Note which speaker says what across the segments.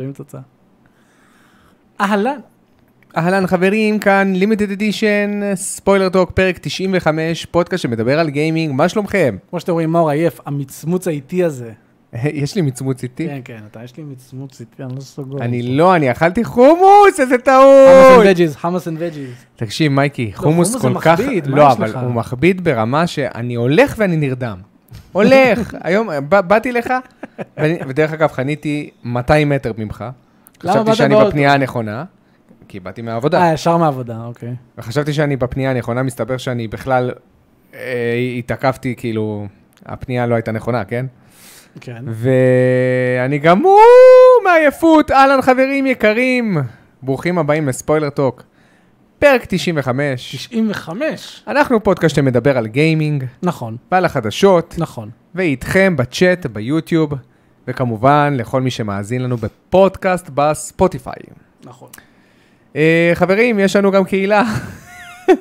Speaker 1: רואים תוצאה. אהלן.
Speaker 2: אהלן חברים, כאן לימיטד אדישן, ספוילר טוק, פרק 95, פודקאסט שמדבר על גיימינג, מה שלומכם?
Speaker 1: כמו שאתם רואים, מאור עייף, המצמוץ האיטי הזה.
Speaker 2: יש לי מצמוץ איתי?
Speaker 1: כן, כן, אתה, יש לי מצמוץ איטי, אני לא סוגר.
Speaker 2: אני לא, אני אכלתי חומוס, איזה
Speaker 1: חמאס
Speaker 2: טעות!
Speaker 1: אנד וג'יז, חמאס אנד וג'יז.
Speaker 2: תקשיב, מייקי,
Speaker 1: לא, חומוס
Speaker 2: חומוס
Speaker 1: זה
Speaker 2: כל כך...
Speaker 1: מכביד, מה
Speaker 2: לא,
Speaker 1: יש
Speaker 2: אבל
Speaker 1: לך?
Speaker 2: הוא מכביד ברמה שאני הולך ואני נרדם. הולך, היום ב- באתי לך, ואני- ודרך אגב, חניתי 200 מטר ממך.
Speaker 1: למה
Speaker 2: חשבתי
Speaker 1: באת
Speaker 2: שאני
Speaker 1: באוטו?
Speaker 2: בפנייה הנכונה, כי באתי מהעבודה.
Speaker 1: אה, ישר מהעבודה, אוקיי.
Speaker 2: וחשבתי שאני בפנייה הנכונה, מסתבר שאני בכלל אה, התעכבתי, כאילו, הפנייה לא הייתה נכונה, כן?
Speaker 1: כן.
Speaker 2: ואני גמור מעייפות, אהלן חברים יקרים, ברוכים הבאים לספוילר טוק, פרק 95.
Speaker 1: 95.
Speaker 2: אנחנו פודקאסט שמדבר על גיימינג
Speaker 1: נכון,
Speaker 2: ועל החדשות,
Speaker 1: נכון.
Speaker 2: ואיתכם בצ'אט, ביוטיוב, וכמובן לכל מי שמאזין לנו בפודקאסט בספוטיפיי.
Speaker 1: נכון.
Speaker 2: אה, חברים, יש לנו גם קהילה.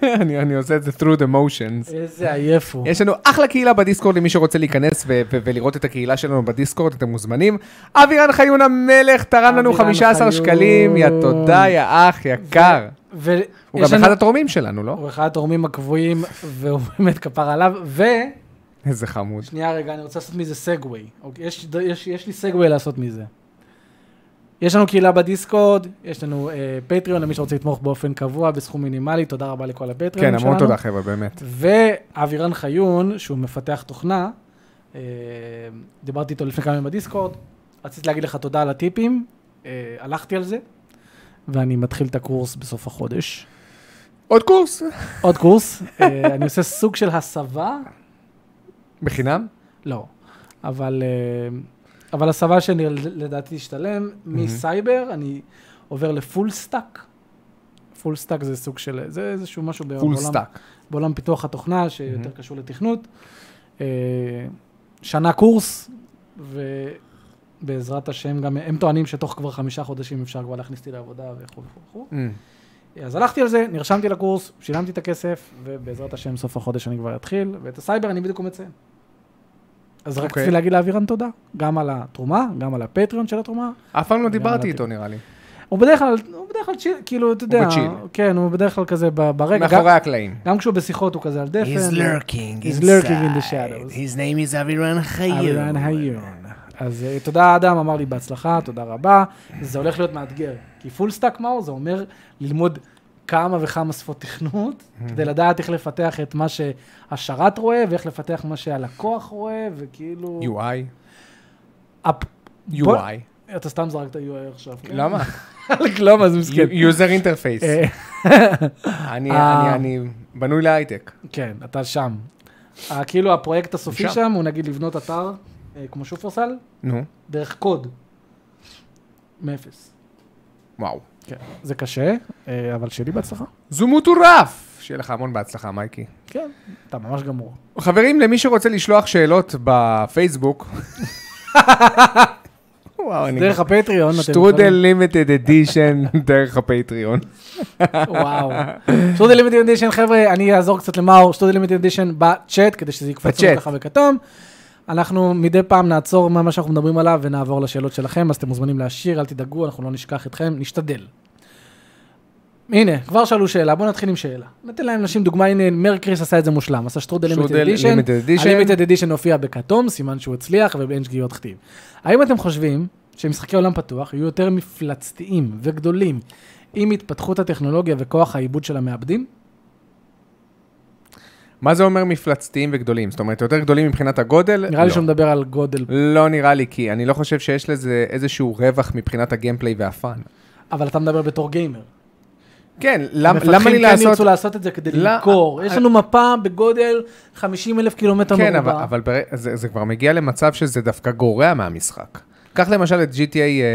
Speaker 2: אני, אני עושה את זה through the motions.
Speaker 1: איזה עייף הוא.
Speaker 2: יש לנו אחלה קהילה בדיסקורד למי שרוצה להיכנס ו- ו- ולראות את הקהילה שלנו בדיסקורד, אתם מוזמנים. אבירן חיון המלך תרם לנו
Speaker 1: אבירן
Speaker 2: 15
Speaker 1: חיון.
Speaker 2: שקלים, יא תודה, יא אח, יקר. הוא
Speaker 1: ויש
Speaker 2: גם
Speaker 1: לנו...
Speaker 2: אחד התורמים שלנו, לא?
Speaker 1: הוא אחד התורמים הקבועים, והוא באמת כפר עליו, ו...
Speaker 2: איזה חמוד.
Speaker 1: שנייה רגע, אני רוצה לעשות מזה סגווי. אוקיי, יש, יש, יש לי סגווי לעשות מזה. יש לנו קהילה בדיסקורד, יש לנו אה, פטריון למי שרוצה לתמוך באופן קבוע בסכום מינימלי, תודה רבה לכל הפטריונים
Speaker 2: כן,
Speaker 1: שלנו.
Speaker 2: המון תודה חבר'ה, באמת.
Speaker 1: ואבירן חיון, שהוא מפתח תוכנה, אה, דיברתי איתו לפני כמה ימים בדיסקורד, רציתי להגיד לך תודה על הטיפים, אה, הלכתי על זה, ואני מתחיל את הקורס בסוף החודש.
Speaker 2: עוד קורס,
Speaker 1: עוד קורס, אה, אני עושה סוג של הסבה
Speaker 2: בחינם.
Speaker 1: לא, אבל, אה, אבל הסבה שלי לדעתי תשתלם מסייבר, אני עובר לפול סטאק. פול סטאק זה סוג של, זה איזשהו משהו
Speaker 2: פול
Speaker 1: בעולם,
Speaker 2: סטאק.
Speaker 1: בעולם פיתוח התוכנה שיותר קשור לתכנות. אה, שנה קורס, ובעזרת השם גם, הם טוענים שתוך כבר חמישה חודשים אפשר כבר להכניס אותי לעבודה וכו' וכו' וכו'.
Speaker 2: אמ,
Speaker 1: אז הלכתי על זה, נרשמתי לקורס, שילמתי את הכסף, ובעזרת השם סוף החודש אני כבר אתחיל, ואת הסייבר אני בדיוק מציין. אז רק
Speaker 2: אוקיי.
Speaker 1: רציתי להגיד לאבירן תודה, גם על התרומה, גם על הפטריון של התרומה.
Speaker 2: אף פעם לא
Speaker 1: גם
Speaker 2: דיברתי
Speaker 1: לדעתי.
Speaker 2: איתו נראה לי.
Speaker 1: הוא בדרך כלל, הוא בדרך כלל צ'יל, כאילו, אתה יודע,
Speaker 2: בצ'יל.
Speaker 1: כן, הוא בדרך כלל כזה ב- ברגע, גם-
Speaker 2: מאחורי הקלעים.
Speaker 1: גם כשהוא בשיחות הוא כזה על דפן. אה,
Speaker 2: lurking
Speaker 1: He's lurking in the shadows.
Speaker 2: His name is אבירן
Speaker 1: אבירן היון. אז אה, תודה אדם, אמר לי בהצלחה, תודה רבה. זה הולך להיות מאתגר, כי פול סטאק מהו זה אומר ללמוד כמה וכמה שפות תכנות,
Speaker 2: Hmm.
Speaker 1: כדי לדעת איך לפתח את מה שהשרת רואה, ואיך לפתח מה שהלקוח רואה, וכאילו...
Speaker 2: UI.
Speaker 1: אפ- בוא-
Speaker 2: UI.
Speaker 1: אתה סתם זרקת UI עכשיו. כן?
Speaker 2: למה?
Speaker 1: למה זה מסכן?
Speaker 2: יוזר אינטרפייס.
Speaker 1: אה,
Speaker 2: אני,
Speaker 1: אה.
Speaker 2: אני, אני בנוי להייטק.
Speaker 1: כן, אתה שם. אה, כאילו הפרויקט הסופי
Speaker 2: שם.
Speaker 1: שם הוא נגיד לבנות אתר, אה, כמו שופרסל,
Speaker 2: נו,
Speaker 1: דרך קוד. מאפס.
Speaker 2: וואו.
Speaker 1: כן, זה קשה, אה, אבל שלי בהצלחה.
Speaker 2: זו מטורף! שיהיה לך המון בהצלחה, מייקי.
Speaker 1: כן. אתה ממש גמור.
Speaker 2: חברים, למי שרוצה לשלוח שאלות בפייסבוק, וואו, אני...
Speaker 1: דרך הפטריון, אתם
Speaker 2: שטרודל לימטד אדישן דרך הפטריון.
Speaker 1: יכולים- וואו. שטרודל לימיטד אדישן, חבר'ה, אני אעזור קצת למאור, שטרודל לימיטד אדישן בצ'אט, כדי שזה יקפוץ לנו
Speaker 2: בצ'אט.
Speaker 1: ככה בכתום. אנחנו מדי פעם נעצור מה מה שאנחנו מדברים עליו ונעבור לשאלות שלכם, אז אתם מוזמנים להשאיר, אל תדאגו, אנחנו לא נשכח אתכם, נשתדל. הנה, כבר שאלו שאלה, בואו נתחיל עם שאלה. ניתן להם נשים דוגמה, הנה, מרקריס עשה את זה מושלם, עשה שטרודל לימיטד
Speaker 2: שטרודל
Speaker 1: אדישן.
Speaker 2: לימטד אדישן.
Speaker 1: הלימיטד אדישן הופיע בכתום, סימן שהוא הצליח, ובאין שגיאות כתיב. האם אתם חושבים שמשחקי עולם פתוח יהיו יותר מפלצתיים וגדולים עם התפתחות הטכנולוגיה וכוח העיבוד של המעבדים?
Speaker 2: מה זה אומר מפלצתיים וגדולים? זאת אומרת, יותר גדולים מבחינת הגודל?
Speaker 1: נראה לי
Speaker 2: לא.
Speaker 1: שהוא מדבר על גודל,
Speaker 2: לא נראה לי, כי אני לא חושב שיש לזה איזשהו רווח מבחינת הגיימפליי והפאן.
Speaker 1: אבל אתה מדבר בתור גיימר.
Speaker 2: כן, למ- למה
Speaker 1: המפתחים
Speaker 2: לי
Speaker 1: כן
Speaker 2: לעשות...
Speaker 1: ירצו לעשות את זה כדי
Speaker 2: לא,
Speaker 1: למכור.
Speaker 2: אה,
Speaker 1: יש לנו מפה בגודל 50 אלף קילומטר
Speaker 2: כן, אבל,
Speaker 1: מרובע.
Speaker 2: אבל בר... זה, זה כבר מגיע למצב שזה דווקא גורע מהמשחק. קח למשל את GTA, אה,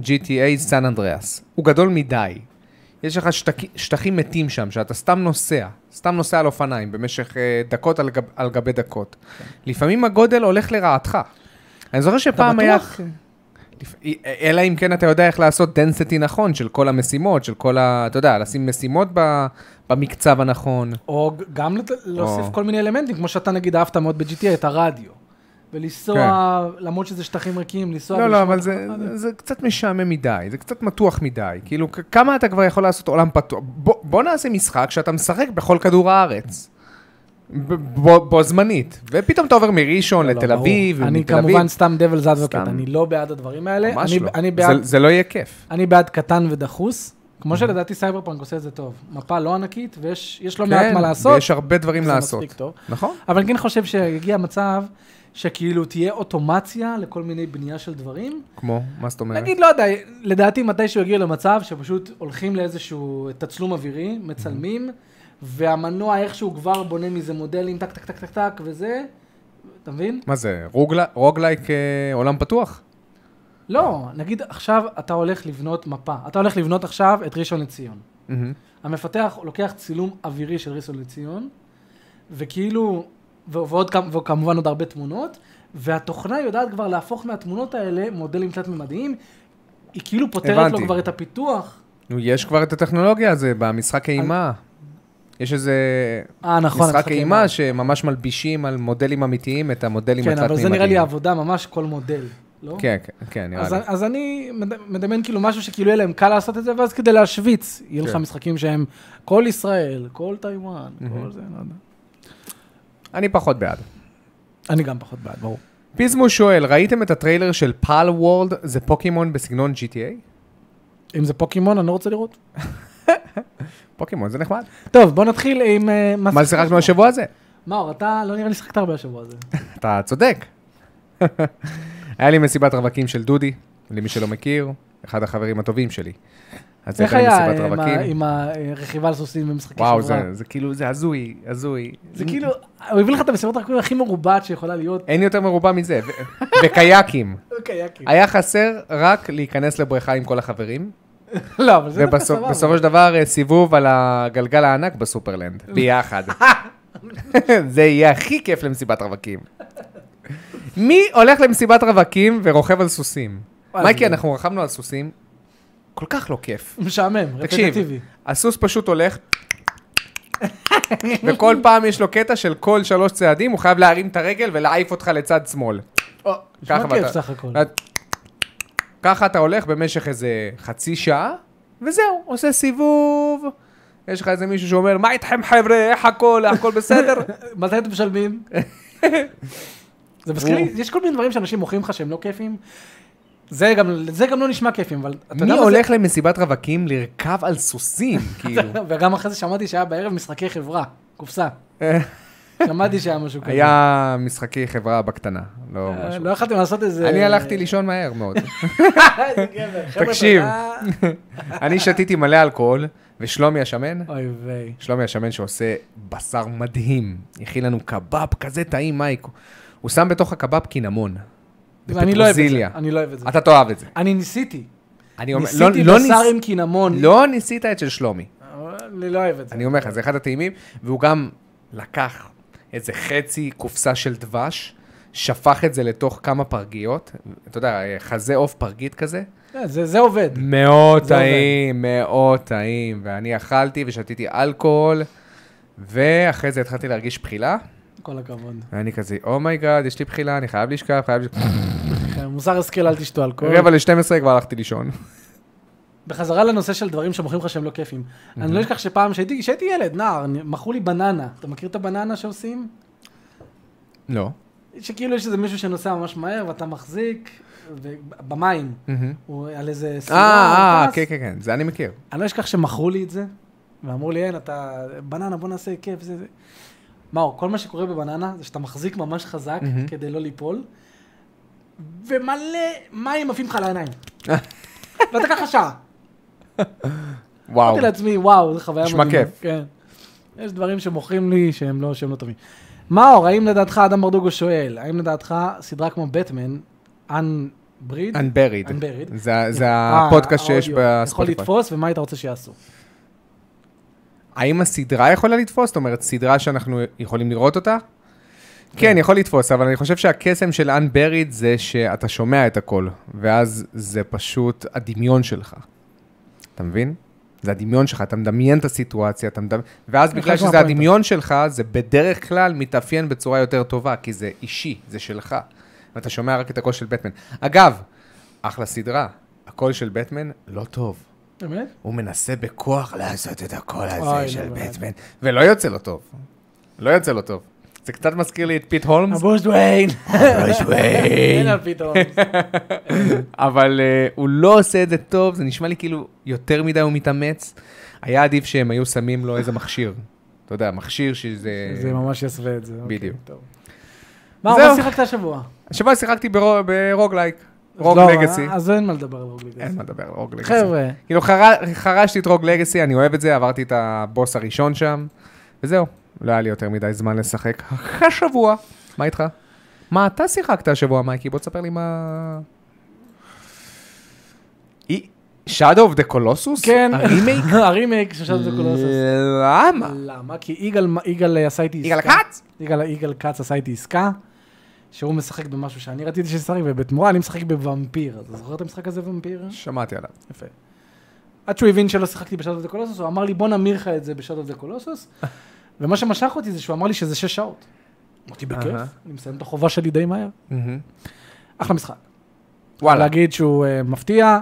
Speaker 2: GTA סן אנדריאס, הוא גדול מדי. יש לך שטק... שטחים מתים שם, שאתה סתם נוסע, סתם נוסע על אופניים במשך אה, דקות על, גב... על גבי דקות. לפעמים הגודל הולך לרעתך. אני זוכר שפעם היה...
Speaker 1: בטוח?
Speaker 2: לפ- אלא אם כן אתה יודע איך לעשות דנסיטי נכון של כל המשימות, של כל ה... אתה יודע, לשים משימות ב... במקצב הנכון.
Speaker 1: או ג- גם לת- להוסיף
Speaker 2: או.
Speaker 1: כל מיני אלמנטים, כמו שאתה נגיד אהבת מאוד ב-GTA, את הרדיו. ולנסוע, למרות שזה שטחים ריקים, לנסוע...
Speaker 2: כן. לא, לא,
Speaker 1: ולשמוע
Speaker 2: אבל
Speaker 1: את
Speaker 2: זה,
Speaker 1: החרדים.
Speaker 2: זה קצת משעמם מדי, זה קצת מתוח מדי. כאילו, כ- כמה אתה כבר יכול לעשות עולם פתוח? בוא, בוא נעשה משחק שאתה משחק בכל כדור הארץ. ב- בו, בו זמנית. ופתאום אתה עובר מראשון
Speaker 1: לא,
Speaker 2: לתל
Speaker 1: ברור.
Speaker 2: אביב,
Speaker 1: אני
Speaker 2: ומתל
Speaker 1: כמובן
Speaker 2: אביב.
Speaker 1: סתם devil's advocate,
Speaker 2: סתם.
Speaker 1: אני לא בעד הדברים האלה.
Speaker 2: ממש
Speaker 1: אני-
Speaker 2: לא.
Speaker 1: אני
Speaker 2: זה-
Speaker 1: בעד-
Speaker 2: זה לא יהיה כיף.
Speaker 1: אני בעד קטן ודחוס, כמו שלדעתי סייבר פאנק עושה את זה טוב. מפה לא ענקית, ויש יש לא מעט
Speaker 2: כן,
Speaker 1: מה לעשות.
Speaker 2: ויש הרבה דברים
Speaker 1: זה
Speaker 2: לעשות.
Speaker 1: מספיק טוב.
Speaker 2: נכון?
Speaker 1: אבל אני כן חושב שהגיע מצב שכאילו תהיה אוטומציה לכל מיני בנייה של דברים.
Speaker 2: כמו, מה זאת אומרת?
Speaker 1: נגיד, לא יודע, לדעתי מתישהו יגיע למצב שפשוט הולכים לאיזשהו תצלום אווירי, מצלמים, והמנוע איכשהו כבר בונה מזה מודלים, טק, טק, טק, טק, טק, וזה, אתה מבין?
Speaker 2: מה זה, רוגלה- רוגלייק אה, עולם פתוח?
Speaker 1: לא, נגיד עכשיו אתה הולך לבנות מפה, אתה הולך לבנות עכשיו את ראשון לציון.
Speaker 2: מהמם.
Speaker 1: המפתח לוקח צילום אווירי של ראשון לציון, וכאילו, ו- ועוד כמ- וכמובן עוד הרבה תמונות, והתוכנה יודעת כבר להפוך מהתמונות האלה מודלים תלת-ממדיים, היא כאילו פותרת לו
Speaker 2: הבנתי.
Speaker 1: כבר את הפיתוח.
Speaker 2: נו, יש כבר את הטכנולוגיה הזו במשחק אימה. יש איזה
Speaker 1: אה, נכון,
Speaker 2: משחק אימה שממש מלבישים על מודלים אמיתיים את המודלים
Speaker 1: כן, אבל זה
Speaker 2: התלת-מימדיים.
Speaker 1: נראה לי עבודה ממש כל מודל, לא?
Speaker 2: כן, כן, כן, נראה
Speaker 1: אז,
Speaker 2: לי.
Speaker 1: אז אני מד- מדמיין כאילו משהו שכאילו יהיה להם קל לעשות את זה, ואז כדי להשוויץ, יהיה לך
Speaker 2: כן.
Speaker 1: משחקים שהם כל ישראל, כל טיוואן, כל זה, לא יודע.
Speaker 2: אני פחות בעד.
Speaker 1: אני גם פחות בעד, ברור.
Speaker 2: פיזמו שואל, ראיתם את הטריילר של פל וורלד, זה פוקימון בסגנון GTA?
Speaker 1: אם זה פוקימון, אני לא רוצה לראות.
Speaker 2: פוקימון זה נחמד.
Speaker 1: טוב, בוא נתחיל עם... אה,
Speaker 2: מה שיחקנו השבוע הזה?
Speaker 1: מאור, אתה לא נראה לי שחקת הרבה השבוע הזה.
Speaker 2: אתה צודק. היה לי מסיבת רווקים של דודי, למי שלא מכיר, אחד החברים הטובים שלי. אז
Speaker 1: איך
Speaker 2: הייתה לי
Speaker 1: היה אה,
Speaker 2: מסיבת
Speaker 1: עם ה-
Speaker 2: רווקים.
Speaker 1: עם הרכיבה על סוסים במשחקי חברה?
Speaker 2: וואו, זה, זה כאילו, זה הזוי, הזוי.
Speaker 1: זה כאילו, הוא הביא לך את המסיבות הרקובים הכי מרובעת שיכולה להיות. אוקיי,
Speaker 2: אין יותר מרובע מזה. ו- וקייקים.
Speaker 1: קייקים.
Speaker 2: היה חסר רק להיכנס לבריכה עם כל החברים,
Speaker 1: לא, אבל זה דווקא סבבה.
Speaker 2: ובסופו של דבר אה, סיבוב על הגלגל הענק בסופרלנד, ביחד. זה יהיה הכי כיף למסיבת רווקים. מי הולך למסיבת רווקים ורוכב על סוסים?
Speaker 1: וואלה,
Speaker 2: מייקי,
Speaker 1: זה-
Speaker 2: אנחנו רכבנו על סוסים, כל כך לא כיף.
Speaker 1: משעמם,
Speaker 2: תקשיב,
Speaker 1: רפטטיבי.
Speaker 2: הסוס פשוט הולך, וכל פעם יש לו קטע של כל שלוש צעדים, הוא חייב להרים את הרגל ולהעיף אותך לצד שמאל.
Speaker 1: נשמע
Speaker 2: ככה
Speaker 1: כיף
Speaker 2: ואתה-
Speaker 1: סך הכל.
Speaker 2: ואת- ככה אתה הולך במשך איזה חצי שעה, וזהו, עושה סיבוב. יש לך איזה מישהו שאומר, מה איתכם חבר'ה, איך הכל, הכל בסדר?
Speaker 1: מתי אתם משלמים? זה מזכיר לי, יש כל מיני דברים שאנשים מוכרים לך שהם לא כיפים. זה גם, זה גם לא נשמע כיפים, אבל אתה יודע
Speaker 2: מי
Speaker 1: מה זה-
Speaker 2: הולך למסיבת רווקים לרכב על סוסים, כאילו?
Speaker 1: וגם אחרי זה שמעתי שהיה בערב משחקי חברה, קופסה. שמעתי שהיה משהו כזה.
Speaker 2: היה משחקי חברה בקטנה, לא
Speaker 1: אה,
Speaker 2: משהו.
Speaker 1: לא יכלתם לעשות איזה...
Speaker 2: אני הלכתי לישון מהר מאוד.
Speaker 1: איזה גבר, חבר'ה,
Speaker 2: תקשיב.
Speaker 1: תודה.
Speaker 2: אני שתיתי מלא אלכוהול, ושלומי השמן,
Speaker 1: אוי ויי.
Speaker 2: שלומי השמן שעושה בשר מדהים, הכין לנו קבב כזה טעים, מייק. הוא שם בתוך הקבב קינמון.
Speaker 1: אני לא אוהב את
Speaker 2: בפטרוזיליה.
Speaker 1: זה. אני לא אוהב את זה.
Speaker 2: אתה תאהב את זה.
Speaker 1: אני ניסיתי.
Speaker 2: אני אומר, לא,
Speaker 1: ניסיתי
Speaker 2: לא,
Speaker 1: בשר
Speaker 2: ניס...
Speaker 1: עם קינמון.
Speaker 2: לא ניסית את של שלומי,
Speaker 1: אבל אני לא אוהב את זה.
Speaker 2: אני אומר לך, זה אחד הטעימים, והוא גם לקח איזה חצי קופסה של דבש, שפך את זה לתוך כמה פרגיות, אתה יודע, חזה עוף פרגית כזה,
Speaker 1: אה, זה זה עובד.
Speaker 2: מאוד
Speaker 1: זה עובד.
Speaker 2: טעים, מאוד טעים, ואני אכלתי ושתיתי אלכוהול, ואחרי זה התחלתי להרגיש בחילה,
Speaker 1: כל הכבוד.
Speaker 2: ואני כזה, אומייגאד, יש לי בחילה, אני חייב לשכב, חייב לשכב,
Speaker 1: כן, מוסר השכל, אל תשתו אלכוהול.
Speaker 2: רבע ל-12 כבר הלכתי לישון.
Speaker 1: בחזרה לנושא של דברים שמוכרים לך שהם לא כיפים. אני
Speaker 2: Mhm.
Speaker 1: לא אשכח שפעם, שהייתי- כשהייתי ילד, נער, אני- מכרו לי בננה. אתה מכיר את הבננה שעושים?
Speaker 2: לא.
Speaker 1: שכאילו יש איזה מישהו שנוסע ממש מהר, ואתה מחזיק, ו- במים.
Speaker 2: מהמם.
Speaker 1: הוא על איזה
Speaker 2: אה,
Speaker 1: סירה.
Speaker 2: אה,
Speaker 1: הוא טס.
Speaker 2: כן, כן, כן, זה אני מכיר.
Speaker 1: אני לא אשכח שמכרו לי את זה, ואמרו לי, אין, אתה בננה, בוא נעשה כיף, זה זה. מאור, כל מה שקורה בבננה זה שאתה מחזיק ממש חזק
Speaker 2: מהמם.
Speaker 1: כדי לא ליפול, ומלא מים עפים לך על העיניים. ואתה ככה שעה.
Speaker 2: וואו.
Speaker 1: אמרתי לעצמי, וואו, זו חוויה
Speaker 2: נשמע
Speaker 1: מדהימה."
Speaker 2: כיף.
Speaker 1: כן. יש דברים שמוכרים לי שהם לא, שהם לא טובים. מאור, האם לדעתך, אדם ברדוגו שואל, האם לדעתך סדרה כמו בטמן, Unbreed,
Speaker 2: Unburied.
Speaker 1: Unburied.
Speaker 2: זה, זה
Speaker 1: אה,
Speaker 2: הפודקאסט שיש
Speaker 1: האודיו, יכול
Speaker 2: בספוטיפיי.
Speaker 1: לתפוס, ומה היית רוצה שיעשו?
Speaker 2: האם הסדרה יכולה לתפוס? זאת אומרת, סדרה שאנחנו יכולים לראות אותה? כן, יכול לתפוס, אבל אני חושב שהקסם של Unburied זה שאתה שומע את הכל, ואז זה פשוט הדמיון שלך. אתה מבין? זה הדמיון שלך, אתה מדמיין את הסיטואציה, אתה מדמיין... ואז
Speaker 1: אני
Speaker 2: בגלל
Speaker 1: חלק
Speaker 2: שזה
Speaker 1: מהפואנטה.
Speaker 2: הדמיון שלך, זה בדרך כלל מתאפיין בצורה יותר טובה, כי זה אישי, זה שלך. ואתה שומע רק את הקול של בטמן. אגב, אחלה סדרה, הקול של בטמן לא טוב.
Speaker 1: באמת?
Speaker 2: הוא מנסה בכוח לעשות את
Speaker 1: אוי,
Speaker 2: הקול הזה של
Speaker 1: נו, באמת.
Speaker 2: בטמן, ולא יוצא לו טוב. לא יוצא לו טוב. זה קצת מזכיר לי את פיט הולמס,
Speaker 1: הבוש דוויין.
Speaker 2: ברוש
Speaker 1: אין
Speaker 2: וויין.
Speaker 1: על פתאום.
Speaker 2: אבל אה, הוא לא עושה את זה טוב, זה נשמע לי כאילו יותר מדי הוא מתאמץ. היה עדיף שהם היו שמים לו איזה מכשיר. אתה יודע, מכשיר שזה...
Speaker 1: זה ממש יסווה את זה. אוקיי,
Speaker 2: אה. בדיוק.
Speaker 1: טוב. מה, מה
Speaker 2: זהו.
Speaker 1: שיחקת השבוע?
Speaker 2: השבוע שיחקתי ברו- ברוגלייק, רוג
Speaker 1: לא,
Speaker 2: לגאסי.
Speaker 1: אז אין מה לדבר על רוג לגאסי.
Speaker 2: אין מה לדבר על רוג לגאסי.
Speaker 1: חבר'ה,
Speaker 2: כאילו חר- חרשתי את רוג לגאסי, אני אוהב את זה, עברתי את הבוס הראשון שם, וזהו. לא היה לי יותר מדי זמן לשחק. השבוע. מה איתך? מה אתה שיחקת השבוע, מייקי? בוא תספר לי מה... אי- Shadow of the Colossus?
Speaker 1: כן.
Speaker 2: הרימייק?
Speaker 1: הרימייק של שבת הקולוסוס.
Speaker 2: למה?
Speaker 1: למה? כי יגאל, יגאל אה, עשה איתי עסקה.
Speaker 2: יגאל כץ?
Speaker 1: יגאל, יגאל כץ עשה איתי עסקה, שהוא משחק במשהו שאני רציתי שישחק, ובתמורה אני משחק בוומפיר. אתה זוכר את המשחק הזה, וומפיר?
Speaker 2: שמעתי עליו.
Speaker 1: יפה. עד שהוא הבין שלא שיחקתי בשאט אוף דה קולוסוס, הוא אמר לי בוא נמיר לך את זה בשאט אוף דה קולוסוס, ומה שמשך אותי זה שהוא אמר לי שזה שש שעות. אמרתי בכיף,
Speaker 2: אהה.
Speaker 1: אני מסיים את החובה שלי די מהר. אחלה משחק.
Speaker 2: וואלה.
Speaker 1: להגיד שהוא אה, מפתיע,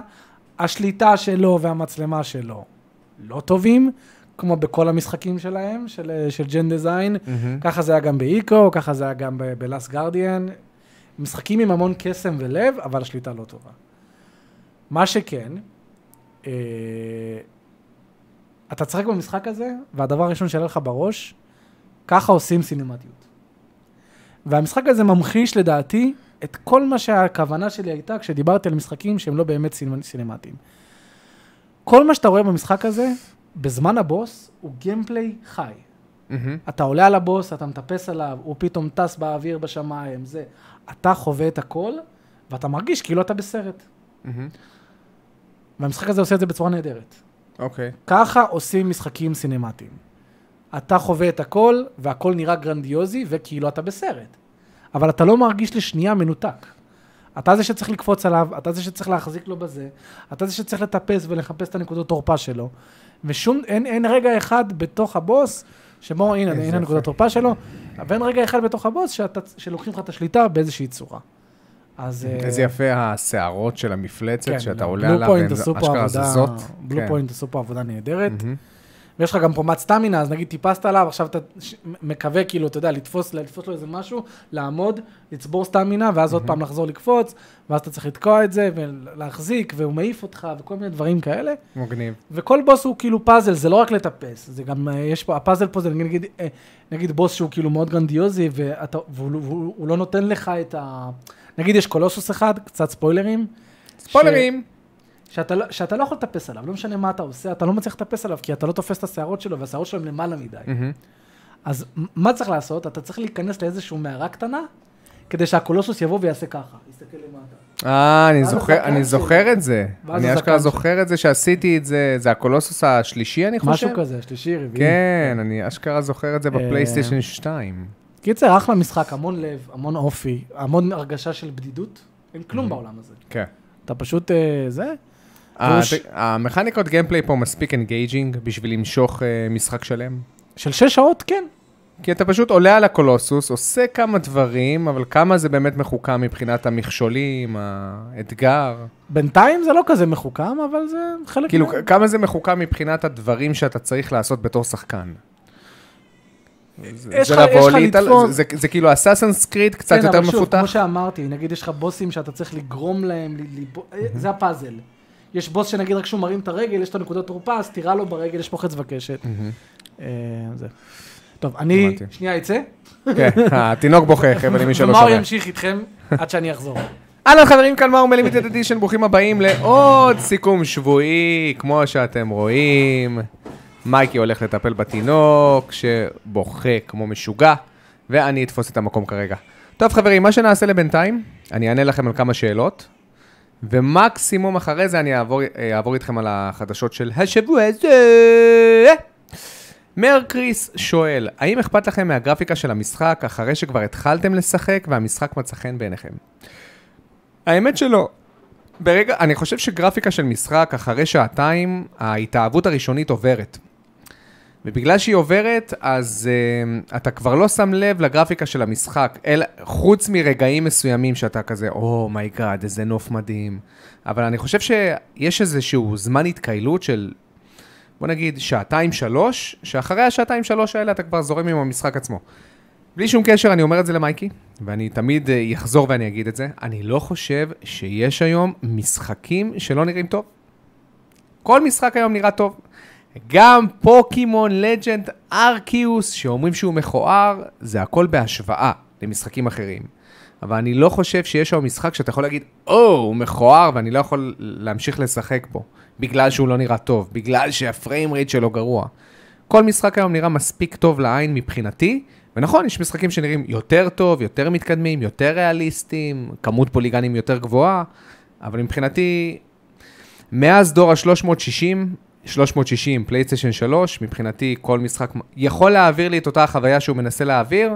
Speaker 1: השליטה שלו והמצלמה שלו לא טובים, כמו בכל המשחקים שלהם, של, אה, של ג'ן דזיין.
Speaker 2: מהמם.
Speaker 1: ככה זה היה גם באיקו, ככה זה היה גם בלאס גרדיאן. משחקים עם המון קסם ולב, אבל השליטה לא טובה. מה שכן, אה, אתה תשחק במשחק הזה, והדבר הראשון שיעלה לך בראש, ככה עושים סינמטיות. והמשחק הזה ממחיש לדעתי את כל מה שהכוונה שלי הייתה כשדיברתי על משחקים שהם לא באמת סינמ- סינמטיים. כל מה שאתה רואה במשחק הזה, בזמן הבוס, הוא גיימפליי חי.
Speaker 2: מהמם.
Speaker 1: אתה עולה על הבוס, אתה מטפס עליו, הוא פתאום טס באוויר בשמיים, זה. אתה חווה את הכל, ואתה מרגיש כאילו אתה בסרט.
Speaker 2: מהמם.
Speaker 1: והמשחק הזה עושה את זה בצורה נהדרת.
Speaker 2: אוקיי.
Speaker 1: ככה עושים משחקים סינמטיים. אתה חווה את הכל, והכל נראה גרנדיוזי, וכאילו אתה בסרט. אבל אתה לא מרגיש לשנייה מנותק. אתה זה שצריך לקפוץ עליו, אתה זה שצריך להחזיק לו בזה, אתה זה שצריך לטפס ולחפש את הנקודות תורפה שלו. ושום, אין, אין רגע אחד בתוך הבוס, שבו הנה,
Speaker 2: איזה
Speaker 1: הנה הנקודת
Speaker 2: יפה.
Speaker 1: תורפה שלו, ואין רגע אחד בתוך הבוס שאתה, שלוקחים לך את השליטה באיזושהי צורה. אז... אה,
Speaker 2: איזה יפה השערות של המפלצת
Speaker 1: כן,
Speaker 2: שאתה
Speaker 1: לא,
Speaker 2: עולה
Speaker 1: בלו
Speaker 2: עליו,
Speaker 1: פוינט
Speaker 2: והן
Speaker 1: עשו פה
Speaker 2: אשכרה
Speaker 1: עבודה-
Speaker 2: זזות.
Speaker 1: בלו
Speaker 2: כן.
Speaker 1: פוינט עשו פה עבודה נהדרת.
Speaker 2: מהמם.
Speaker 1: ויש לך גם פרומט סטמינה, אז נגיד טיפסת עליו, עכשיו אתה ש- מקווה, כאילו, אתה יודע, לתפוס, לתפוס לו איזה משהו, לעמוד, לצבור סטמינה, ואז עוד פעם לחזור לקפוץ, ואז אתה צריך לתקוע את זה, ולהחזיק, והוא מעיף אותך, וכל מיני דברים כאלה.
Speaker 2: מגניב.
Speaker 1: וכל בוס הוא כאילו פאזל, זה לא רק לטפס, זה גם, אה, יש פה, הפאזל פה זה נגיד, נגיד, אה, נגיד בוס שהוא כאילו מאוד גרנדיוזי, ואתה, והוא, והוא, והוא לא נותן לך את ה... נגיד יש קולוסוס אחד, קצת ספוילרים.
Speaker 2: ספוילרים!
Speaker 1: שאתה, לא- שאתה לא יכול לטפס עליו, לא משנה מה אתה עושה, אתה לא מצליח לטפס עליו, כי אתה לא תופס את השערות שלו, והשערות שלו הן למעלה מדי.
Speaker 2: מהמם.
Speaker 1: אז מ- מה צריך לעשות? אתה צריך להיכנס לאיזושהי מערה קטנה, כדי שהקולוסוס יבוא ויעשה ככה, יסתכל למטה.
Speaker 2: אה, אני
Speaker 1: ואז
Speaker 2: זוכר,
Speaker 1: הזקן
Speaker 2: אני זוכר את זה.
Speaker 1: ואז
Speaker 2: אני
Speaker 1: הזקן
Speaker 2: אשכרה
Speaker 1: שלי.
Speaker 2: זוכר את זה שעשיתי את זה, זה הקולוסוס השלישי, אני חושב?
Speaker 1: משהו כזה, שלישי, רביעי.
Speaker 2: כן, אני אשכרה זוכר את זה
Speaker 1: אה.
Speaker 2: בפלייסטיישן 2.
Speaker 1: קיצר, אחלה משחק, המון לב, המון אופי, המון הרגשה של בדידות. אין כלום בעולם הזה.
Speaker 2: כן.
Speaker 1: אתה פשוט, אה, זה,
Speaker 2: ה-
Speaker 1: ש-
Speaker 2: אה, המכניקות גיימפליי פה מספיק אנגייג'ינג בשביל למשוך אה, משחק שלם.
Speaker 1: של שש שעות, כן.
Speaker 2: כי אתה פשוט עולה על הקולוסוס, עושה כמה דברים, אבל כמה זה באמת מחוקם מבחינת המכשולים, האתגר.
Speaker 1: בינתיים זה לא כזה מחוכם, אבל זה חלק...
Speaker 2: כאילו,
Speaker 1: מה-
Speaker 2: כ- כמה זה מחוקם מבחינת הדברים שאתה צריך לעשות בתור שחקן. זה-
Speaker 1: יש
Speaker 2: זה
Speaker 1: לך- יש
Speaker 2: לבוא
Speaker 1: לך
Speaker 2: להתעל-
Speaker 1: לתפוס-
Speaker 2: זה- זה- זה כאילו אסאסנס קריד קצת
Speaker 1: כן,
Speaker 2: יותר
Speaker 1: אבל שוב,
Speaker 2: מפותח.
Speaker 1: כמו שאמרתי, נגיד יש לך בוסים שאתה צריך לגרום להם, ל- ל- אה, זה הפאזל. יש בוס שנגיד רק כשהוא מרים את הרגל, יש לו נקודות תורפה, אז תירה לו ברגל, יש פה חץ וקשת. אה, זה. טוב, אני
Speaker 2: הבנתי.
Speaker 1: שנייה אצא,
Speaker 2: כן, התינוק בוכה, חבר'ה, למי שלא
Speaker 1: ומאור
Speaker 2: שומע.
Speaker 1: ימשיך איתכם עד שאני אחזור.
Speaker 2: אהלן חברים, כאן מאור מלימיטד אדישן, ברוכים הבאים לעוד סיכום שבועי, כמו שאתם רואים. מייקי הולך לטפל בתינוק, שבוכה כמו משוגע, ואני אתפוס את המקום כרגע. טוב חברים, מה שנעשה לבינתיים, אני אענה לכם על כמה שאלות, ומקסימום אחרי זה אני אעבור, אה, אעבור איתכם על החדשות של השבוע הזה. מר קריס שואל, האם אכפת לכם מהגרפיקה של המשחק אחרי שכבר התחלתם לשחק והמשחק מצא חן בעיניכם? האמת שלא. ברגע, אני חושב שגרפיקה של משחק, אחרי שעתיים, ההתאהבות הראשונית עוברת. ובגלל שהיא עוברת, אז uh, אתה כבר לא שם לב לגרפיקה של המשחק, אל, חוץ מרגעים מסוימים שאתה כזה, או מייגאד, איזה נוף מדהים. אבל אני חושב שיש איזשהו זמן התקהלות של, בוא נגיד, שעתיים-שלוש, שאחרי השעתיים-שלוש האלה אתה כבר זורם עם המשחק עצמו. בלי שום קשר, אני אומר את זה למייקי, ואני תמיד אה, אחזור ואני אגיד את זה, אני לא חושב שיש היום משחקים שלא נראים טוב. כל משחק היום נראה טוב. גם פוקימון לג'נד ארקיוס, שאומרים שהוא מכוער, זה הכל בהשוואה למשחקים אחרים. אבל אני לא חושב שיש היום משחק שאתה יכול להגיד, או, הוא מכוער, ואני לא יכול להמשיך לשחק פה, בגלל שהוא לא נראה טוב, בגלל שהפריים רייט שלו גרוע. כל משחק היום נראה מספיק טוב לעין מבחינתי, ונכון, יש משחקים שנראים יותר טוב, יותר מתקדמים, יותר ריאליסטיים, כמות פוליגנים יותר גבוהה, אבל מבחינתי, מאז דור ה-360, 360, פלייסטיישן 3, מבחינתי כל משחק יכול להעביר לי את אותה החוויה שהוא מנסה להעביר,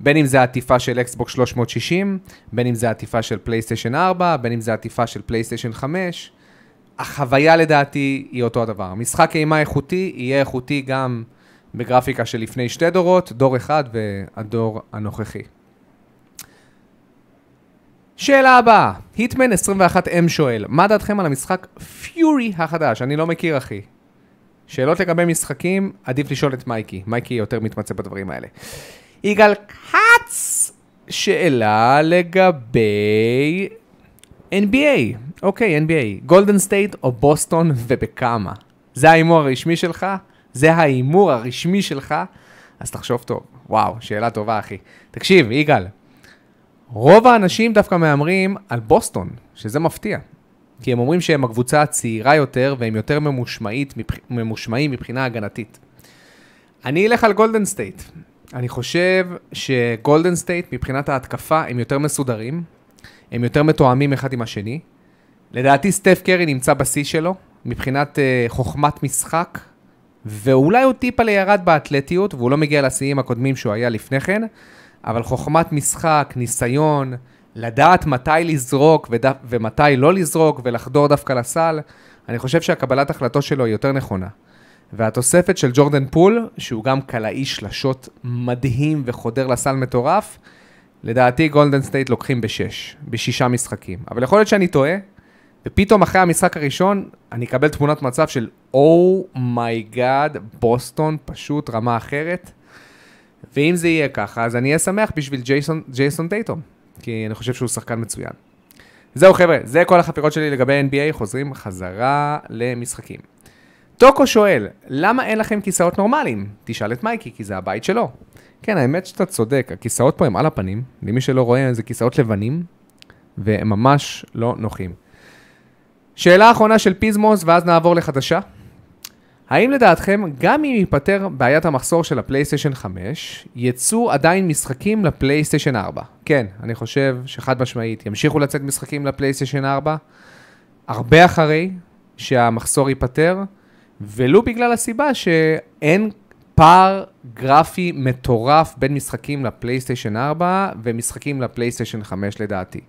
Speaker 2: בין אם זה עטיפה של אקסבוקס 360, בין אם זה עטיפה של פלייסטיישן 4, בין אם זה עטיפה של פלייסטיישן 5. החוויה לדעתי היא אותו הדבר. משחק אימה איכותי יהיה איכותי גם בגרפיקה של לפני שתי דורות, דור אחד והדור הנוכחי. שאלה הבאה, היטמן 21M שואל, מה דעתכם על המשחק פיורי החדש? אני לא מכיר אחי. שאלות לגבי משחקים, עדיף לשאול את מייקי, מייקי יותר מתמצא בדברים האלה. יגאל כץ, שאלה לגבי NBA, אוקיי, NBA, גולדן סטייט או בוסטון ובכמה? זה ההימור הרשמי שלך? זה ההימור הרשמי שלך? אז תחשוב טוב. וואו, שאלה טובה, אחי. תקשיב, יגאל, רוב האנשים דווקא מהמרים על בוסטון, שזה מפתיע. כי הם אומרים שהם הקבוצה הצעירה יותר והם יותר ממושמעית, מבח- ממושמעים מבחינה הגנתית. אני אלך על גולדן סטייט. אני חושב שגולדן סטייט, מבחינת ההתקפה, הם יותר מסודרים, הם יותר מתואמים אחד עם השני. לדעתי סטף קרי נמצא בשיא שלו, מבחינת uh, חוכמת משחק, ואולי הוא טיפה לירד באתלטיות, והוא לא מגיע לשיאים הקודמים שהוא היה לפני כן, אבל חוכמת משחק, ניסיון, לדעת מתי לזרוק וד... ומתי לא לזרוק, ולחדור דווקא לסל, אני חושב שהקבלת החלטות שלו היא יותר נכונה. והתוספת של ג'ורדן פול, שהוא גם קלעי שלשות מדהים וחודר לסל מטורף, לדעתי גולדן סטייט לוקחים בשש, בשישה משחקים. אבל יכול להיות שאני טועה, ופתאום אחרי המשחק הראשון, אני אקבל תמונת מצב של אומייגאד, בוסטון פשוט רמה אחרת. ואם זה יהיה ככה, אז אני אהיה שמח בשביל ג'ייסון, ג'ייסון טייטום, כי אני חושב שהוא שחקן מצוין. זהו חבר'ה, זה כל החפירות שלי לגבי NBA, חוזרים חזרה למשחקים. טוקו שואל, למה אין לכם כיסאות נורמליים? תשאל את מייקי, כי זה הבית שלו. כן, האמת שאתה צודק, הכיסאות פה הם על הפנים, למי שלא רואה, זה כיסאות לבנים, והם ממש לא נוחים. שאלה אחרונה של פיזמוס, ואז נעבור לחדשה. האם לדעתכם, גם אם ייפתר בעיית המחסור של הפלייסטיישן 5, יצאו עדיין משחקים לפלייסטיישן 4? כן, אני חושב שחד משמעית, ימשיכו לצאת משחקים לפלייסטיישן 4, הרבה אחרי שהמחסור ייפתר, ולו בגלל הסיבה שאין פער גרפי מטורף בין משחקים לפלייסטיישן 4 ומשחקים לפלייסטיישן 5 לדעתי.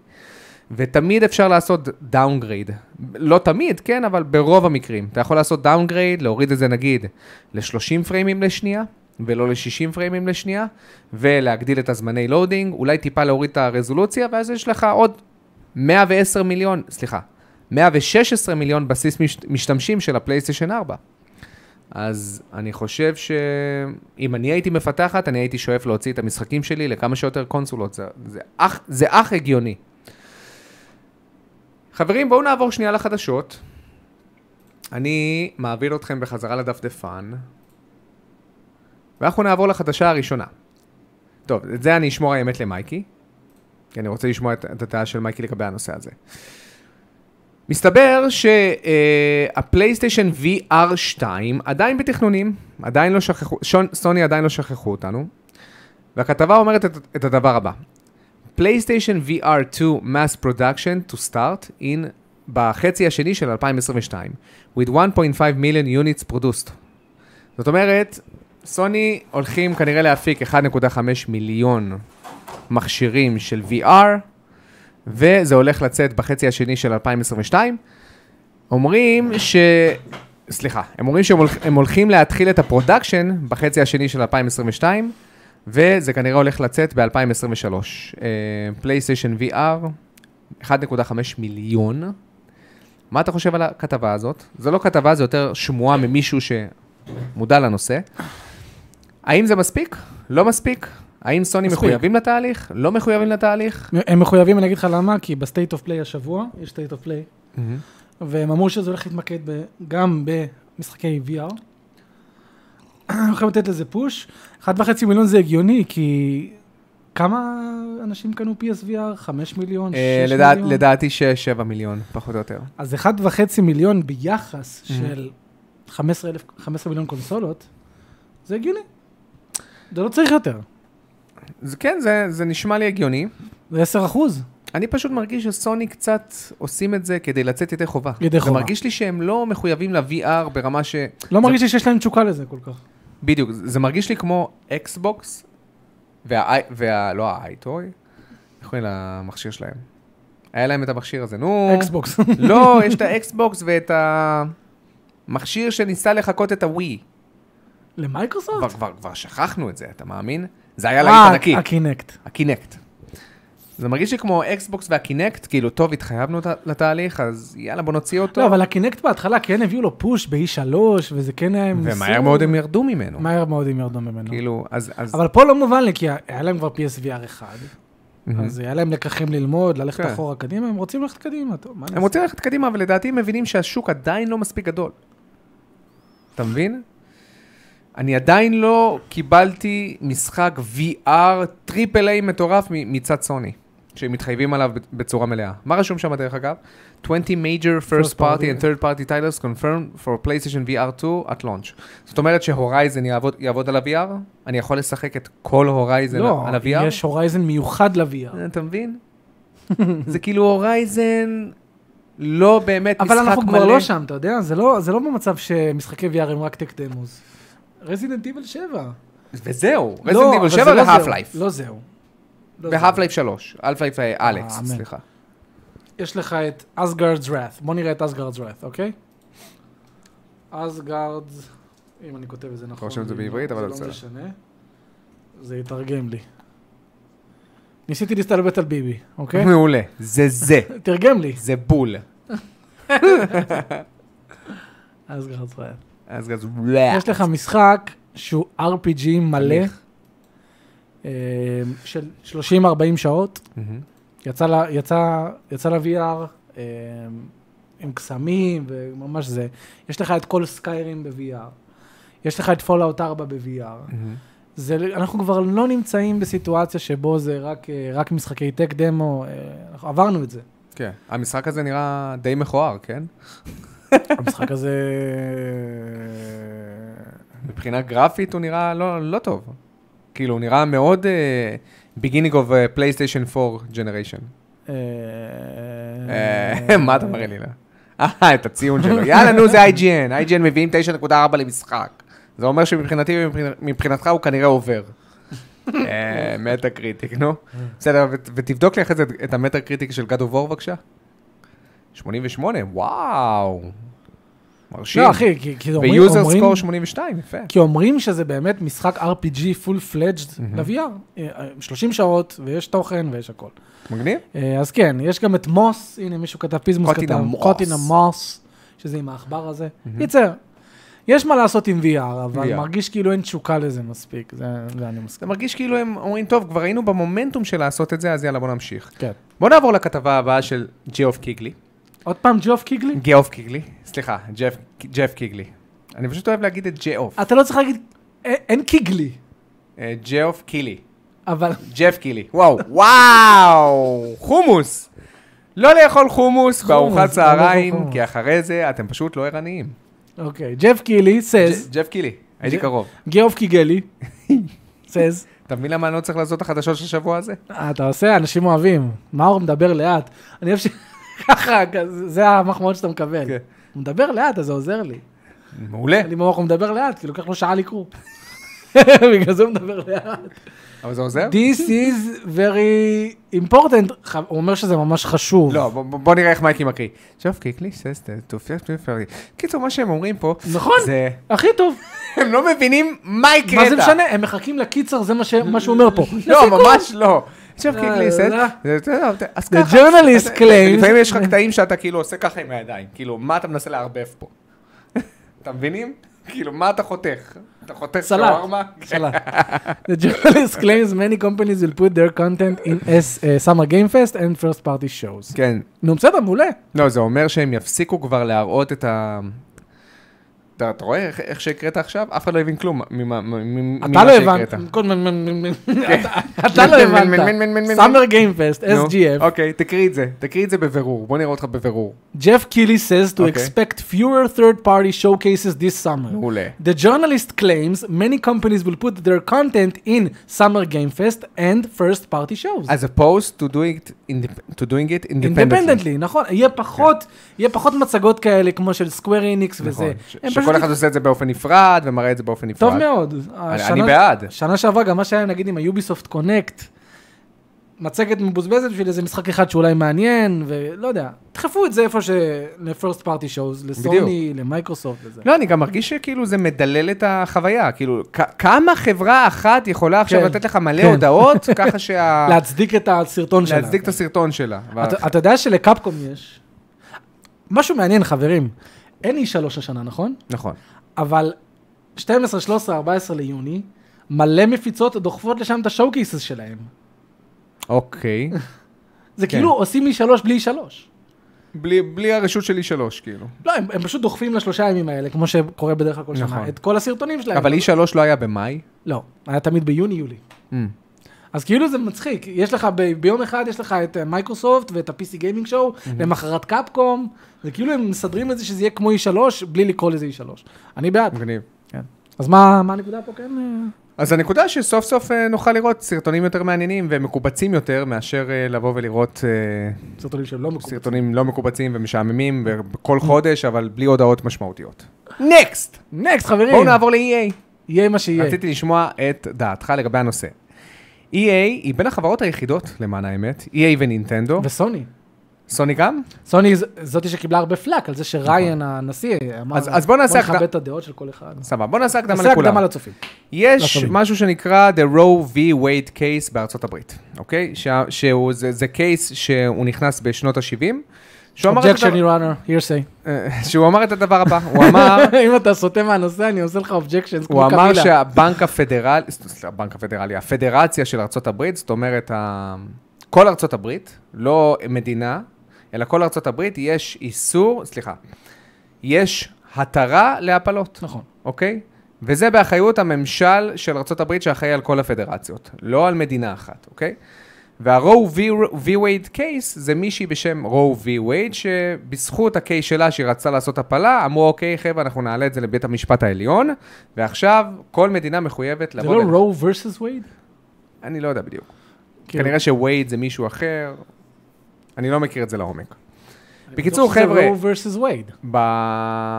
Speaker 2: ותמיד אפשר לעשות דאונגרייד. לא תמיד, כן, אבל ברוב המקרים. אתה יכול לעשות דאונגרייד, להוריד את זה נגיד ל-30 פריימים לשנייה, ולא ל-60 פריימים לשנייה, ולהגדיל את הזמני לואודינג, אולי טיפה להוריד את הרזולוציה, ואז יש לך עוד 110 מיליון, סליחה, 116 מיליון בסיס מש- משתמשים של הפלייסטיישן 4. אז אני חושב שאם אני הייתי מפתחת, אני הייתי שואף להוציא את המשחקים שלי לכמה שיותר קונסולות. זה, זה, אך, זה אך הגיוני. חברים, בואו נעבור שנייה לחדשות. אני מעביר אתכם בחזרה לדפדפן, ואנחנו נעבור לחדשה הראשונה. טוב, את זה אני אשמור האמת למייקי, כי אני רוצה לשמוע את, את הדעה של מייקי לגבי הנושא הזה. מסתבר אה, שהפלייסטיישן VR 2 עדיין בתכנונים, עדיין לא שכחו, שון, סוני עדיין לא שכחו אותנו, והכתבה אומרת את, את הדבר הבא: פלייסטיישן VR 2 mass production to start in בחצי השני של 2022, with 1.5 million units produced. זאת אומרת, סוני הולכים כנראה להפיק 1.5 מיליון מכשירים של VR, וזה הולך לצאת בחצי השני של 2022. אומרים סליחה, הם אומרים שהם הולכ- הם הולכים להתחיל את הפרודקשן בחצי השני של 2022, וזה כנראה הולך לצאת ב-2023. אה, פלייסטיישן VR, 1.5 מיליון. מה אתה חושב על הכתבה הזאת? זו לא כתבה, זו יותר שמועה ממישהו שמודע לנושא. האם זה מספיק? לא מספיק? האם סוני
Speaker 1: מספיק.
Speaker 2: מחויבים לתהליך? לא מחויבים לתהליך?
Speaker 1: הם מחויבים, אני אגיד לך למה, כי בסטייט אוף פליי השבוע, יש סטייט אוף פליי, והם אמרו שזה הולך להתמקד ב- גם במשחקי VR. הם יכולים לתת לזה פוש. 1.5 מיליון זה הגיוני, כי כמה אנשים קנו PSVR? 5 מיליון? 6
Speaker 2: אה, לדע-
Speaker 1: מיליון?
Speaker 2: לדעתי 6-7 מיליון, פחות או יותר.
Speaker 1: אז 1.5 מיליון ביחס של 15 אלף- 15 מיליון קונסולות, זה הגיוני. זה לא צריך יותר.
Speaker 2: זה כן, זה, זה נשמע לי הגיוני.
Speaker 1: זה 10 אחוז.
Speaker 2: אני פשוט מרגיש שסוני קצת עושים את זה כדי לצאת ידי חובה.
Speaker 1: ידי
Speaker 2: זה
Speaker 1: חובה.
Speaker 2: מרגיש לי שהם לא מחויבים ל-VR ברמה ש...
Speaker 1: לא מרגיש לי שיש להם תשוקה לזה כל כך.
Speaker 2: בדיוק, זה זה מרגיש לי כמו אקסבוקס, וה... וה... לא האייטוי, איך קוראים למכשיר שלהם? היה להם את המכשיר הזה, נו.
Speaker 1: אקסבוקס.
Speaker 2: לא, יש את האקסבוקס ואת המכשיר שניסה לחקות את הווי. כבר,
Speaker 1: למייקרוסופט?
Speaker 2: כבר, כבר שכחנו את זה, אתה מאמין? זה היה להיט ענקי.
Speaker 1: הקינקט.
Speaker 2: הקינקט. זה מרגיש לי כמו אקסבוקס והקינקט, כאילו, טוב, התחייבנו ת- לתהליך, אז יאללה, בוא נוציא אותו.
Speaker 1: לא, אבל הקינקט בהתחלה כן הביאו לו פוש ב-E3, וזה כן היה... עם
Speaker 2: ומהר
Speaker 1: ניסוי.
Speaker 2: מאוד הם ירדו ממנו.
Speaker 1: מהר מאוד הם ירדו ממנו.
Speaker 2: כאילו, אז... אז
Speaker 1: אבל פה לא מובן לי, כי היה להם כבר PSVR אחד,
Speaker 2: מהמם.
Speaker 1: אז היה להם לקחים ללמוד, ללכת
Speaker 2: כן.
Speaker 1: אחורה קדימה, הם רוצים ללכת קדימה, טוב, מה
Speaker 2: הם
Speaker 1: נעשה?
Speaker 2: רוצים ללכת קדימה, אבל לדעתי הם מבינים שהשוק עדיין לא מספיק גדול. אתה מבין? אני עדיין לא קיבלתי משחק VR טריפל איי מטורף מ- מצד סוני, שהם מתחייבים עליו ב- בצורה מלאה. מה רשום שם דרך אגב? 20 major first
Speaker 1: First
Speaker 2: party
Speaker 1: party.
Speaker 2: and third party titles confirmed for PlayStation VR 2 at launch. זאת אומרת שהורייזן יעבוד, יעבוד על ה-VR? אני יכול לשחק את כל הורייזן
Speaker 1: לא,
Speaker 2: על אה, ה-VR?
Speaker 1: יש הורייזן מיוחד ל-VR.
Speaker 2: אתה מבין? זה כאילו הורייזן לא באמת משחק
Speaker 1: אבל
Speaker 2: מלא.
Speaker 1: אנחנו כבר לא שם, אתה יודע? זה לא, זה לא במצב שמשחקי VR הם רק טק דמוס. רזידנט איבל 7.
Speaker 2: וזהו,
Speaker 1: לא,
Speaker 2: רזנט איבל
Speaker 1: אבל
Speaker 2: 7
Speaker 1: זה לא
Speaker 2: והאף
Speaker 1: זהו.
Speaker 2: לייף.
Speaker 1: לא זהו. לא זהו. אה,
Speaker 2: והאף לייף 3, האף לייף אה, אלכס,
Speaker 1: אמן.
Speaker 2: סליחה.
Speaker 1: יש לך את אסגרדס ראט. בוא נראה את אסגרדס ראט, אוקיי? אסגרדס, אם אני כותב את זה נכון.
Speaker 2: רושם את זה
Speaker 1: אם
Speaker 2: בעברית,
Speaker 1: לא,
Speaker 2: אבל
Speaker 1: זה
Speaker 2: בסדר.
Speaker 1: לא משנה. זה יתרגם לי. ניסיתי להסתלבט על ביבי, אוקיי?
Speaker 2: מעולה. זה זה,
Speaker 1: תרגם לי.
Speaker 2: זה בול.
Speaker 1: אסגרדס ראט.
Speaker 2: אז כזה וואו.
Speaker 1: יש לך משחק שהוא RPG מלא,
Speaker 2: מליך.
Speaker 1: אה, של 30-40 שעות.
Speaker 2: מהמם.
Speaker 1: יצא, ל- יצא, יצא ל-VR אה, עם קסמים וממש זה. יש לך את כל סקיירים ב-VR. יש לך את פולאאוט 4 ב-VR.
Speaker 2: מהמם.
Speaker 1: זה, אנחנו כבר לא נמצאים בסיטואציה שבו זה רק, אה, רק משחקי טק דמו, אה, אנחנו עברנו את זה.
Speaker 2: כן. המשחק הזה נראה די מכוער, כן?
Speaker 1: המשחק הזה...
Speaker 2: מבחינה גרפית הוא נראה לא לא טוב. כאילו, הוא נראה מאוד אה, beginning of אה, PlayStation 4 generation.
Speaker 1: אה,
Speaker 2: אה, מה אתה מראה לי? לא? אה, את הציון שלו. יאללה, נו, זה IGN. IGN מביאים 9.4 למשחק. זה אומר שמבחינתי ומבחינתך הוא כנראה עובר. אה, מטה קריטיק, נו. בסדר, ו- ותבדוק לי אחרי זה את המטה קריטיק של God of War, בבקשה. 88, וואו. מרשים.
Speaker 1: לא, אחי, כי, כי אומרים...
Speaker 2: ויוזר
Speaker 1: אומרים-
Speaker 2: סקור 82, יפה.
Speaker 1: כי אומרים שזה באמת משחק RPG פול פלג'ד ל-VR, 30 אה, שעות ויש תוכן ויש הכל.
Speaker 2: מגניב?
Speaker 1: אה, אז כן, יש גם את מוס, הנה מישהו כתב פיזמוס
Speaker 2: קוטינה
Speaker 1: כתב,
Speaker 2: מוס.
Speaker 1: קוטינה מוס, שזה עם העכבר הזה. קיצר, יש מה לעשות עם VR, אבל
Speaker 2: VR.
Speaker 1: מרגיש כאילו אין תשוקה לזה מספיק, זה זה אני
Speaker 2: זה
Speaker 1: מסכים.
Speaker 2: מרגיש כאילו הם אומרים, טוב, כבר היינו במומנטום של לעשות את זה, אז יאללה, בוא נמשיך.
Speaker 1: כן.
Speaker 2: בוא נעבור לכתבה הבאה של ג'יאוף קיגלי.
Speaker 1: עוד פעם ג'וף קיגלי?
Speaker 2: ג'אוף קיגלי, סליחה, ג'ף, ג'ף קיגלי. אני פשוט אוהב להגיד את ג'אוף.
Speaker 1: אתה לא צריך להגיד, "אה, אין קיגלי,
Speaker 2: אה, ג'אוף קילי.
Speaker 1: אבל
Speaker 2: ג'ף קילי. וואו, וואו, חומוס. לא לאכול חומוס בארוחת
Speaker 1: לא לאכול
Speaker 2: צהריים,
Speaker 1: חומוס.
Speaker 2: כי אחרי זה אתם פשוט לא ערניים.
Speaker 1: אוקיי, ג'ף קיגלי, says,
Speaker 2: ג'ף קילי, הייתי
Speaker 1: ג'-
Speaker 2: קרוב.
Speaker 1: ג'וף קיגלי, says,
Speaker 2: אתה מבין למה אני לא צריך לעשות את החדשות של השבוע הזה?
Speaker 1: אה, אתה עושה, אנשים אוהבים. מאור מדבר לאט. אני אוהב שככה, כזה- זה המחמאות שאתה מקבל.
Speaker 2: כן.
Speaker 1: הוא מדבר לאט, אז זה עוזר לי.
Speaker 2: מעולה.
Speaker 1: כאילו, לא אני מאור, הוא מדבר לאט, כי לוקח לו שעה לקרוא. בגלל זה הוא מדבר לאט.
Speaker 2: אבל זה עוזר?
Speaker 1: This is very important, ח- הוא אומר שזה ממש חשוב.
Speaker 2: לא, בוא- בוא בוא נראה איך מייקי מקריא. שוב קיקלי, ססטר, טופיה, טופיה. קיצור, מה שהם אומרים פה,
Speaker 1: נכון.
Speaker 2: זה...
Speaker 1: הכי טוב.
Speaker 2: הם לא מבינים מה הקראת.
Speaker 1: מה זה משנה? הם מחכים לקיצר, זה מה ש- מה שהוא אומר פה.
Speaker 2: לא, ממש לא. עכשיו קיקלי,
Speaker 1: אה, לא.
Speaker 2: ססטר, אז
Speaker 1: The journalist
Speaker 2: אתה-
Speaker 1: claims-
Speaker 2: לפעמים יש לך קטעים שאתה כאילו עושה ככה עם הידיים. כאילו, מה אתה מנסה לערבב פה? אתה מבינים? כאילו, מה אתה חותך? אתה חותך
Speaker 1: סלט.
Speaker 2: שווארמה?
Speaker 1: סלט. The journalist claims many companies will put their content in S- uh, summer game fest and first party shows.
Speaker 2: כן.
Speaker 1: נו בסדר, מעולה.
Speaker 2: לא, זה אומר שהם יפסיקו כבר להראות את ה... אתה אתה רואה איך- איך שהקראת עכשיו? אף אחד לא הבין כלום ממה ממה-
Speaker 1: אתה לא
Speaker 2: ממה
Speaker 1: הבנת.
Speaker 2: שהקראת. כן.
Speaker 1: כל מ- מ- מ- מ- אתה- אתה לא הבנת.
Speaker 2: מ- מ- מ- מ- מ-
Speaker 1: summer game fest,
Speaker 2: נו,
Speaker 1: SGF.
Speaker 2: אוקיי, תקריא את זה. תקריא את זה בבירור. בוא נראה אותך בבירור.
Speaker 1: Jeff Keighley says to
Speaker 2: Okay.
Speaker 1: expect fewer third party showcases this summer.
Speaker 2: מעולה.
Speaker 1: The journalist claims many companies will put their content in Summer Game Fest and first party shows.
Speaker 2: As opposed to doing it, indep- to doing it independently. כן.
Speaker 1: אינדפנדנטלי, נכון, יהיה פחות, יהיה פחות מצגות כאלה כמו של סקוויר איניקס וזה.
Speaker 2: נכון. ש-
Speaker 1: הם פשוט-
Speaker 2: שכל אחד עושה את זה באופן נפרד ומראה את זה באופן נפרד.
Speaker 1: טוב מאוד. השנה-
Speaker 2: אני בעד.
Speaker 1: שנה שעברה גם מה שהיה נגיד עם היוביסופט קונקט, מצגת מבוזבזת בשביל איזה משחק אחד שאולי מעניין, ולא יודע, דחפו את זה איפה ש... לפרסט פארטי שואוז, לסוני, למייקרוסופט וזה.
Speaker 2: לא, אני גם מרגיש שכאילו זה מדלל את החוויה. כאילו, כ- כמה חברה אחת יכולה עכשיו
Speaker 1: כן.
Speaker 2: לתת לך מלא
Speaker 1: כן.
Speaker 2: הודעות, ככה שה...
Speaker 1: להצדיק את הסרטון שלה.
Speaker 2: אה. להצדיק את הסרטון שלה.
Speaker 1: אתה- אתה יודע שלקפקום יש. משהו מעניין, חברים. אין E3 השנה, נכון?
Speaker 2: נכון.
Speaker 1: אבל 12, 13, 14 ליוני, מלא מפיצות דוחפות לשם את השואו קייסס שלהם.
Speaker 2: אוקיי.
Speaker 1: זה
Speaker 2: כן.
Speaker 1: כאילו עושים E3 בלי E3.
Speaker 2: בלי, בלי הרשות שלי שלוש, כאילו.
Speaker 1: לא, הם, הם פשוט דוחפים לשלושה ימים האלה, כמו שקורה בדרך כלל כל נכון.
Speaker 2: נכון.
Speaker 1: שנה, את כל הסרטונים שלהם.
Speaker 2: אבל אי שלוש לא היה במאי? Mm,
Speaker 1: לא, היה תמיד ביוני-יולי. אז כאילו זה מצחיק, יש לך ב... ביום אחד יש לך את אה, מייקרוסופט ואת ה-PC גיימינג שואו, למחרת קפקום, זה כאילו הם מסדרים את זה שזה יהיה כמו E3 בלי לקרוא לזה E3. אני בעד.
Speaker 2: מגניב.
Speaker 1: אז מה, מה הנקודה פה כן? אה,
Speaker 2: אז הנקודה שסוף סוף אה, נוכל לראות סרטונים יותר מעניינים ומקובצים יותר מאשר אה, לבוא ולראות אה,
Speaker 1: סרטונים שהם לא מקובלים.
Speaker 2: סרטונים לא מקובצים ומשעממים בכל חודש, אבל בלי הודעות משמעותיות. נקסט!
Speaker 1: נקסט חברים, E
Speaker 2: בואו נעבור ל-EA.
Speaker 1: יהיה מה שיהיה.
Speaker 2: רציתי לשמוע את דעתך לגבי הנושא. EA היא בין החברות היחידות, למען האמת, EA ונינטנדו.
Speaker 1: וסוני.
Speaker 2: סוני גם?
Speaker 1: סוני ז- זאתי שקיבלה הרבה פלאק על זה שריין הנשיא אמר,
Speaker 2: נכון. אז- אז בוא נעשה הקד-
Speaker 1: נכבד את הדעות של כל אחד.
Speaker 2: סבבה, בוא נעשה הקדמה
Speaker 1: נעשה
Speaker 2: לכולם.
Speaker 1: הקדמה לצופים.
Speaker 2: יש
Speaker 1: לשומעים.
Speaker 2: משהו שנקרא The Roe v. Wade Case בארצות הברית, אוקיי? שה- שהוא, זה, זה קייס שהוא נכנס בשנות ה-70, שהוא, אמר את
Speaker 1: Objection,
Speaker 2: הדבר-
Speaker 1: your honor, hearsay.
Speaker 2: אה, שהוא אמר את הדבר הבא, הוא אמר,
Speaker 1: אם אתה סוטה מהנושא, אני עושה לך אובג'קשן.
Speaker 2: הוא אמר שהבנק הפדרלי, סליחה, הבנק הפדרלי, הפדרציה של ארצות הברית, זאת אומרת, ה- כל ארצות הברית, לא מדינה, אלא כל ארצות הברית יש איסור, סליחה, יש התרה להפלות.
Speaker 1: נכון.
Speaker 2: אוקיי? וזה באחריות הממשל של ארה"ב שאחראי על כל הפדרציות, לא על מדינה אחת, אוקיי? והרו וי וייד קייס זה מישהי בשם רו וי וייד, שבזכות הקייס שלה שהיא רצתה לעשות הפלה, אמרו אוקיי חבר'ה אנחנו נעלה את זה לבית המשפט העליון, ועכשיו כל מדינה מחויבת
Speaker 1: זה
Speaker 2: לבוא...
Speaker 1: לא
Speaker 2: ול-
Speaker 1: רו versus וייד?
Speaker 2: אני לא יודע בדיוק.
Speaker 1: כאילו,
Speaker 2: כנראה שווייד זה מישהו אחר, אני לא מכיר את זה לעומק. בקיצור
Speaker 1: בטוח שזה
Speaker 2: חבר'ה,
Speaker 1: רו versus וייד.
Speaker 2: ב...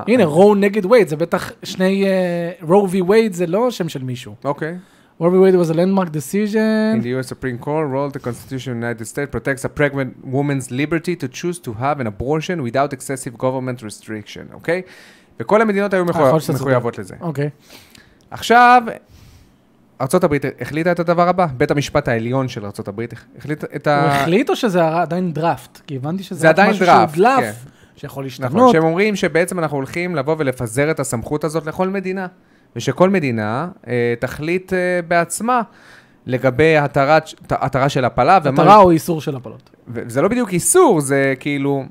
Speaker 1: הנה, רו נגד וייד, זה בטח שני... אה, רו וי וייד זה לא שם של מישהו.
Speaker 2: אוקיי.
Speaker 1: רו וי וייד was a landmark
Speaker 2: In
Speaker 1: decision.
Speaker 2: the U.S. Supreme Court ruled the Constitution of the United States protects a pregnant woman's liberty to choose to have an abortion without excessive government restriction, אוקיי? וכל המדינות היו מחויב-
Speaker 1: אה, יכול להיות שאתה צודק.
Speaker 2: מחויבות לזה.
Speaker 1: אוקיי.
Speaker 2: עכשיו, ארה"ב החליטה את הדבר הבא, בית המשפט העליון של ארה"ב החליט את
Speaker 1: הוא
Speaker 2: ה...
Speaker 1: החליט או שזה הר- עדיין דראפט? כי הבנתי
Speaker 2: אה, זה
Speaker 1: שזה רק
Speaker 2: עדיין
Speaker 1: משהו שהוא
Speaker 2: דראפט,
Speaker 1: דלף, שיכול
Speaker 2: נכון,
Speaker 1: להשתנות.
Speaker 2: שהם אומרים שבעצם אנחנו הולכים לבוא ולפזר את הסמכות הזאת לכל מדינה, ושכל מדינה אה, תחליט אה, בעצמה לגבי התרת- התרה של הפלה, ומה-
Speaker 1: מטרה או איסור של הפלות.
Speaker 2: וזה לא בדיוק איסור, זה כאילו...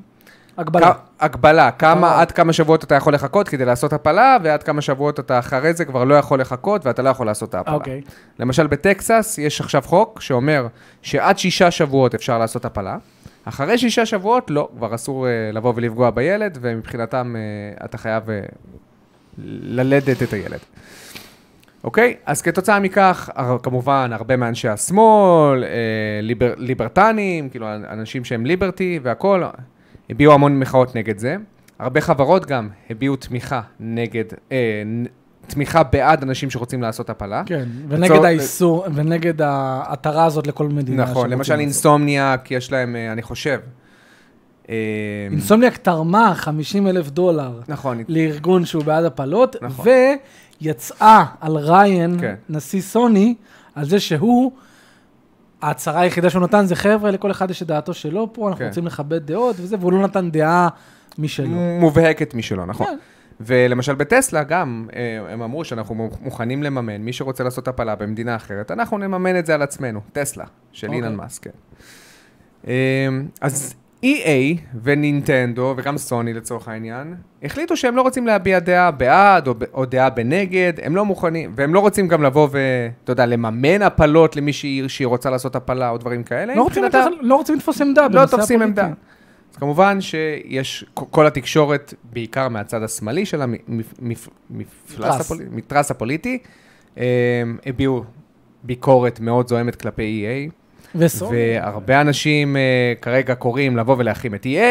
Speaker 1: הגבלה.
Speaker 2: כ- הגבלה, כמה,
Speaker 1: הגבלה.
Speaker 2: עד כמה שבועות אתה יכול לחכות כדי לעשות הפלה, ועד כמה שבועות אתה אחרי זה כבר לא יכול לחכות ואתה לא יכול לעשות את ההפלה.
Speaker 1: אוקיי.
Speaker 2: למשל בטקסס יש עכשיו חוק שאומר שעד שישה שבועות אפשר לעשות הפלה, אחרי שישה שבועות לא, כבר אסור אה, לבוא ולפגוע בילד, ומבחינתם אה, אתה חייב אה, ללדת את הילד. אוקיי? אז כתוצאה מכך, הר- כמובן, הרבה מאנשי השמאל, אה, ליבר, ליברטנים, כאילו, אנ- אנשים שהם ליברטי והכול, הביעו המון מחאות נגד זה. הרבה חברות גם הביעו תמיכה נגד, אה, נ- תמיכה בעד אנשים שרוצים לעשות הפלה.
Speaker 1: כן,
Speaker 2: לצור-
Speaker 1: ונגד האיסור, ונגד ההתרה הזאת לכל מדינה.
Speaker 2: נכון,
Speaker 1: שרוצים
Speaker 2: למשל
Speaker 1: לעשות.
Speaker 2: אינסומניאק, יש להם, אה, אני חושב. אה,
Speaker 1: אינסומניאק תרמה 50 אלף דולר
Speaker 2: נכון,
Speaker 1: לארגון שהוא בעד הפלות,
Speaker 2: נכון.
Speaker 1: ויצאה על ריין,
Speaker 2: כן.
Speaker 1: נשיא סוני, על זה שהוא, ההצהרה היחידה שהוא נתן זה חבר'ה, לכל אחד יש את דעתו שלו פה, אנחנו
Speaker 2: כן.
Speaker 1: רוצים לכבד דעות וזה, והוא לא נתן דעה משלו.
Speaker 2: מובהקת משלו, נכון.
Speaker 1: כן.
Speaker 2: ולמשל בטסלה גם, אה, הם אמרו שאנחנו מוכ- מוכנים לממן, מי שרוצה לעשות הפלה במדינה אחרת, אנחנו נממן את זה על עצמנו, טסלה, של
Speaker 1: אוקיי.
Speaker 2: אילן מאסק, כן. אה, אז EA ונינטנדו, וגם סוני לצורך העניין, החליטו שהם לא רוצים להביע דעה בעד או, ב- או דעה בנגד, הם לא מוכנים, והם לא רוצים גם לבוא ו... אתה יודע, לממן הפלות למי שהיא, שהיא רוצה לעשות הפלה או דברים כאלה.
Speaker 1: לא רוצים
Speaker 2: Mm. מבחינתם-
Speaker 1: לתפוס- לא רוצים לתפוס עמדה
Speaker 2: לא
Speaker 1: בנושא
Speaker 2: תופסים
Speaker 1: הפוליטי.
Speaker 2: עמדה. אז כמובן שיש כ- כל התקשורת, בעיקר מהצד השמאלי של
Speaker 1: מפלס.
Speaker 2: המפלס הפוליטי, אה, הביעו ביקורת מאוד זוהמת כלפי EA,
Speaker 1: וסוני.
Speaker 2: והרבה אנשים אה, כרגע קוראים לבוא ולהחרים את EA,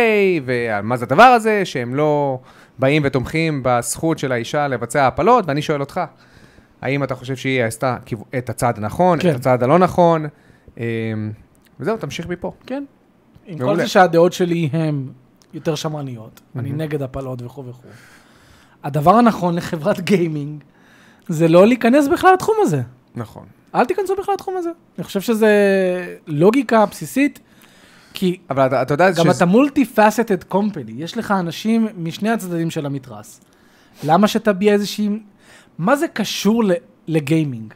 Speaker 2: ועל מה זה הדבר הזה, שהם לא באים ותומכים בזכות של האישה לבצע הפלות, ואני שואל אותך, האם אתה חושב שהיא עשתה כיו- את הצעד הנכון,
Speaker 1: כן.
Speaker 2: את הצעד הלא נכון? אה, וזהו, תמשיך מפה.
Speaker 1: כן. עם כל
Speaker 2: מעולה.
Speaker 1: זה שהדעות שלי הן יותר שמרניות, אני נגד הפלות וכו' וכו'. הדבר הנכון לחברת גיימינג זה לא להיכנס בכלל לתחום הזה.
Speaker 2: נכון.
Speaker 1: אל תיכנסו בכלל לתחום הזה. אני חושב שזה לוגיקה בסיסית, כי
Speaker 2: אבל אתה, אתה יודע
Speaker 1: גם אתה מולטי פאסטד קומפני, יש לך אנשים משני הצדדים של המתרס. למה שתביע איזושהי... מה זה קשור ל- לגיימינג?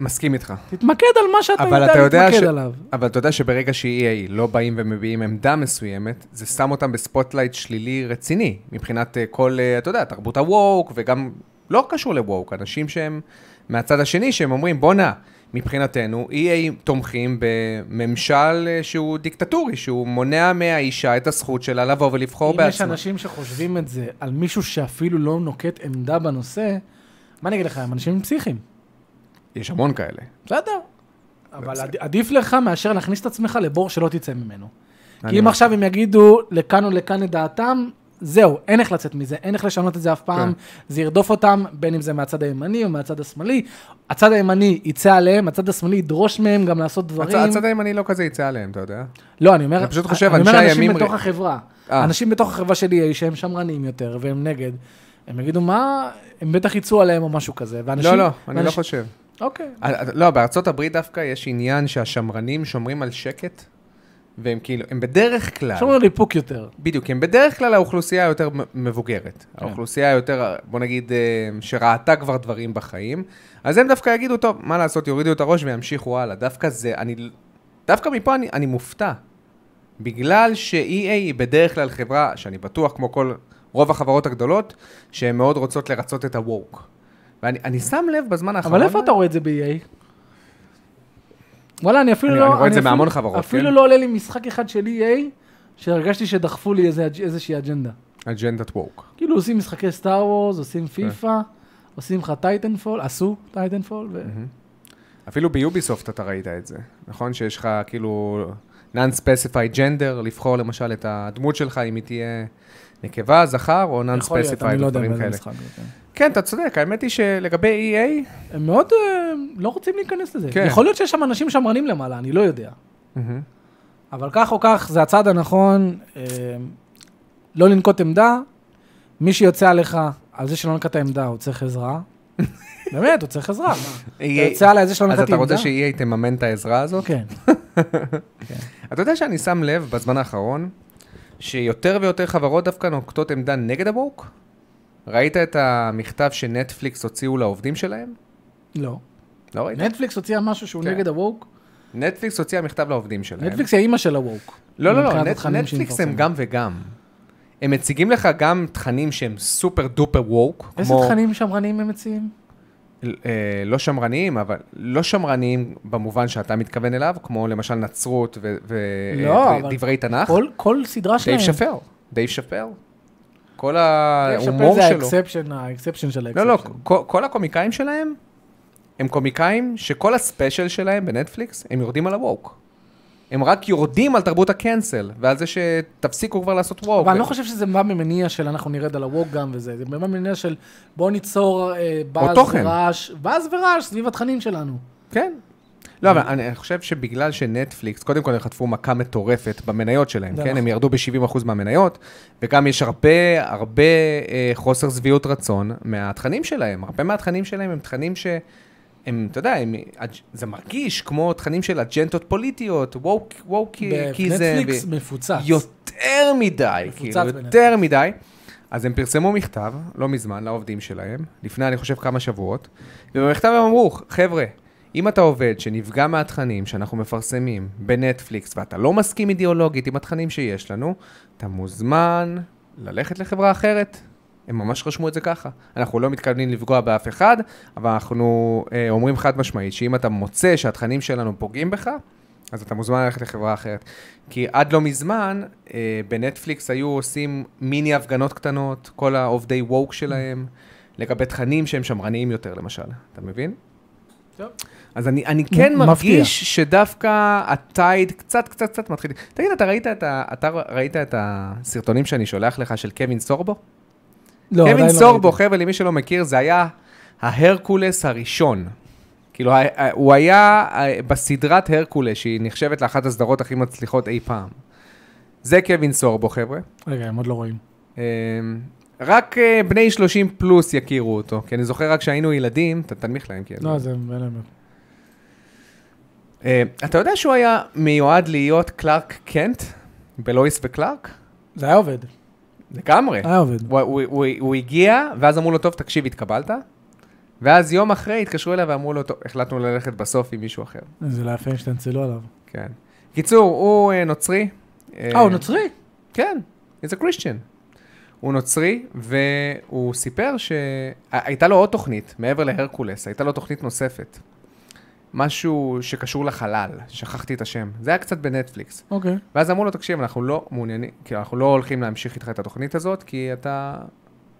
Speaker 2: מסכים איתך.
Speaker 1: תתמקד על מה שאתה
Speaker 2: אבל אתה
Speaker 1: יודע
Speaker 2: יודע ש...
Speaker 1: להתמקד עליו.
Speaker 2: אבל אתה יודע שברגע ש-EA לא באים ומביעים עמדה מסוימת, זה שם אותם בספוטלייט שלילי רציני, מבחינת אה, כל, אה, אתה יודע, תרבות הווק, וגם לא קשור לווק, אנשים שהם מהצד השני, שהם אומרים, בואנה, מבחינתנו, EA תומכים בממשל אה, שהוא דיקטטורי, שהוא מונע מהאישה את הזכות שלה לבוא ולבחור
Speaker 1: אם יש
Speaker 2: בעצמה.
Speaker 1: אנשים שחושבים את זה על מישהו שאפילו לא נוקט עמדה בנושא, מה אני אגיד לך, הם אנשים פסיכיים.
Speaker 2: יש המון כאלה.
Speaker 1: בסדר. אבל
Speaker 2: בסדר.
Speaker 1: עד- עדיף לך מאשר להכניס את עצמך לבור שלא תצא ממנו.
Speaker 2: אני לא
Speaker 1: כי אם
Speaker 2: מסכים.
Speaker 1: עכשיו הם יגידו לכאן או לכאן את דעתם, זהו, אין איך לצאת מזה, אין איך לשנות את זה אף
Speaker 2: כן.
Speaker 1: פעם, זה ירדוף אותם, בין אם זה מהצד הימני או מהצד השמאלי. הצד הימני יצא עליהם, הצד השמאלי ידרוש מהם גם לעשות
Speaker 2: הצ-
Speaker 1: דברים.
Speaker 2: הצד הימני לא כזה יצא עליהם, אתה יודע?
Speaker 1: לא, אני אומר,
Speaker 2: אני פשוט חושב,
Speaker 1: אני אומר
Speaker 2: אנשי
Speaker 1: אנשים
Speaker 2: הימין
Speaker 1: בתוך
Speaker 2: ר-
Speaker 1: החברה.
Speaker 2: אה.
Speaker 1: אנשים בתוך החברה שלי, שהם שמרנים יותר, והם נגד, הם יגידו, מה, הם בטח יצאו עליהם או משהו כזה. ואנשים,
Speaker 2: לא, לא, אני לא
Speaker 1: ואנשים-
Speaker 2: חושב.
Speaker 1: אוקיי.
Speaker 2: לא, בארצות הברית דווקא יש עניין שהשמרנים שומרים על שקט, והם כאילו, הם בדרך כלל,
Speaker 1: שומרים על איפוק יותר.
Speaker 2: בדיוק, הם בדרך כלל האוכלוסייה היותר מ- מבוגרת.
Speaker 1: כן.
Speaker 2: האוכלוסייה היותר, בוא נגיד, אה, שראתה כבר דברים בחיים, אז הם דווקא יגידו, טוב, מה לעשות, יורידו את הראש וימשיכו הלאה. דווקא זה, אני, דווקא מפה אני, אני מופתע. בגלל ש-EA היא בדרך כלל חברה, שאני בטוח, כמו כל, רוב החברות הגדולות, שהן מאוד רוצות לרצות את ה-work. ואני אני שם לב בזמן האחרון...
Speaker 1: אבל איפה אתה רואה את זה ב-EA? וואלה, אני אפילו
Speaker 2: אני-
Speaker 1: לא...
Speaker 2: אני רואה את זה
Speaker 1: אפילו-
Speaker 2: בהמון חברות,
Speaker 1: אפילו
Speaker 2: כן?
Speaker 1: לא עולה לי משחק אחד של EA, שהרגשתי שדחפו לי איזה- איזושהי אג'נדה.
Speaker 2: אג'נדת ווק.
Speaker 1: כאילו עושים משחקי סטאר וורז, עושים
Speaker 2: כן.
Speaker 1: פיפא, עושים לך טייטנפול, עשו טייטנפול, ו...
Speaker 2: אפילו ביוביסופט אתה ראית את זה, נכון? שיש לך כאילו non-specified gender, לבחור למשל את הדמות שלך, אם היא תהיה נקבה, זכר או
Speaker 1: יכול להיות, אני
Speaker 2: non-specified,
Speaker 1: לא
Speaker 2: או
Speaker 1: יודע
Speaker 2: דברים
Speaker 1: מה זה
Speaker 2: כאלה.
Speaker 1: משחק. זה, כן.
Speaker 2: כן, אתה צודק, האמת היא שלגבי E EA,
Speaker 1: הם מאוד אה, לא רוצים להיכנס לזה.
Speaker 2: כן.
Speaker 1: יכול להיות שיש שם אנשים שמרנים למעלה, אני לא יודע.
Speaker 2: מהמם.
Speaker 1: Mm-hmm. אבל כך או כך, זה הצעד הנכון, אה, לא לנקוט עמדה. מי שיוצא עליך על זה שלא נקט עמדה, הוא צריך עזרה. באמת, הוא צריך עזרה. מה? אתה
Speaker 2: EA
Speaker 1: יוצא עליי על זה שלא נקטתי
Speaker 2: E אז
Speaker 1: עמדה?
Speaker 2: אתה רוצה ש-EA תממן את העזרה הזאת?
Speaker 1: כן.
Speaker 2: אתה יודע שאני שם לב בזמן האחרון, שיותר ויותר חברות דווקא נוקטות עמדה נגד הווק? ראית את המכתב שנטפליקס הוציאו לעובדים שלהם?
Speaker 1: לא.
Speaker 2: לא ראית?
Speaker 1: נטפליקס הוציאה משהו שהוא
Speaker 2: כן.
Speaker 1: נגד הווק.
Speaker 2: נטפליקס הוציאה מכתב לעובדים שלהם.
Speaker 1: נטפליקס היא האימא של הווק.
Speaker 2: לא, לא, לא,
Speaker 1: מבחינת
Speaker 2: נט,
Speaker 1: התכנים שהיא
Speaker 2: נטפליקס הם
Speaker 1: מפרסמת.
Speaker 2: גם וגם. הם מציגים לך גם תכנים שהם סופר דופר ווק,
Speaker 1: איזה
Speaker 2: כמו...
Speaker 1: תכנים שמרניים הם מציעים?
Speaker 2: אה, לא שמרניים, אבל לא שמרניים במובן שאתה מתכוון אליו, כמו למשל נצרות
Speaker 1: לא, אבל-
Speaker 2: ודברי תנ"ך.
Speaker 1: כל- כל סדרה שלהם.
Speaker 2: אה? דייב שפר, דייב שפר. כל
Speaker 1: דייב שפר
Speaker 2: ההומור
Speaker 1: זה
Speaker 2: שלו.
Speaker 1: האקספשן, האקספשן של האקספשן.
Speaker 2: לא, לא, כל- כל הקומיקאים שלהם, הם קומיקאים שכל הספיישל שלהם בנטפליקס, הם יורדים על הווק. הם רק יורדים על תרבות הקאנסל, ועל זה שתפסיקו כבר לעשות וואו.
Speaker 1: אבל אני לא חושב שזה בא ממניע של אנחנו נרד על הווק גם וזה, זה בא ממניע של בוא ניצור אה, באז
Speaker 2: תוכן.
Speaker 1: ורעש, באז ורעש סביב התכנים שלנו.
Speaker 2: כן. לא, אבל אני חושב שבגלל שנטפליקס, קודם כל הם חטפו מכה מטורפת במניות שלהם,
Speaker 1: זה
Speaker 2: כן? הם
Speaker 1: נכון.
Speaker 2: ירדו ב-70% מהמניות, וגם יש הרבה, הרבה אה, חוסר שביעות רצון מהתכנים שלהם. הרבה מהתכנים שלהם הם תכנים ש... הם, אתה יודע, הם, אג'- זה מרגיש כמו תכנים של אג'נדות פוליטיות, ווק, ווקיזם.
Speaker 1: בנטפליקס
Speaker 2: ו-
Speaker 1: מפוצץ.
Speaker 2: יותר מדי,
Speaker 1: מפוצץ
Speaker 2: כאילו,
Speaker 1: ביניהם.
Speaker 2: יותר מדי. אז הם פרסמו מכתב, לא מזמן, לעובדים שלהם, לפני, אני חושב, כמה שבועות, ובמכתב הם אמרו, חבר'ה, אם אתה עובד שנפגע מהתכנים שאנחנו מפרסמים בנטפליקס, ואתה לא מסכים אידיאולוגית עם התכנים שיש לנו, אתה מוזמן ללכת לחברה אחרת. הם ממש רשמו את זה ככה. אנחנו לא מתכוונים לפגוע באף אחד, אבל אנחנו אה, אומרים חד משמעית, שאם אתה מוצא שהתכנים שלנו פוגעים בך, אז אתה מוזמן ללכת לחברה אחרת. כי עד לא מזמן, אה, בנטפליקס היו עושים מיני הפגנות קטנות, כל העובדי ווק שלהם, לגבי תכנים שהם שמרניים יותר, למשל. אתה מבין?
Speaker 1: טוב.
Speaker 2: אז אני, אני כן
Speaker 1: מפתיע.
Speaker 2: מרגיש שדווקא הטייד קצת קצת קצת מתחיל. תגיד, אתה ראית את, ה, אתה ראית את הסרטונים שאני שולח לך של קווין סורבו?
Speaker 1: לא, עדיין
Speaker 2: קווין
Speaker 1: לא
Speaker 2: סורבו,
Speaker 1: ראיתי.
Speaker 2: חבר'ה, למי שלא מכיר, זה היה ההרקולס הראשון. כאילו, ה- ה- הוא היה אה, בסדרת הרקולס, שהיא נחשבת לאחת הסדרות הכי מצליחות אי פעם. זה קווין סורבו, חבר'ה.
Speaker 1: רגע, הם עוד לא רואים.
Speaker 2: אה, רק אה, בני 30 פלוס יכירו אותו, כי אני זוכר רק כשהיינו ילדים, אתה תנמיך להם, כן.
Speaker 1: לא, זה אין להם...
Speaker 2: אה, אתה יודע שהוא היה מיועד להיות קלארק קנט בלואיס וקלארק?
Speaker 1: זה היה עובד,
Speaker 2: כן. לגמרי.
Speaker 1: היה עובד.
Speaker 2: הוא, הוא, הוא, הוא הגיע, ואז אמרו לו, טוב, תקשיב, התקבלת? ואז יום אחרי התקשרו אליו ואמרו לו, טוב, החלטנו ללכת בסוף עם מישהו אחר.
Speaker 1: זה לא יפה אם שתנצלו עליו.
Speaker 2: כן. קיצור, הוא אה, נוצרי. אה,
Speaker 1: אה, הוא נוצרי?
Speaker 2: כן, he's a Christian. הוא נוצרי, והוא סיפר שהייתה לו עוד תוכנית, מעבר להרקולס, הייתה לו תוכנית נוספת. משהו שקשור לחלל, שכחתי את השם. זה היה קצת בנטפליקס.
Speaker 1: אוקיי.
Speaker 2: ואז אמרו לו, תקשיב, אנחנו לא מעוניינים, כאילו, אנחנו לא הולכים להמשיך איתך את התוכנית הזאת, כי אתה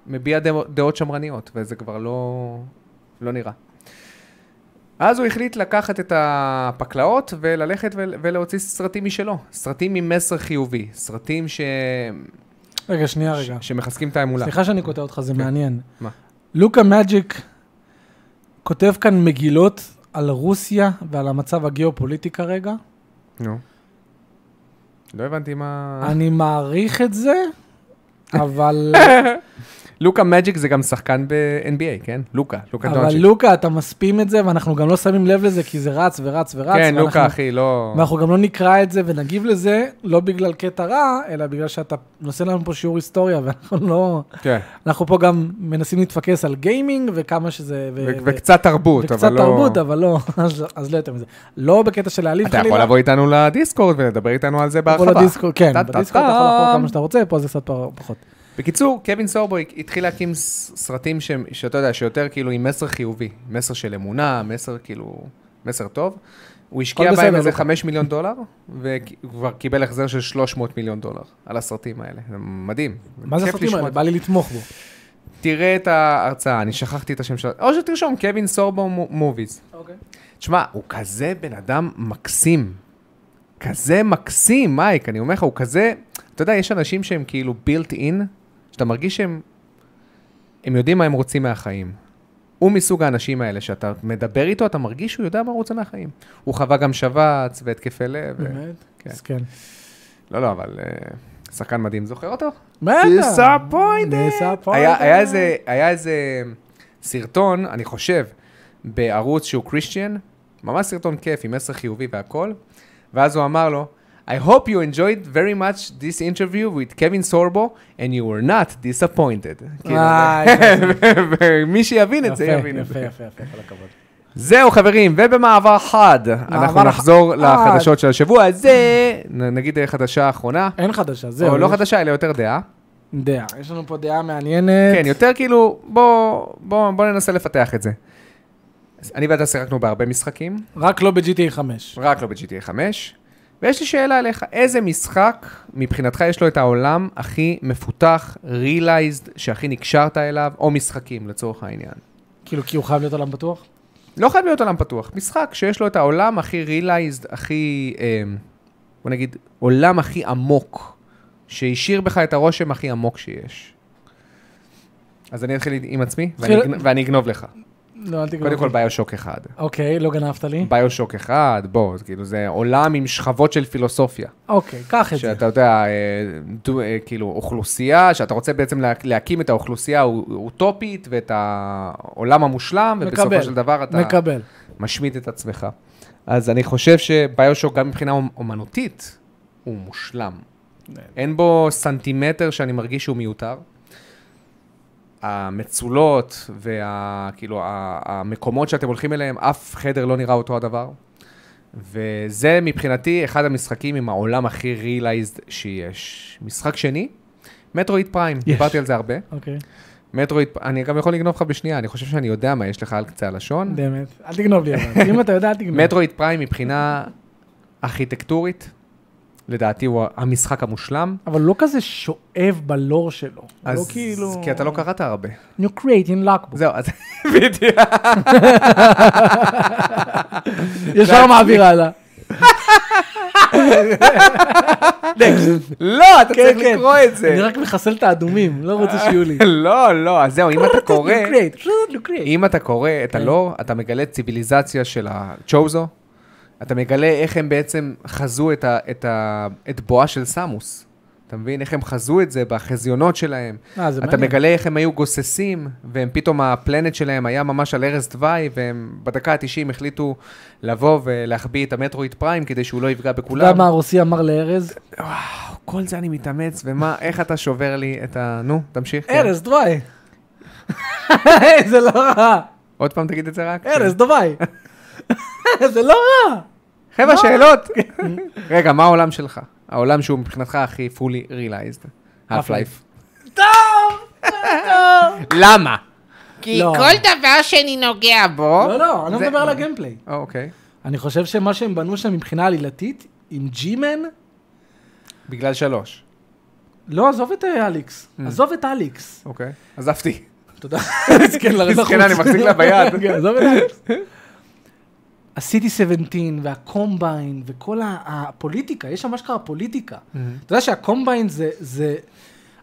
Speaker 2: מביע דמו- דעות שמרניות, וזה כבר לא, לא נראה. אז הוא החליט לקחת את הפקלאות וללכת ול- ולהוציא סרטים משלו. סרטים עם מסר חיובי, סרטים ש...
Speaker 1: רגע, שנייה,
Speaker 2: ש...
Speaker 1: אה, רגע.
Speaker 2: שמחזקים את האמונה.
Speaker 1: סליחה שאני קוטע אותך, זה מעניין.
Speaker 2: מה?
Speaker 1: לוקה מג'יק כותב כאן מגילות על רוסיה ועל המצב הגיאופוליטי כרגע.
Speaker 2: נו. לא הבנתי מה...
Speaker 1: אני מעריך את זה, אבל...
Speaker 2: לוקה מג'יק זה גם שחקן ב-NBA, כן? לוקה, לוקה
Speaker 1: אבל
Speaker 2: דונצ'יק.
Speaker 1: לוקה, אתה מספים את זה, ואנחנו גם לא שמים לב לזה, כי זה רץ ורץ ורץ.
Speaker 2: כן,
Speaker 1: ואנחנו-
Speaker 2: לוקה, אחי, לא...
Speaker 1: ואנחנו גם לא נקרא את זה ונגיב לזה, לא בגלל קטע רע, אלא בגלל שאתה נושא לנו פה שיעור היסטוריה, ואנחנו לא...
Speaker 2: כן.
Speaker 1: אנחנו פה גם מנסים להתפקס על גיימינג וכמה שזה... ו-
Speaker 2: ו-
Speaker 1: ו-
Speaker 2: וקצת תרבות, אבל
Speaker 1: אה, וקצת
Speaker 2: לא...
Speaker 1: תרבות, אבל לא, אז- אז לא יותר מזה. לא בקטע של להעליב
Speaker 2: אתה
Speaker 1: חלילה.
Speaker 2: יכול לבוא איתנו לדיסקורד ולדבר איתנו על זה
Speaker 1: לבוא
Speaker 2: בהרחבה.
Speaker 1: לדיסקו, כן,
Speaker 2: טה-
Speaker 1: בדיסקו אתה
Speaker 2: טה-
Speaker 1: יכול לחלוק
Speaker 2: טם.
Speaker 1: כמה שאתה רוצה, פה זה קצת פר- פחות.
Speaker 2: בקיצור, קווין סורבו התחיל להקים ס- סרטים שהם- שאתה יודע, שיותר כאילו עם מסר חיובי, מסר של אמונה, מסר כאילו, מסר טוב. הוא השקיע
Speaker 1: הכל
Speaker 2: בהם
Speaker 1: בסדר, לא-
Speaker 2: איזה
Speaker 1: לוקה.
Speaker 2: 5 מיליון דולר, וכבר קיבל החזר של 300 מיליון דולר על הסרטים האלה. זה מדהים.
Speaker 1: מה זה
Speaker 2: כיף
Speaker 1: הסרטים
Speaker 2: לשמוע
Speaker 1: האלה?
Speaker 2: את
Speaker 1: בא לי לתמוך בו.
Speaker 2: תראה את ההרצאה, אני שכחתי את השם שלה. או שתרשום, קווין סורבו מו- מוביז. תשמע, הוא כזה בן אדם מקסים. כזה מקסים, מייק, אני אומר לך, הוא כזה... אתה יודע, יש אנשים שהם כאילו built in, שאתה מרגיש שהם... הם יודעים מה הם רוצים מהחיים. הוא מסוג האנשים האלה שאתה מדבר איתו, אתה מרגיש שהוא יודע מה הוא רוצה מהחיים. הוא חווה גם שבץ והתקפי לב. ו...
Speaker 1: באמת?
Speaker 2: כן.
Speaker 1: אז כן.
Speaker 2: לא, לא, אבל אה, שחקן מדהים, זוכר אותו?
Speaker 1: בטח. אה.
Speaker 2: Disappointed. אה? היה, היה, איזה, היה איזה אמ, סרטון, אני חושב, בערוץ שהוא קריסטיאן, ממש סרטון כיף עם מסר חיובי והכל, ואז הוא אמר לו, I hope you enjoyed very much this interview with Kevin Sorbo and you were not disappointed. כאילו,
Speaker 1: אה,
Speaker 2: ומי שיבין את זה
Speaker 1: יפה,
Speaker 2: יבין את
Speaker 1: יפה,
Speaker 2: זה.
Speaker 1: יפה, יפה, כל הכבוד.
Speaker 2: זהו חברים, ובמעבר חד, אנחנו
Speaker 1: מעבר
Speaker 2: נחזור
Speaker 1: חד.
Speaker 2: לחדשות של השבוע הזה, נ- נגיד חדשה אחרונה,
Speaker 1: אין חדשה, זהו.
Speaker 2: או לא
Speaker 1: יש-
Speaker 2: חדשה, אלא יותר דעה.
Speaker 1: דעה. יש לנו פה דעה מעניינת.
Speaker 2: כן, יותר כאילו, בוא, בוא, בוא ננסה לפתח את זה. אז אני ואתה שיחקנו בהרבה משחקים,
Speaker 1: רק לא ב-GTA 5.
Speaker 2: רק לא ב-GTA 5, ויש לי שאלה אליך, איזה משחק מבחינתך יש לו את העולם הכי מפותח, realized, שהכי נקשרת אליו, או משחקים לצורך העניין?
Speaker 1: כאילו, כי הוא חייב להיות עולם פתוח?
Speaker 2: לא חייב להיות עולם פתוח, משחק שיש לו את העולם הכי realized, הכי אה, בוא נגיד, עולם הכי עמוק, שהשאיר בך את הרושם הכי עמוק שיש. אז אני אתחיל עם עצמי, ואני
Speaker 1: התחיל-
Speaker 2: אגנ- ואני אגנוב לך.
Speaker 1: לא, אל תגרום.
Speaker 2: קודם כל ביושוק אחד.
Speaker 1: אוקיי, לא גנבת לי.
Speaker 2: ביושוק אחד, בוא, זה כאילו זה עולם עם שכבות של פילוסופיה.
Speaker 1: אוקיי, קח את זה.
Speaker 2: שאתה יודע, אה, דו- אה, כאילו אוכלוסייה, שאתה רוצה בעצם לה- להקים את האוכלוסייה האו- האוטופית ואת העולם המושלם,
Speaker 1: מקבל,
Speaker 2: ובסופו של דבר אתה
Speaker 1: מקבל.
Speaker 2: משמיט את עצמך. אז אני חושב שביושוק, גם מבחינה אומ- אומנותית, הוא מושלם. אין בו סנטימטר שאני מרגיש שהוא מיותר. המצולות והכאילו המקומות שאתם הולכים אליהם, אף חדר לא נראה אותו הדבר. וזה מבחינתי אחד המשחקים עם העולם הכי ריאלייזד שיש. משחק שני, מטרואיד פריים, דיברתי על זה הרבה.
Speaker 1: אוקיי,
Speaker 2: מטרואיד, אני גם יכול לגנוב לך בשנייה, אני חושב שאני יודע מה יש לך על קצה הלשון.
Speaker 1: באמת. אל תגנוב לי אבל. אם אתה יודע, אל תגנוב.
Speaker 2: מטרואיד פריים מבחינה ארכיטקטורית, לדעתי הוא המשחק המושלם.
Speaker 1: אבל הוא לא כזה שואב בלור שלו. הוא לא
Speaker 2: אז
Speaker 1: כאילו...
Speaker 2: כי אתה לא קראת הרבה.
Speaker 1: You create in luckbook.
Speaker 2: זהו, אז בדיוק.
Speaker 1: ישר מעביר הלאה.
Speaker 2: לא, אתה
Speaker 1: כן,
Speaker 2: צריך
Speaker 1: כן.
Speaker 2: לקרוא את זה.
Speaker 1: אני רק מחסל את האדומים, לא רוצה שיהיו לי.
Speaker 2: לא, לא, אז זהו, אם אתה קורא,
Speaker 1: You create, you create.
Speaker 2: אם אתה קורא את
Speaker 1: כן.
Speaker 2: הלור, אתה מגלה ציוויליזציה של הצ'וזו, אתה מגלה איך הם בעצם חזו את ה- את ה- את בואה של סמוס. אתה מבין? איך הם חזו את זה בחזיונות שלהם.
Speaker 1: אה, זה
Speaker 2: אתה
Speaker 1: מעניין.
Speaker 2: מגלה איך הם היו גוססים, והם פתאום הפלנט שלהם היה ממש על ערש דווי, והם בדקה ה-90 החליטו לבוא ולהחביא את המטרואיד פריים כדי שהוא לא יפגע
Speaker 1: אתה יודע
Speaker 2: בכולם.
Speaker 1: מה הרוסי אמר לארז?
Speaker 2: וואו, כל זה אני מתאמץ, ומה, איך אתה שובר לי את ה... נו, תמשיך. כן.
Speaker 1: ארז, דווי. זה לא רע.
Speaker 2: עוד פעם תגיד את זה רק.
Speaker 1: ארז, דווי. זה לא רע. לא.
Speaker 2: חבר'ה, שאלות. רגע, מה העולם שלך? העולם שהוא מבחינתך הכי fully realized. half life.
Speaker 1: טוב, טוב.
Speaker 2: למה?
Speaker 3: כי
Speaker 1: לא.
Speaker 3: כל דבר שאני נוגע בו,
Speaker 1: לא, לא, אני לא
Speaker 2: זה-
Speaker 1: מדבר על הגיימפליי.
Speaker 2: אה, אוקיי.
Speaker 1: אני חושב שמה שהם בנו שם מבחינה עלילתית, עם ג'ימן,
Speaker 2: בגלל שלוש.
Speaker 1: לא, עזוב את אה, אליקס. עזוב את אליקס.
Speaker 2: אוקיי. עזבתי.
Speaker 1: תודה. מסכן, לרדת
Speaker 2: מסכנה,
Speaker 1: החוץ.
Speaker 2: אני מחזיק לה ביד.
Speaker 1: כן, עזוב את אליקס. הסיטי 17 והקומביין וכל ה- הפוליטיקה, יש שם אשכרה פוליטיקה. אתה יודע שהקומביין זה, זה,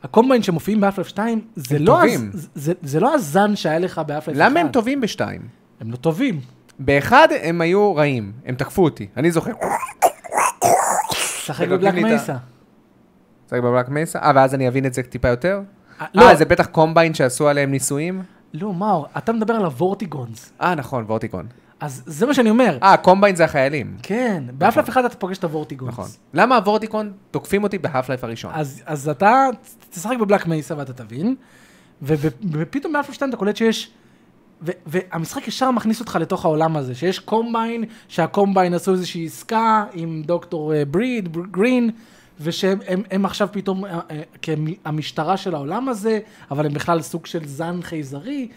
Speaker 1: הקומביין שמופיעים באפלף 2, זה
Speaker 2: הם
Speaker 1: לא, הז,
Speaker 2: טובים.
Speaker 1: זה, זה לא הזן שהיה לך באפלף 1.
Speaker 2: למה הם טובים בשתיים?
Speaker 1: הם לא טובים.
Speaker 2: באחד הם היו רעים, הם תקפו אותי, אני זוכר.
Speaker 1: שחק
Speaker 2: רגע,
Speaker 1: בבלק
Speaker 2: תגיד לי את ה-
Speaker 1: מייסה.
Speaker 2: צריך בבלק מייסה? אה, ואז אני אבין את זה טיפה יותר?
Speaker 1: אה, לא,
Speaker 2: אה, זה בטח קומביין שעשו עליהם ניסויים?
Speaker 1: לא, מאור, אתה מדבר על הוורטיגונס.
Speaker 2: אה, נכון, וורטיקון.
Speaker 1: אז זה מה שאני אומר.
Speaker 2: אה, קומביין זה החיילים.
Speaker 1: כן, באפלף 1 אתה פוגש את הוורטיגונס.
Speaker 2: נכון. למה הוורטיקון תוקפים אותי בהאף לייף הראשון?
Speaker 1: אז, אז אתה תשחק בבלק מייסה ואתה תבין, וב- ופתאום באלפא 2 אתה קולט שיש, ו, והמשחק ישר מכניס אותך לתוך העולם הזה, שיש קומביין, שהקומביין עשו איזושהי עסקה עם דוקטור אה, בריד, בר- גרין, ושהם הם, הם עכשיו פתאום אה, אה, כהמשטרה של העולם הזה, אבל הם בכלל סוג של זן חייזרי.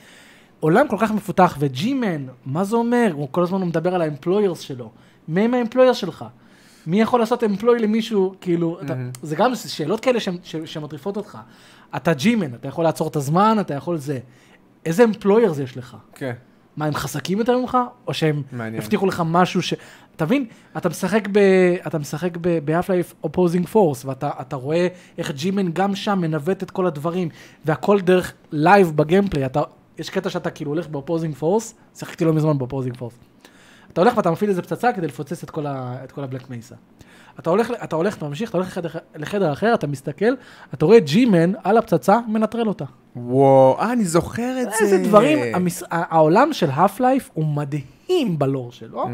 Speaker 1: עולם כל כך מפותח, וג'י-מן, מה זה אומר? הוא כל הזמן הוא מדבר על האמפלוירס שלו. מי הם האמפלוירס שלך? מי יכול לעשות אמפלוי למישהו, כאילו, אתה, זה גם שאלות כאלה ש, ש, שמטריפות אותך. אתה ג'י-מן, אתה יכול לעצור את הזמן, אתה יכול זה. איזה אמפלוירס יש לך?
Speaker 2: כן.
Speaker 1: מה, הם חזקים יותר ממך? או שהם
Speaker 2: מעניין.
Speaker 1: הבטיחו לך משהו ש... אתה מבין? אתה משחק ב... אתה משחק ב... ב-Half-Life Opposing Force, ואתה אתה רואה איך ג'ימן גם שם מנווט את כל הדברים, והכל דרך לייב בגיימפליי. אתה... יש קטע שאתה כאילו הולך ב-Opposing Force, שיחקתי לא מזמן ב-Opposing Force. אתה הולך ואתה מפעיל איזה פצצה כדי לפוצץ את כל, ה... את כל הבלק מייסה. אתה הולך, אתה הולך, אתה ממשיך, אתה הולך לחדר, לחדר אחר, אתה מסתכל, אתה רואה ג'ימן על הפצצה, מנטרל אותה.
Speaker 2: וואו, אה, אני זוכר את זה.
Speaker 1: איזה דברים, אמ- המס... ה- העולם של האף לייף הוא מדהים בלור שלו.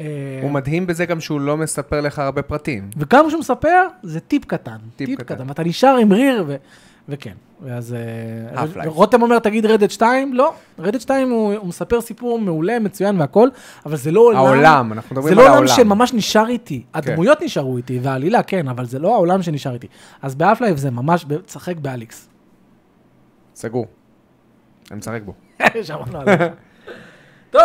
Speaker 1: אה,
Speaker 2: הוא מדהים בזה גם שהוא לא מספר לך הרבה פרטים.
Speaker 1: וכמה שהוא מספר, זה טיפ קטן.
Speaker 2: טיפ
Speaker 1: טיפ,
Speaker 2: קטן.
Speaker 1: קטן. ואתה נשאר עם ריר, ו... וכן. ואז... אה,
Speaker 2: Half-Life.
Speaker 1: ו- רותם אומר, תגיד רדד 2, לא. רדד 2 הוא, הוא מספר סיפור מעולה, מצוין והכל, אבל זה לא עולם...
Speaker 2: העולם, אנחנו
Speaker 1: זה
Speaker 2: מדברים
Speaker 1: לא
Speaker 2: על
Speaker 1: עולם
Speaker 2: העולם. כן.
Speaker 1: שממש נשאר איתי. הדמויות נשארו איתי, והעלילה כן, אבל זה לא העולם שנשאר איתי. אז באף לייב זה ממש, ב- תשחק באליקס.
Speaker 2: סגור. אני משחק בו.
Speaker 1: שמענו עליך. טוב,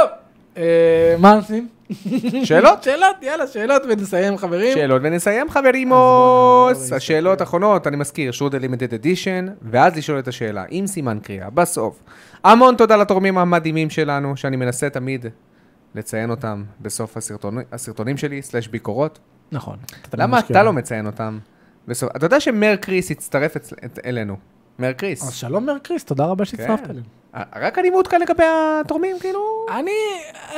Speaker 1: אה, מה עושים?
Speaker 2: שאלות?
Speaker 1: שאלות, יאללה, שאלות ונסיים, חברים.
Speaker 2: שאלות ונסיים
Speaker 1: בואו
Speaker 2: חברימוס.
Speaker 1: נסתכל.
Speaker 2: השאלות האחרונות, אני מזכיר, שרודר לימטד אדישן, ואז לשאול את השאלה, עם סימן קריאה, בסוף. המון תודה לתורמים המדהימים שלנו, שאני מנסה תמיד לציין אותם בסוף הסרטוני- הסרטונים שלי, סלש ביקורות.
Speaker 1: נכון. תמיד
Speaker 2: למה
Speaker 1: משקיע.
Speaker 2: אתה לא מציין אותם? בסוף- אתה יודע שמר קריס הצטרף אצל- את- אלינו. מר
Speaker 1: אז
Speaker 2: קריס.
Speaker 1: שלום מר קריס, תודה רבה שהצטרפת
Speaker 2: כן.
Speaker 1: אלינו.
Speaker 2: ה- רק אני מעודכן לגבי התורמים, כאילו...
Speaker 1: אני,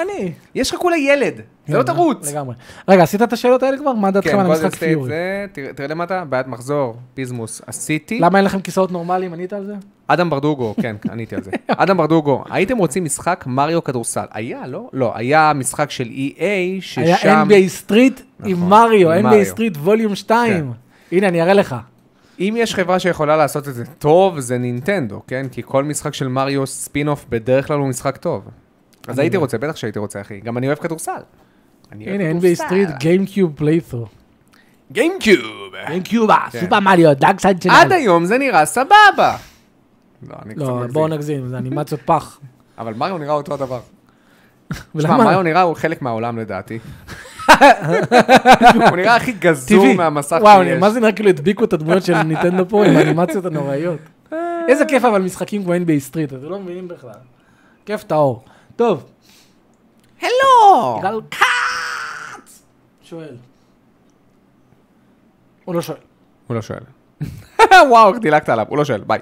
Speaker 1: אני.
Speaker 2: יש לך כולה ילד, זה לא
Speaker 1: כן,
Speaker 2: תרוץ.
Speaker 1: לגמרי. רגע, עשית את השאלות האלה כבר? מה דעתכם
Speaker 2: כן,
Speaker 1: על
Speaker 2: גולדן
Speaker 1: המשחק
Speaker 2: סטייט
Speaker 1: פיורי?
Speaker 2: זה, תראה- תראה למטה, בעיית מחזור, פיזמוס, עשיתי.
Speaker 1: למה אין לכם כיסאות נורמליים? ענית על זה?
Speaker 2: אדם ברדוגו, כן, עניתי על זה. אדם ברדוגו, הייתם רוצים משחק מריו כדורסל? היה, לא? לא, היה משחק של EA, ששם...
Speaker 1: היה NBA סטריט עם
Speaker 2: נכון,
Speaker 1: מריו,
Speaker 2: עם
Speaker 1: NBA
Speaker 2: מריו. כן.
Speaker 1: סטריט ווליום 2. הנה, אני אראה לך.
Speaker 2: אם יש חברה שיכולה לעשות את זה טוב, זה נינטנדו, כן? כי כל משחק של מריו ספינוף בדרך כלל הוא משחק טוב. אז הייתי רוצה, בטח שהייתי רוצה, אחי. גם אני אוהב כדורסל. אני אוהב
Speaker 1: הנה, NBA
Speaker 2: כדורסל.
Speaker 1: סטריט, גיימקיוב פליית'רו.
Speaker 2: גיימקיוב.
Speaker 1: גיימקיוב,
Speaker 2: כן.
Speaker 1: סופר מריו, דאג סייד שלנו.
Speaker 2: עד היום זה נראה סבבה. לא, אני קצת
Speaker 1: לא, בואו
Speaker 2: מגזים.
Speaker 1: נגזים, זה אנימציות פח.
Speaker 2: אבל מריו נראה אותו הדבר. תשמע,
Speaker 1: ולמה?
Speaker 2: מריו נראה הוא חלק מהעולם לדעתי. הוא נראה הכי גזור
Speaker 1: טבעי.
Speaker 2: מהמסך
Speaker 1: וואו,
Speaker 2: שיש.
Speaker 1: מה זה נראה כאילו הדביקו את הדמויות של ניטנדו פה עם האנימציות הנוראיות.
Speaker 2: אה.
Speaker 1: איזה כיף אבל משחקים כמו NBA סטריט, אתם לא מבינים בכלל. כיף טהור. טוב,
Speaker 2: הלו!
Speaker 1: גל קאט! שואל. הוא לא שואל.
Speaker 2: הוא לא שואל. וואו, איך דילגת עליו, הוא לא שואל, ביי.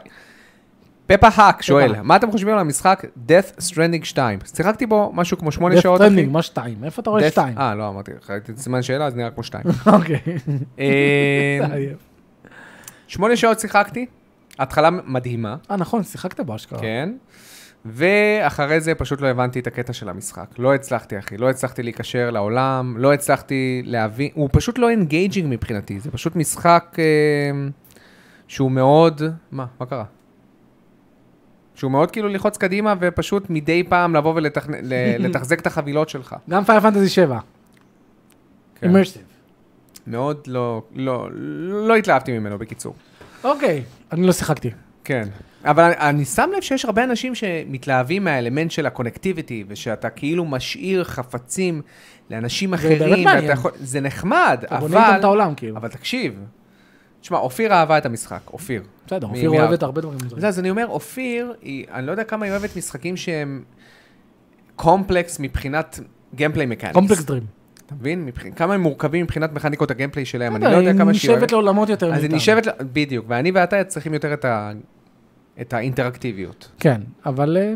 Speaker 2: פפה האק שואל,
Speaker 1: האק.
Speaker 2: מה אתם חושבים על המשחק Death Stranding 2? שיחקתי בו משהו כמו שמונה
Speaker 1: Death
Speaker 2: שעות,
Speaker 1: Stranding,
Speaker 2: אחי.
Speaker 1: מה שתיים? איפה אתה
Speaker 2: Death-
Speaker 1: רואה שתיים?
Speaker 2: אה, לא, אמרתי, ראיתי את סימן שאלה, אז נראה כמו שתיים.
Speaker 1: אוקיי.
Speaker 2: אה,
Speaker 1: עייף.
Speaker 2: שמונה שעות שיחקתי, התחלה מדהימה,
Speaker 1: אה, נכון, שיחקת באשכרה.
Speaker 2: כן. ואחרי זה פשוט לא הבנתי את הקטע של המשחק. לא הצלחתי, אחי. לא הצלחתי להיקשר לעולם, לא הצלחתי להבין. הוא פשוט לא אינגייג'ינג מבחינתי. זה פשוט משחק אה, שהוא מאוד... מה? מה קרה? שהוא מאוד כאילו ללחוץ קדימה ופשוט מדי פעם לבוא ולתחזק את החבילות שלך.
Speaker 1: גם פייר פנטזי 7.
Speaker 2: כן.
Speaker 1: אימרסיב.
Speaker 2: מאוד לא, לא, לא התלהבתי ממנו בקיצור.
Speaker 1: אוקיי, אני לא שיחקתי.
Speaker 2: כן, אבל אני- אני שם לב שיש הרבה אנשים שמתלהבים מהאלמנט של הקונקטיביטי, ושאתה כאילו משאיר חפצים לאנשים אחרים.
Speaker 1: באמת מעניין.
Speaker 2: ואתה יכול- זה נחמד,
Speaker 1: אתה בונה איתם
Speaker 2: אבל...
Speaker 1: את העולם, כאילו.
Speaker 2: אבל תקשיב, תשמע, אופיר אהבה את המשחק, אופיר.
Speaker 1: בסדר,
Speaker 2: מ-
Speaker 1: אופיר
Speaker 2: מי
Speaker 1: אוהבת
Speaker 2: אהב?
Speaker 1: הרבה דברים.
Speaker 2: אז אז אני אומר, אופיר, היא, אני לא יודע כמה היא אוהבת משחקים שהם קומפלקס מבחינת גיימפליי מקאניקס.
Speaker 1: קומפלקס דרים.
Speaker 2: אתה מבין? מבח- כמה הם מורכבים מבחינת מכניקות הגיימפליי שלהם, אני לא יודע כמה שהיא
Speaker 1: היא
Speaker 2: אוהבת.
Speaker 1: נשבת לעולמות יותר
Speaker 2: אז היא
Speaker 1: מאיתנו.
Speaker 2: נשאבת, ל- בדיוק, ואני ואתה צריכים יותר את, ה, את האינטראקטיביות.
Speaker 1: כן, אבל אה,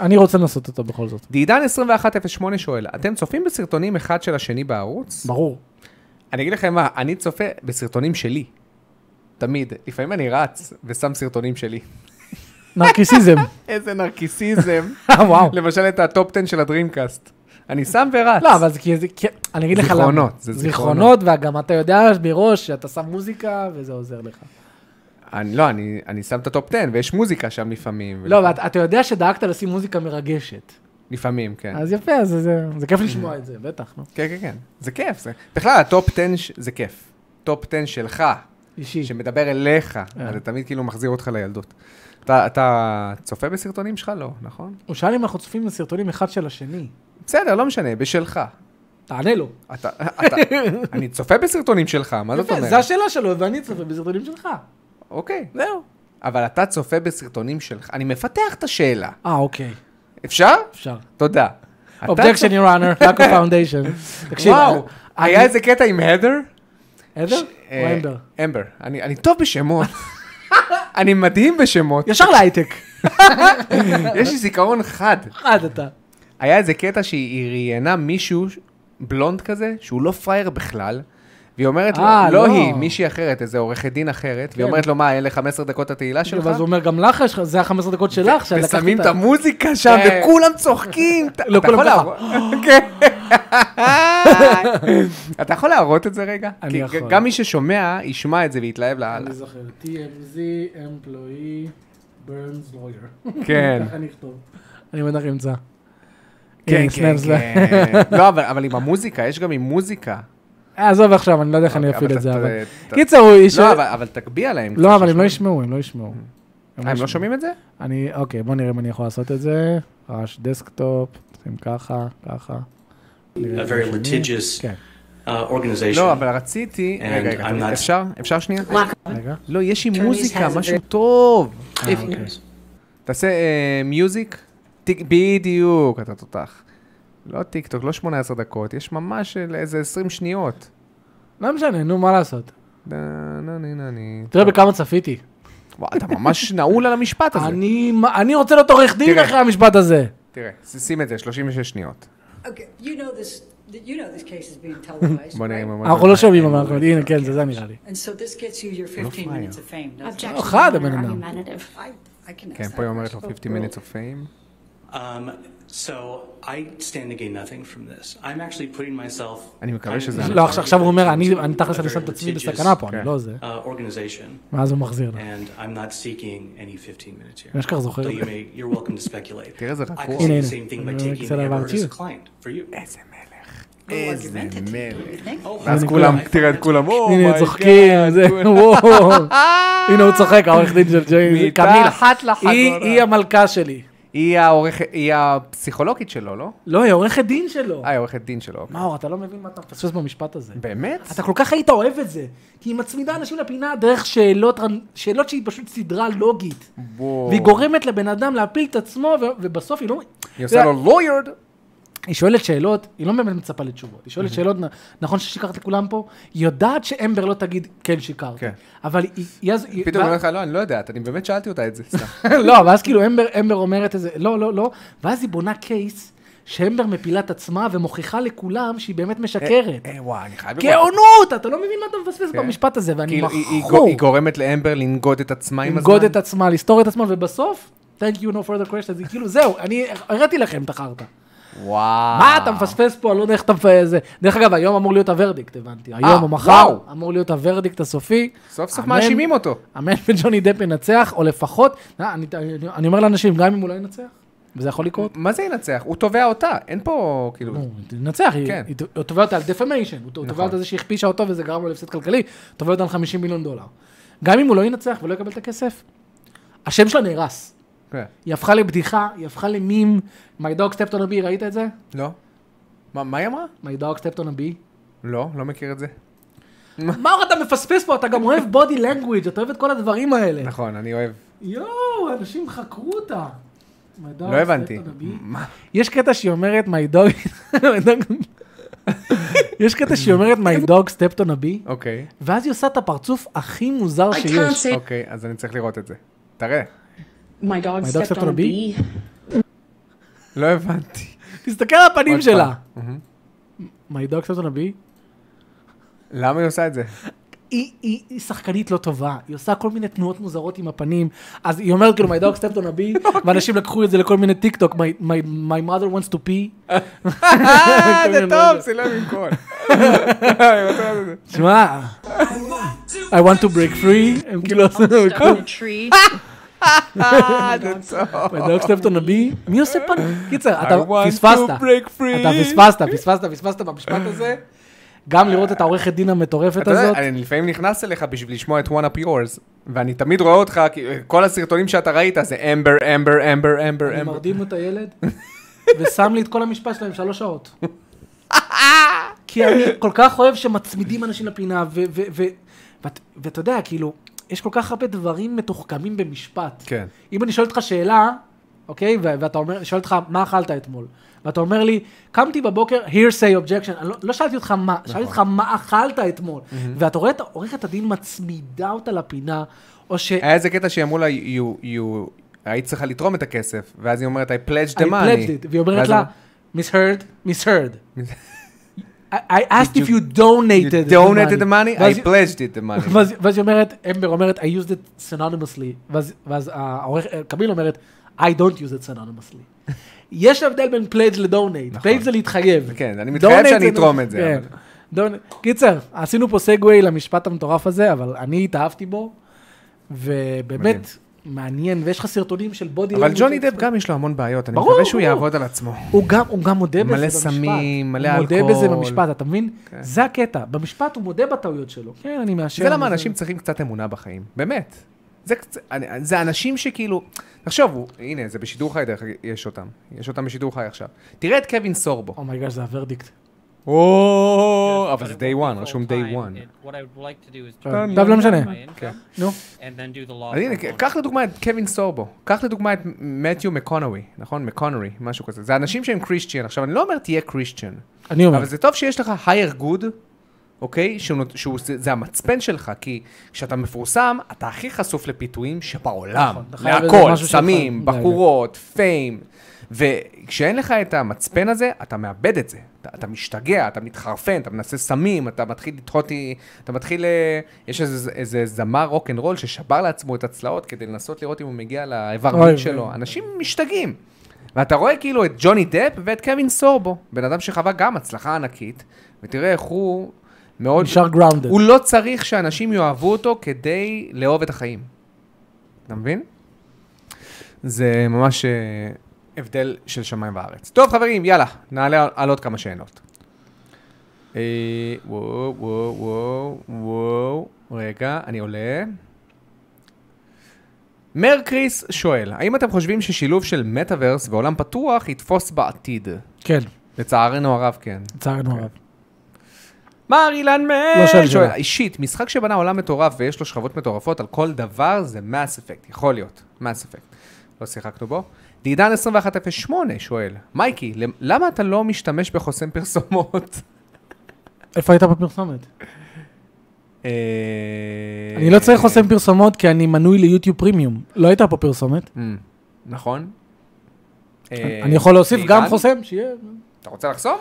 Speaker 1: אני רוצה לנסות אותו בכל זאת.
Speaker 2: דידן 2108 שואל, אתם צופים בסרטונים אחד של השני בערוץ?
Speaker 1: ברור.
Speaker 2: אני אגיד לכם מה, אני צופה בסרטונים שלי. תמיד. לפעמים אני רץ ושם סרטונים שלי.
Speaker 1: נרקיסיזם.
Speaker 2: איזה נרקיסיזם.
Speaker 1: וואו.
Speaker 2: למשל את הטופ 10 של הדרימקאסט. אני שם ורץ.
Speaker 1: לא, אבל זה כי זה... כי- אני אגיד לך למה.
Speaker 2: זיכרונות, זה זיכרונות.
Speaker 1: זיכרונות, וגם אתה יודע מראש שאתה שם מוזיקה וזה עוזר לך.
Speaker 2: אני, לא, אני, אני שם את הטופ 10 ויש מוזיקה שם לפעמים.
Speaker 1: לא, אבל אתה יודע שדאגת לשים מוזיקה מרגשת.
Speaker 2: לפעמים, כן.
Speaker 1: אז יפה, אז זה- זה כיף לשמוע את זה, בטח, נו.
Speaker 2: כן, כן, כן. זה כיף. זה... בכלל, הטופ 10 ש- זה כיף. טופ 10 שלך,
Speaker 1: אישי.
Speaker 2: שמדבר אליך,
Speaker 1: אה.
Speaker 2: אז זה תמיד כאילו מחזיר אותך לילדות. אתה, אתה צופה בסרטונים שלך? לא, נכון?
Speaker 1: הוא שאל אם אנחנו צופים לסרטונים אחד של השני.
Speaker 2: בסדר, לא משנה, בשלך.
Speaker 1: תענה לו.
Speaker 2: אתה, אתה, אני צופה בסרטונים שלך, מה זאת
Speaker 1: יפה,
Speaker 2: אומרת?
Speaker 1: זה השאלה שלו, ואני צופה בסרטונים שלך.
Speaker 2: אוקיי.
Speaker 1: זהו.
Speaker 2: אבל אתה צופה בסרטונים שלך. אני מפתח את השאלה.
Speaker 1: אה, אוקיי,
Speaker 2: אפשר?
Speaker 1: אפשר.
Speaker 2: תודה. אתה
Speaker 1: אובדקשן,
Speaker 2: צופ-
Speaker 1: your honor, lack of foundation. תקשיב,
Speaker 2: וואו,
Speaker 1: אני-
Speaker 2: היה איזה קטע עם הדר?
Speaker 1: עדר?
Speaker 2: ש-
Speaker 1: או
Speaker 2: אה,
Speaker 1: אמבר?
Speaker 2: אמבר. אני אני טוב בשמות. אני מדהים בשמות.
Speaker 1: ישר להייטק.
Speaker 2: יש לי זיכרון חד.
Speaker 1: עד אתה.
Speaker 2: היה איזה קטע שהיא ראיינה מישהו ש- בלונד כזה, שהוא לא פראייר בכלל, והיא אומרת לו,
Speaker 1: אה,
Speaker 2: לא
Speaker 1: לא. כן.
Speaker 2: היא, מישהי אחרת, איזה עורכת דין אחרת, והיא אומרת לו, מה, אלה 15 דקות התהילה שלך?
Speaker 1: ואז הוא אומר, גם לך, יש לך- זה ה-15 דקות שלך, שלקחת
Speaker 2: ושמים את המוזיקה שם,
Speaker 1: כן.
Speaker 2: וכולם צוחקים. אתה-
Speaker 1: לא,
Speaker 2: אתה
Speaker 1: כולם
Speaker 2: יכול
Speaker 1: ככה.
Speaker 2: להראות- כן. אתה יכול להראות את זה רגע?
Speaker 1: אני
Speaker 2: כי
Speaker 1: יכול.
Speaker 2: גם מי ששומע, ישמע את זה ויתלהב לאללה.
Speaker 1: אני זוכר, TMZ, Employee, Burns Lawyer.
Speaker 2: כן.
Speaker 1: ככה אני אכתוב. אני בטח אמצא. אה,
Speaker 2: כן,
Speaker 1: הנה,
Speaker 2: כן,
Speaker 1: סנאפס לה-
Speaker 2: כן. לא, אבל- אבל עם המוזיקה, יש גם עם מוזיקה.
Speaker 1: אה, עזוב עכשיו, אני לא יודע איך אני
Speaker 2: אוקיי,
Speaker 1: אפעיל
Speaker 2: אבל
Speaker 1: את זה,
Speaker 2: אתה-
Speaker 1: אבל...
Speaker 2: אתה-
Speaker 1: קיצר, הוא איש...
Speaker 2: לא, אבל- אבל תגביה להם.
Speaker 1: לא, אבל הם לא
Speaker 2: שישמעו.
Speaker 1: ישמעו, הם לא ישמעו.
Speaker 2: אה, הם לא שומעים את זה?
Speaker 1: אני, אוקיי, בוא נראה אם אני יכול לעשות את זה. רעש דסקטופ, עושים ככה, ככה. נראה
Speaker 4: a
Speaker 1: את
Speaker 4: very
Speaker 1: השני.
Speaker 4: litigious
Speaker 1: כן,
Speaker 4: uh, organization.
Speaker 2: לא, אבל רציתי...
Speaker 4: And
Speaker 2: רגע, רגע,
Speaker 4: I'm
Speaker 2: תמיד-
Speaker 4: not-
Speaker 2: אפשר? אפשר שנייה?
Speaker 1: רגע.
Speaker 2: לא, יש עם מוזיקה, משהו טוב.
Speaker 4: אה, אוקיי.
Speaker 2: תעשה אה, מיוזיק. טיק- בדיוק, אתה תותח. לא טיק טוק, לא 18 דקות, יש ממש איזה 20 אה, שניות.
Speaker 1: לא משנה, נו, מה לעשות?
Speaker 2: נה, נה, נה, נה, נה.
Speaker 1: תראה בכמה צפיתי.
Speaker 2: וואו, אתה ממש נעול על המשפט הזה.
Speaker 1: אני אני רוצה להיות עורך דין
Speaker 2: תראה.
Speaker 1: אחרי המשפט הזה.
Speaker 2: תראה, שים את זה, 36 שניות.
Speaker 4: Okay, you know this. You know this case is being televised,
Speaker 2: בוא נראה
Speaker 4: right?
Speaker 2: מה... מה
Speaker 1: אנחנו
Speaker 2: זה.
Speaker 1: לא שומעים, אבל אנחנו- הנה, כן, זה זה נראה לי.
Speaker 4: And so this gets you your 15 minutes of fame. doesn't it?
Speaker 5: Objection,
Speaker 1: Oh, God,
Speaker 5: Your
Speaker 1: I'm in
Speaker 5: Honor,
Speaker 1: a-
Speaker 5: argumentative.
Speaker 4: I, I can ask
Speaker 2: כן,
Speaker 4: that
Speaker 2: פה היא אומרת
Speaker 4: question.
Speaker 2: לו 50 minutes of fame.
Speaker 6: Um, so I stand to gain nothing from this. I'm actually putting myself.
Speaker 2: אני מקווה
Speaker 6: I'm-
Speaker 2: שזה-
Speaker 1: לא, עכשיו עכשיו הוא אומר, אני אני תכלס
Speaker 6: A
Speaker 1: אני שם את
Speaker 6: very
Speaker 1: עצמי
Speaker 6: litigious,
Speaker 1: בסכנה פה, אני
Speaker 2: כן.
Speaker 1: לא זה.
Speaker 6: uh, organization,
Speaker 1: ואז הוא מחזיר
Speaker 2: Oh
Speaker 1: לה.
Speaker 6: and I'm not seeking any 15 minutes here.
Speaker 1: אשכח זוכר אוקיי. את
Speaker 6: Though you
Speaker 1: זה.
Speaker 6: may, you're welcome to speculate.
Speaker 2: תראה איזה
Speaker 6: I
Speaker 2: רכור.
Speaker 6: could say
Speaker 1: הנה,
Speaker 6: the
Speaker 1: הנה.
Speaker 6: same thing by
Speaker 1: אני
Speaker 6: taking
Speaker 1: קצת
Speaker 6: the
Speaker 1: עברתי.
Speaker 6: error as a client for you.
Speaker 2: איזה מלך.
Speaker 4: Oh,
Speaker 2: איזה
Speaker 4: argumentative, don't you
Speaker 2: מלך.
Speaker 4: think?
Speaker 6: Oh,
Speaker 2: ואז
Speaker 1: הנה,
Speaker 2: כולם,
Speaker 6: I
Speaker 2: תראה
Speaker 6: find
Speaker 2: את כולם, "Oh או
Speaker 1: הנה,
Speaker 2: מיי
Speaker 1: צוחקים, זה, וואו. הנה, הוא צוחק, העורך דין של ג'יי.
Speaker 2: מתחת
Speaker 1: קמילה.
Speaker 2: לחגורה.
Speaker 1: היא- היא המלכה שלי.
Speaker 2: היא העורכת, היא הפסיכולוגית שלו, לא?
Speaker 1: לא, היא עורכת דין שלו.
Speaker 2: אה, היא עורכת דין שלו. אוקיי.
Speaker 1: מאור, אתה לא מבין מה אתה מפספס במשפט הזה.
Speaker 2: באמת?
Speaker 1: אתה כל כך היית אוהב את זה, כי היא מצמידה אנשים לפינה דרך שאלות, שאלות שהיא פשוט סדרה לוגית.
Speaker 2: בוא.
Speaker 1: והיא גורמת לבן אדם להפיל את עצמו, ו- ובסוף היא לא...
Speaker 2: היא עושה לו לוירד.
Speaker 1: היא שואלת שאלות, היא לא באמת מצפה לתשובות, היא
Speaker 2: Mm-hmm.
Speaker 1: שואלת שאלות, נ- נכון ששיקרת לכולם פה? היא יודעת שאמבר לא תגיד, כן, שיקרתי.
Speaker 2: כן.
Speaker 1: אבל היא- היא... אז- היא-
Speaker 2: פתאום
Speaker 1: ו-
Speaker 2: היא אומרת לך, לא, אני לא יודעת, אני באמת שאלתי אותה את זה. סתם.
Speaker 1: לא, ואז כאילו אמבר, אמבר אומרת איזה, לא, לא, לא, ואז היא בונה קייס שאמבר מפילה את עצמה ומוכיחה לכולם שהיא באמת משקרת.
Speaker 2: אה, וואי, אני חייב... לומר.
Speaker 1: גאונות, אתה לא מבין מה אתה מפספס
Speaker 2: כן.
Speaker 1: במשפט הזה, ואני
Speaker 2: כאילו, היא- היא גו-
Speaker 1: מכור.
Speaker 2: היא גורמת לאמבר לנגוד את עצמה עם הזמן.
Speaker 1: לנגוד את עצמה, לסתור את עצמה, ובסוף, thank you no further questions, היא כאילו, זהו, אני הראיתי לכם את החרטא.
Speaker 2: וואו.
Speaker 1: מה אתה מפספס פה, אני לא יודע איך אתה מפספס זה. דרך אגב, היום אמור להיות הוורדיקט, הבנתי. היום או מחר
Speaker 2: אה, וואו.
Speaker 1: אמור להיות הוורדיקט הסופי.
Speaker 2: סוף סוף
Speaker 1: אמן-
Speaker 2: מאשימים אותו.
Speaker 1: אמן וג'וני דפ ינצח, או לפחות, אה, אני- אני אני אומר לאנשים, גם אם הוא לא ינצח, וזה יכול לקרות.
Speaker 2: מה זה ינצח? הוא תובע אותה, אין פה, כאילו...
Speaker 1: נו, תנצח, היא-
Speaker 2: כן.
Speaker 1: היא- הוא תובע אותה על דפמיישן, הוא תובע
Speaker 2: נכון.
Speaker 1: אותה על זה שהכפישה אותו וזה גרם לו להפסד כלכלי, תובע אותה על 50 מיליון דולר. גם אם הוא לא ינצח ולא יקבל את הכסף, השם שלה נהרס.
Speaker 2: כן.
Speaker 1: היא הפכה לבדיחה, היא הפכה למים. My dog stepped on a bee, ראית את זה?
Speaker 2: לא. מה- מה היא אמרה?
Speaker 1: My dog stepped on a bee.
Speaker 2: לא, לא מכיר את זה.
Speaker 1: אה. מאור, אתה מפספס פה, אתה גם אוהב בודי לנגוויג', אתה אוהב את כל הדברים האלה.
Speaker 2: נכון, אני אוהב.
Speaker 1: יואו, אנשים חקרו אותה. My dog
Speaker 2: לא הבנתי.
Speaker 1: stepped on a bee.
Speaker 2: מה?
Speaker 1: Mm. יש קטע שהיא אומרת, my dog... my dog-" יש קטע שהיא אומרת, my dog stepped on a bee.
Speaker 2: אוקיי.
Speaker 1: ואז היא עושה את הפרצוף הכי מוזר
Speaker 7: I can't
Speaker 1: שיש.
Speaker 7: say
Speaker 2: אוקיי, אז אני צריך לראות את זה. תראה.
Speaker 7: my dog
Speaker 1: My dog
Speaker 7: stepped,
Speaker 1: stepped
Speaker 7: on
Speaker 1: on
Speaker 7: a
Speaker 1: a bee?
Speaker 7: bee.
Speaker 2: לא הבנתי.
Speaker 1: תסתכל על הפנים
Speaker 2: עוד
Speaker 1: שלה.
Speaker 2: פעם.
Speaker 1: My dog stepped on a bee.
Speaker 2: למה היא עושה את זה?
Speaker 1: היא- היא היא שחקנית לא טובה, היא עושה כל מיני תנועות מוזרות עם הפנים, אז היא אומרת כאילו my dog stepped on a
Speaker 2: אוקיי.
Speaker 1: bee, ואנשים לקחו את זה לכל מיני טיק טוק, my my- my mother wants to pee.
Speaker 2: אה, זה
Speaker 1: כל מיני
Speaker 2: טוב,
Speaker 1: רגע.
Speaker 2: זה לא במקום.
Speaker 1: שמע, I want to break free, הם
Speaker 2: לא,
Speaker 1: כאילו עושים את
Speaker 5: Stuck in a tree.
Speaker 2: אה, זה טוב.
Speaker 1: my dog stepped on a bee, מי עושה פנים? קיצר, אתה
Speaker 2: I want to
Speaker 1: פספסת,
Speaker 2: break free.
Speaker 1: אתה פספסת, פספסת, פספסת במשפט הזה, גם לראות את העורכת דין המטורפת
Speaker 2: אתה יודע,
Speaker 1: הזאת.
Speaker 2: אני לפעמים נכנס אליך בשביל לשמוע את one up yours, ואני תמיד רואה אותך, כי אה, כל הסרטונים שאתה ראית זה אמבר, אמבר, אמבר, אמבר,
Speaker 1: אני
Speaker 2: אמבר.
Speaker 1: מרדים את הילד, ושם לי את כל המשפט שלהם שלוש שעות. כי אני כל כך אוהב שמצמידים אנשים לפינה, ו- ו- ו- ואת- ואתה יודע, כאילו, יש כל כך הרבה דברים מתוחכמים במשפט.
Speaker 2: כן.
Speaker 1: אם אני שואל אותך שאלה, אוקיי, ו- ואתה אומר, שואל אותך, מה אכלת אתמול? ואתה אומר לי, קמתי בבוקר, hearsay objection, אני לא, לא שאלתי אותך מה, שאלתי אותך מה אכלת אתמול. ואתה רואה את עורכת הדין מצמידה אותה לפינה, או ש...
Speaker 2: היה איזה קטע שאמרו לה, you- you- היית צריכה לתרום את הכסף, ואז היא אומרת, I pledged the
Speaker 1: I
Speaker 2: money.
Speaker 1: pledged it. והיא אומרת
Speaker 2: ואז
Speaker 1: לה,
Speaker 2: אמרה,
Speaker 1: מיס הרד, מיס הרד. I asked if you donated
Speaker 2: You
Speaker 1: the
Speaker 2: donated the money,
Speaker 1: ואז
Speaker 2: I
Speaker 1: היא-
Speaker 2: pledged it the money.
Speaker 1: ואז- ואז היא אומרת, אמבר אומרת, I used it synonymously. ואז- ואז העורך- קמיל אומרת, I don't use it synonymously. יש הבדל בין pledge ל-donate.
Speaker 2: נכון.
Speaker 1: pledge זה להתחייב.
Speaker 2: כן, אני מתחייב
Speaker 1: Donate
Speaker 2: שאני
Speaker 1: זה-
Speaker 2: אתרום את זה,
Speaker 1: כן.
Speaker 2: אבל-
Speaker 1: Don- קיצר, עשינו פה סגווי למשפט המטורף הזה, אבל אני התאהבתי בו, ובאמת, מעניין, ויש לך סרטונים של בודי...
Speaker 2: אבל
Speaker 1: language
Speaker 2: ג'וני
Speaker 1: expert.
Speaker 2: דפ גם יש לו המון בעיות, אני
Speaker 1: ברור,
Speaker 2: מקווה שהוא
Speaker 1: ברור.
Speaker 2: יעבוד על עצמו.
Speaker 1: הוא גם, הוא גם מודה בזה
Speaker 2: מלא
Speaker 1: במשפט.
Speaker 2: סמים, מלא
Speaker 1: הוא מודה בזה
Speaker 2: אלכוהול. כן.
Speaker 1: במשפט, אתה מבין? זה הקטע. במשפט הוא מודה בטעויות שלו. כן, אני מאשר.
Speaker 2: זה למה
Speaker 1: וזה-
Speaker 2: אנשים צריכים קצת אמונה בחיים, באמת. זה, קצ- אני- זה אנשים שכאילו, תחשוב, הוא- הנה, זה בשידור חי דרך אגב, יש אותם. יש אותם בשידור חי עכשיו. תראה את קווין סורבו.
Speaker 1: אומייגאש, Oh זה הוורדיקט.
Speaker 2: או, אבל זה
Speaker 8: But it
Speaker 2: day
Speaker 8: won't
Speaker 2: one,
Speaker 8: be
Speaker 2: רשום
Speaker 8: full
Speaker 2: day
Speaker 8: time. כן.
Speaker 2: one. כן.
Speaker 8: It- What I would like to do is
Speaker 1: טוב,
Speaker 8: turn
Speaker 1: לא
Speaker 8: my
Speaker 1: משנה.
Speaker 8: income
Speaker 1: נו.
Speaker 8: and then do the law.
Speaker 2: אז הנה,
Speaker 8: firm loan.
Speaker 2: קח לדוגמה את קווין סורבו, קח לדוגמה את מתיו מקונווי, נכון? מקונורי, משהו כזה. זה אנשים שהם קריסטיאן. עכשיו, אני לא אומר תהיה קריסטיאן,
Speaker 1: אני אומר.
Speaker 2: אבל זה טוב שיש לך higher good, אוקיי? שהוא, נות- שהוא, זה, זה המצפן שלך, כי כשאתה מפורסם, אתה הכי חשוף לפיתויים שבעולם.
Speaker 1: נכון, אתה חייב איזה
Speaker 2: להכל,
Speaker 1: משהו שלך.
Speaker 2: סמים,
Speaker 1: די,
Speaker 2: בחורות, פיים. וכשאין לך את המצפן הזה, אתה מאבד את זה. אתה, אתה משתגע, אתה מתחרפן, אתה מנסה סמים, אתה מתחיל לתהות, אתה מתחיל... אה, יש איזה, איזה זמר רוקנרול ששבר לעצמו את הצלעות כדי לנסות לראות אם הוא מגיע לאיבר
Speaker 1: אוי,
Speaker 2: מין שלו. אנשים משתגעים. ואתה רואה כאילו את ג'וני דפ ואת קווין סורבו, בן אדם שחווה גם הצלחה ענקית, ותראה איך הוא מאוד...
Speaker 1: נשאר grounded.
Speaker 2: הוא לא צריך שאנשים יאהבו אותו כדי לאהוב את החיים. אתה מבין? זה ממש אה, הבדל של שמיים וארץ. טוב, חברים, יאללה, נעלה על עוד כמה שאלות. אה, וואו, וואו, וואו, וואו, רגע, אני עולה. מר קריס שואל, האם אתם חושבים ששילוב של מטאוורס ועולם פתוח יתפוס בעתיד?
Speaker 1: כן,
Speaker 2: לצערנו הרב, כן.
Speaker 1: לצערנו הרב.
Speaker 2: מר אילן
Speaker 1: לא
Speaker 2: מאל
Speaker 1: שאלתי
Speaker 2: שואל,
Speaker 1: שאלה.
Speaker 2: אישית, משחק שבנה עולם מטורף ויש לו שכבות מטורפות על כל דבר זה מס אפקט, יכול להיות, מס אפקט. לא שיחקנו בו. דידן 2108 שואל, מייקי, למ- למה אתה לא משתמש בחוסם פרסומות?
Speaker 1: איפה היית בפרסומת?
Speaker 2: אה,
Speaker 1: אני לא צריך חוסם פרסומות כי אני מנוי ליוטיוב פרימיום. לא הייתה פה פרסומת.
Speaker 2: אמ, נכון. אה,
Speaker 1: אני יכול להוסיף גם
Speaker 2: דידן?
Speaker 1: חוסם, שיהיה...
Speaker 2: אתה רוצה לחסום?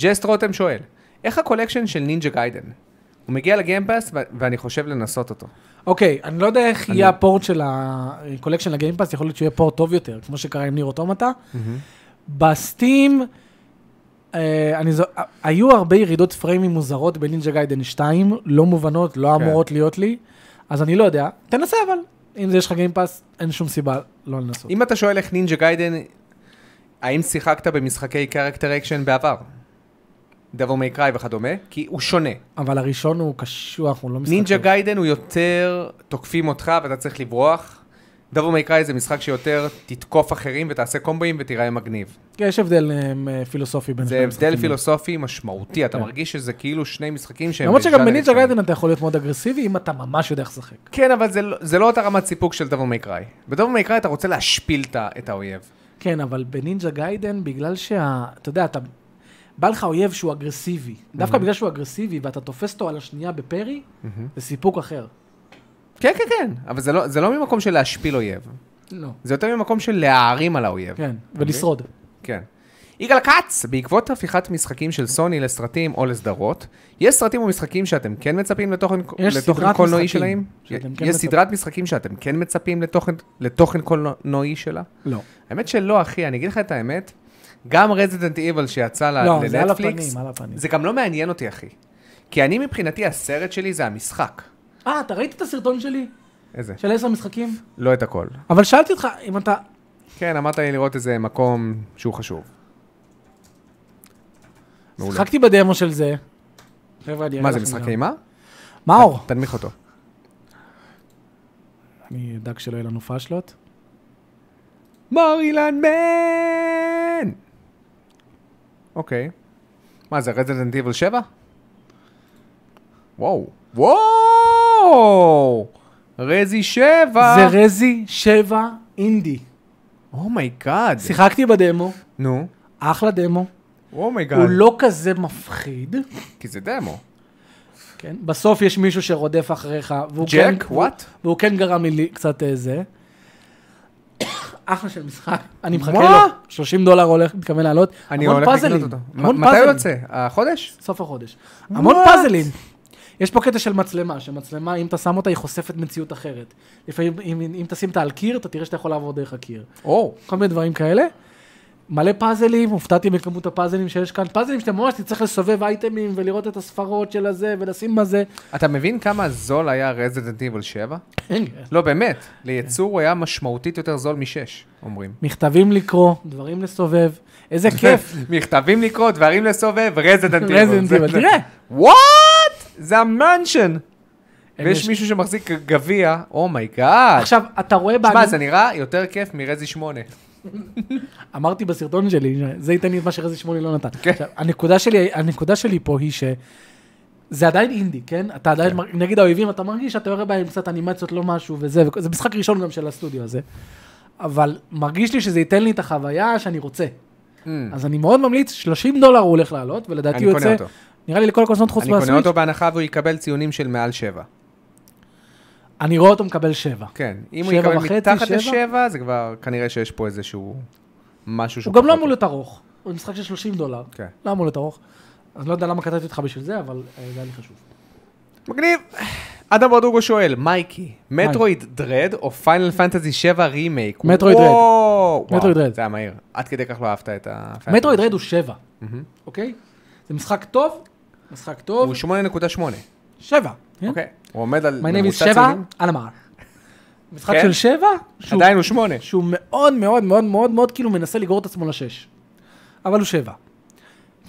Speaker 2: ג'סט רותם שואל, איך הקולקשן של נינג'ה גיידן? הוא מגיע לגיימפאס ו- ואני חושב לנסות אותו.
Speaker 1: אוקיי, אני לא יודע איך
Speaker 2: אני-
Speaker 1: יהיה הפורט של הקולקשן לגיימפאס, יכול להיות שהוא יהיה פורט טוב יותר, כמו שקרה עם ניר אוטומטה. בסטים, אה, אני זו- אה, היו הרבה ירידות פריימים מוזרות בנינג'ה גיידן 2, לא מובנות, לא
Speaker 2: כן.
Speaker 1: אמורות להיות לי, אז אני לא יודע, תנסה אבל. אם זה יש לך גיימפאס, אין שום סיבה לא לנסות.
Speaker 2: אם אתה שואל איך נינג'ה גיידן, האם שיחקת במשחקי קרקטר אקשן בעבר? דבור מי קריי וכדומה? כי הוא שונה.
Speaker 1: אבל הראשון הוא קשוח, הוא לא משחק.
Speaker 2: נינג'ה
Speaker 1: טוב.
Speaker 2: גיידן הוא יותר תוקפים אותך ואתה צריך לברוח. דבור מי קריי זה משחק שיותר תתקוף אחרים ותעשה קומבואים ותיראה מגניב.
Speaker 1: כן, יש הבדל אה, פילוסופי בין
Speaker 2: זה
Speaker 1: שני
Speaker 2: הבדל
Speaker 1: המשחקים.
Speaker 2: פילוסופי משמעותי, אתה
Speaker 1: כן.
Speaker 2: מרגיש שזה כאילו שני משחקים שהם...
Speaker 1: למרות שגם
Speaker 2: בז'אנר
Speaker 1: בנינג'ה
Speaker 2: שונה.
Speaker 1: גיידן אתה יכול להיות מאוד אגרסיבי, אם אתה ממש יודע איך לשחק.
Speaker 2: כן, אבל זה לא- זה לא אותה רמת סיפוק של דבור מי קריי. בדבור מי קריי אתה רוצה להשפיל את ה- את האויב.
Speaker 1: כן, אבל בנינג'ה גיידן, בגלל שה... אתה יודע, אתה... בא לך אויב שהוא אגרסיבי.
Speaker 2: Mhm.
Speaker 1: דווקא בגלל שהוא אגרסיבי ואתה תופס אותו על השנייה בפרי, זה סיפוק אחר.
Speaker 2: כן, כן, כן, אבל זה לא- זה לא ממקום של להשפיל אויב.
Speaker 1: לא.
Speaker 2: זה יותר ממקום של להערים על האויב. אוקיי?
Speaker 1: כן, ולשרוד.
Speaker 2: כן. יגאל כץ, בעקבות הפיכת משחקים של סוני לסרטים או לסדרות, יש סרטים ומשחקים שאתם כן מצפים לתוכן,
Speaker 1: יש
Speaker 2: לתוכן
Speaker 1: סדרת
Speaker 2: קולנועי
Speaker 1: משחקים
Speaker 2: שלהם?
Speaker 1: שאתם כן
Speaker 2: יש
Speaker 1: מצפ-
Speaker 2: סדרת משחקים שאתם כן מצפים לתוכן, לתוכן קולנועי שלה?
Speaker 1: לא.
Speaker 2: האמת שלא, אחי, אני אגיד לך את האמת, גם רזידנט איבל שיצא ל-
Speaker 1: לא,
Speaker 2: לנטפליקס,
Speaker 1: זה על הפנים, על הפנים.
Speaker 2: זה גם לא מעניין אותי, אחי. כי אני מבחינתי, הסרט שלי זה המשחק.
Speaker 1: אה, אתה ראית את הסרטון שלי?
Speaker 2: איזה?
Speaker 1: של עשר משחקים?
Speaker 2: לא את הכל.
Speaker 1: אבל שאלתי אותך, אם אתה...
Speaker 2: כן, אמרת לי לראות איזה מקום שהוא חשוב. מעולה.
Speaker 1: שיחקתי בדמו של זה. חבר'ה, אני אראה
Speaker 2: מה זה, אה.
Speaker 1: לכם
Speaker 2: משחק
Speaker 1: גם.
Speaker 2: אימה?
Speaker 1: מאור.
Speaker 2: תנמיך אותו.
Speaker 1: אני אדאג שלא יהיה לנו פאשלות.
Speaker 2: מור אילן מן! אוקיי. מה זה, רזדנט איבל 7? וואו. וואו! רזי 7!
Speaker 1: זה רזי 7 אינדי.
Speaker 2: אה. אומייגאד.
Speaker 1: שיחקתי בדמו,
Speaker 2: נו.
Speaker 1: אחלה דמו.
Speaker 2: אומייגאד.
Speaker 1: הוא לא כזה מפחיד.
Speaker 2: כי זה דמו.
Speaker 1: כן, בסוף יש מישהו שרודף אחריך, והוא
Speaker 2: ג'ק?
Speaker 1: כן,
Speaker 2: וואט?
Speaker 1: והוא כן גרם לי לי קצת אה, זה. אחלה של משחק, אני מחכה
Speaker 2: מה?
Speaker 1: לו, 30 דולר הולך, מתכוון לעלות,
Speaker 2: אני
Speaker 1: המון
Speaker 2: הולך לקנות
Speaker 1: פאזלים,
Speaker 2: אותו.
Speaker 1: המון
Speaker 2: מ- מתי
Speaker 1: פאזלים.
Speaker 2: הוא יוצא? החודש?
Speaker 1: סוף החודש. המון
Speaker 2: What?
Speaker 1: פאזלים. יש פה קטע של מצלמה, שמצלמה, אם אתה שם אותה, היא חושפת מציאות אחרת. לפעמים, אם, אם תשים אותה על קיר, אתה תראה שאתה יכול לעבור דרך הקיר.
Speaker 2: או.
Speaker 1: כל מיני דברים כאלה. מלא פאזלים, הופתעתי מכמות הפאזלים שיש כאן. פאזלים שאתה ממש תצטרך לסובב אייטמים ולראות את הספרות של הזה ולשים בזה.
Speaker 2: אתה מבין כמה זול היה רזדנט איבל 7? לא, באמת. לייצור הוא היה משמעותית יותר זול משש, אומרים.
Speaker 1: מכתבים לקרוא, דברים לסובב, איזה כיף.
Speaker 2: מכתבים לקרוא, דברים לסובב, רזדנט איבל.
Speaker 1: Resident Evil, תראה.
Speaker 2: וואט! זה המנשן!
Speaker 1: הם
Speaker 2: ויש
Speaker 1: יש-
Speaker 2: מישהו שמחזיק גביע, oh אומייגאד.
Speaker 1: עכשיו, אתה רואה
Speaker 2: תשמע,
Speaker 1: בהגנה,
Speaker 2: אה. זה נראה יותר כיף מרזי שמונה.
Speaker 1: אמרתי בסרטון שלי, זה ייתן לי את מה שרזי שמולי לא נתן.
Speaker 2: כן.
Speaker 1: עכשיו, הנקודה שלי, הנקודה שלי פה היא ש... זה עדיין אינדי, כן? אתה עדיין, מר- נגד האויבים, אתה מרגיש שאתה יורה בהם קצת אנימציות, לא משהו וזה, וכ- זה משחק ראשון גם של הסטודיו הזה. אבל מרגיש לי שזה ייתן לי את החוויה שאני רוצה. אז אני מאוד ממליץ, 30 דולר הוא הולך לעלות, ולדעתי
Speaker 2: Mm. אני
Speaker 1: הוא
Speaker 2: קונה
Speaker 1: יוצא,
Speaker 2: אותו.
Speaker 1: נראה לי לכל הקונסולות חוץ
Speaker 2: אני קונה
Speaker 1: מהסוויץ',
Speaker 2: אותו בהנחה והוא יקבל ציונים של מעל שבע.
Speaker 1: אני רואה אותו מקבל 7.
Speaker 2: כן, אם הוא
Speaker 1: שבע
Speaker 2: יקבל
Speaker 1: וחצי,
Speaker 2: מתחת
Speaker 1: שבע?
Speaker 2: לשבע, זה כבר, כנראה שיש פה איזשהו משהו
Speaker 1: הוא גם לא
Speaker 2: פחות-
Speaker 1: אמור להיות ארוך, הוא משחק של 30 דולר,
Speaker 2: כן.
Speaker 1: לא אמור להיות ארוך. אז לא יודע למה קטעתי אותך בשביל זה, אבל אה, זה היה לי חשוב.
Speaker 2: מגניב. אדם ברדוגו שואל, מייקי, מטרויד דרד או פיינל פנטזי 7 רימייק?
Speaker 1: מטרויד דרד.
Speaker 2: מטרויד
Speaker 1: מטרויד דרד.
Speaker 2: זה היה מהיר. עד כדי כך לא אהבת את ה...
Speaker 1: מטרויד רד הוא 7, אוקיי? זה משחק טוב, משחק טוב,
Speaker 2: הוא 8.8.
Speaker 1: 7.
Speaker 2: אוקיי. הוא עומד על
Speaker 1: My name is
Speaker 2: ממוצע
Speaker 1: 7,
Speaker 2: ציונים.
Speaker 1: אלמר. משחק
Speaker 2: כן?
Speaker 1: של 7,
Speaker 2: עדיין הוא 8.
Speaker 1: שהוא מאוד מאוד מאוד מאוד מאוד כאילו מנסה לגרור את עצמו לשש. אבל הוא שבע.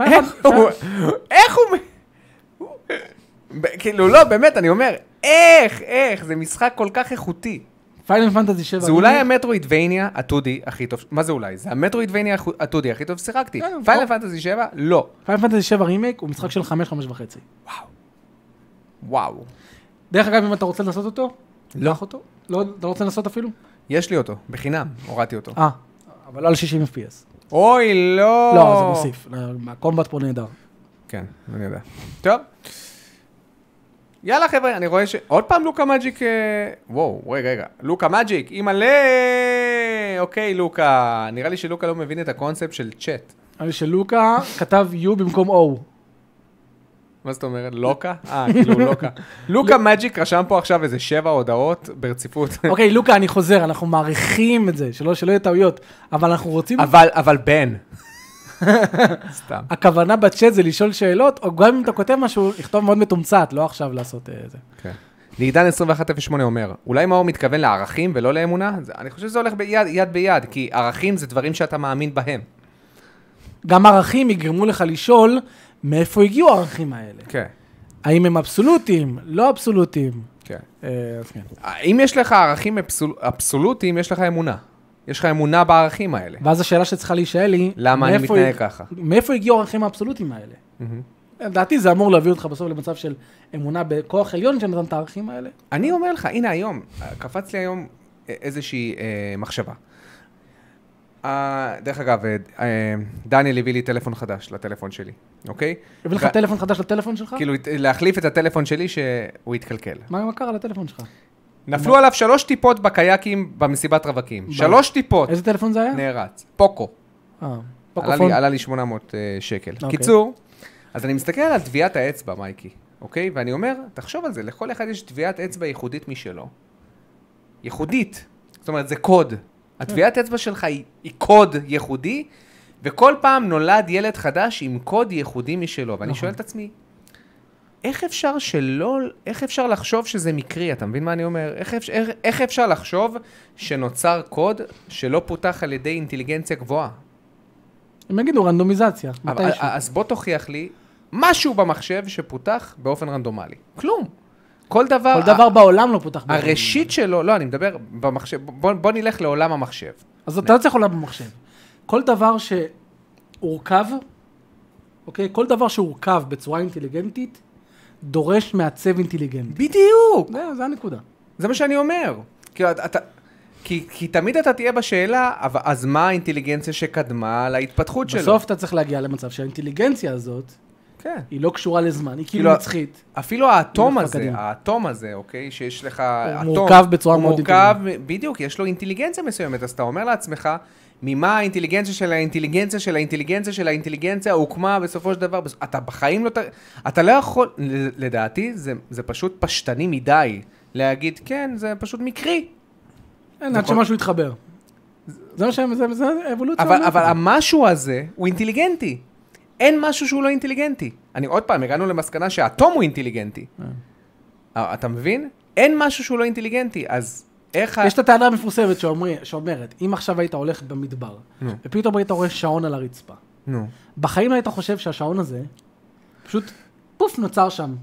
Speaker 2: איך אה, הוא... איך הוא... ב- כאילו, לא, באמת, אני אומר, איך, איך, זה משחק כל כך איכותי.
Speaker 1: פיינל פנטזי 7.
Speaker 2: זה אולי המטרואידבניה ה-2D הכי טוב, מה זה אולי? זה המטרואידבניה ה-2D הכי טוב ששיחקתי.
Speaker 1: כן,
Speaker 2: פיינל
Speaker 1: לא.
Speaker 2: פנטזי 7? לא.
Speaker 1: פיינל פנטזי 7 רימייק הוא משחק של 5 5 וחצי.
Speaker 2: וואו.
Speaker 1: דרך אגב, אם אתה רוצה לנסות אותו, לא. אותו. לא, אתה לא רוצה לנסות אפילו?
Speaker 2: יש לי אותו, בחינם, הורדתי אותו.
Speaker 1: אה, אבל לא על 60 FPS.
Speaker 2: אוי, לא.
Speaker 1: לא, זה מוסיף. הקומבט פה נהדר.
Speaker 2: כן, אני יודע. טוב. יאללה חבר'ה, אני רואה ש... עוד פעם לוקה מג'יק... אה, וואו, רגע, רגע. לוקה מג'יק, אימא'לה! אוקיי, לוקה. נראה לי שלוקה לא מבין את הקונספט של צ'אט.
Speaker 1: נראה לי שלוקה כתב U במקום O.
Speaker 2: מה זאת אומרת? לוקה? אה, כאילו לוקה. לוקה מג'יק רשם פה עכשיו איזה שבע הודעות ברציפות.
Speaker 1: לא. אוקיי, לוקה, אני חוזר, אנחנו מעריכים את זה, שלא שלא יהיו טעויות, אבל אנחנו רוצים...
Speaker 2: אבל, אבל בן. סתם.
Speaker 1: הכוונה בצ'אט זה לשאול שאלות, או גם אם אתה כותב משהו, לכתוב מאוד מתומצת, לא עכשיו לעשות אה, זה.
Speaker 2: כן. לעידן 2108 אומר, אולי מאור מתכוון לערכים ולא לאמונה? זה- אני חושב שזה הולך ביד, יד ביד, כי ערכים זה דברים שאתה מאמין בהם.
Speaker 1: גם ערכים יגרמו לך לשאול מאיפה הגיעו הערכים האלה.
Speaker 2: כן,
Speaker 1: האם הם אבסולוטיים, לא אבסולוטיים.
Speaker 2: כן.
Speaker 1: אה, אז כן.
Speaker 2: אם יש לך ערכים אבסול, אבסולוטיים, יש לך אמונה. יש לך אמונה בערכים האלה.
Speaker 1: ואז השאלה שצריכה להישאל היא,
Speaker 2: למה אני
Speaker 1: מאיפה
Speaker 2: מתנהג
Speaker 1: הג-
Speaker 2: ככה?
Speaker 1: מאיפה הגיעו הערכים האבסולוטיים האלה? לדעתי זה אמור להביא אותך בסוף למצב של אמונה בכוח עליון שנתן את הערכים האלה.
Speaker 2: אני אומר לך, הנה היום, קפץ לי היום א- איזושהי אה, מחשבה. אה, דרך אגב, אה, אה, דניאל הביא לי טלפון חדש לטלפון שלי, אוקיי?
Speaker 1: הביא לך
Speaker 2: ו-
Speaker 1: טלפון חדש לטלפון שלך?
Speaker 2: כאילו, הת- להחליף את הטלפון שלי שהוא יתקלקל.
Speaker 1: מה מה קרה לטלפון שלך?
Speaker 2: אוקיי. נפלו עליו שלוש טיפות בקייקים במסיבת רווקים. שלוש טיפות.
Speaker 1: איזה טלפון זה היה?
Speaker 2: נערץ. פוקו.
Speaker 1: אה,
Speaker 2: עלה
Speaker 1: פוקופון.
Speaker 2: לי- עלה לי 800 אה, שקל.
Speaker 1: אוקיי.
Speaker 2: קיצור, אז אני מסתכל על טביעת האצבע, מייקי, אוקיי? ואני אומר, תחשוב על זה, לכל אחד יש טביעת אצבע ייחודית משלו. ייחודית. זאת אומרת, זה קוד. הטביעת אצבע שלך היא היא קוד ייחודי, וכל פעם נולד ילד חדש עם קוד ייחודי משלו. ואני שואל את עצמי, איך אפשר שלא, איך אפשר לחשוב שזה מקרי, אתה מבין מה אני אומר? איך, אפשר, איך, איך אפשר לחשוב שנוצר קוד שלא פותח על ידי אינטליגנציה גבוהה?
Speaker 1: הם יגידו רנדומיזציה,
Speaker 2: אבל- אה,
Speaker 1: מתישהו.
Speaker 2: אז בוא תוכיח לי משהו במחשב שפותח באופן רנדומלי. כלום. כל דבר...
Speaker 1: כל דבר בעולם לא פותח. באופן
Speaker 2: הראשית שלו, לא, אני מדבר במחשב, בוא, בוא נלך לעולם המחשב.
Speaker 1: אז אתה לא צריך עולם במחשב. כל דבר שהורכב, אוקיי? כל דבר שהורכב בצורה אינטליגנטית, דורש מעצב אינטליגנטי.
Speaker 2: בדיוק.
Speaker 1: זהו, זה הנקודה.
Speaker 2: זה מה שאני אומר. כי, אתה, כי, כי תמיד אתה תהיה בשאלה, אבל, אז מה האינטליגנציה שקדמה להתפתחות שלו?
Speaker 1: בסוף אתה צריך להגיע למצב שהאינטליגנציה הזאת,
Speaker 2: כן.
Speaker 1: היא לא קשורה לזמן, היא כאילו
Speaker 2: כאילו,
Speaker 1: נצחית.
Speaker 2: אפילו האטום
Speaker 1: הולך
Speaker 2: הזה,
Speaker 1: לקדימה.
Speaker 2: האטום הזה, אוקיי, שיש לך...
Speaker 1: הוא
Speaker 2: אטום,
Speaker 1: מורכב בצורה
Speaker 2: הוא
Speaker 1: מאוד
Speaker 2: מורכב, בדיוק, יש לו אינטליגנציה מסוימת, אז אתה אומר לעצמך, ממה האינטליגנציה של האינטליגנציה של האינטליגנציה של האינטליגנציה הוקמה בסופו של דבר, בס- אתה בחיים לא... ת- אתה לא יכול, ל- לדעתי, זה, זה פשוט פשטני מדי להגיד, כן, זה פשוט מקרי.
Speaker 1: אין, עד
Speaker 2: נכון.
Speaker 1: שמשהו יתחבר. זה מה שהם, זה- זה האבולוציה.
Speaker 2: אבל,
Speaker 1: אומרת
Speaker 2: אבל
Speaker 1: את זה.
Speaker 2: המשהו הזה הוא אינטליגנטי. אין משהו שהוא לא אינטליגנטי. אני עוד פעם, הגענו למסקנה שהאטום הוא אינטליגנטי. אה, אתה מבין? אין משהו שהוא לא אינטליגנטי, אז איך ה...
Speaker 1: יש את הטענה המפורסמת שאומר- שאומרת, אם עכשיו היית הולך במדבר, ופתאום היית רואה שעון על הרצפה,
Speaker 2: נו.
Speaker 1: בחיים לא היית חושב שהשעון הזה, פשוט, פוף, נוצר שם.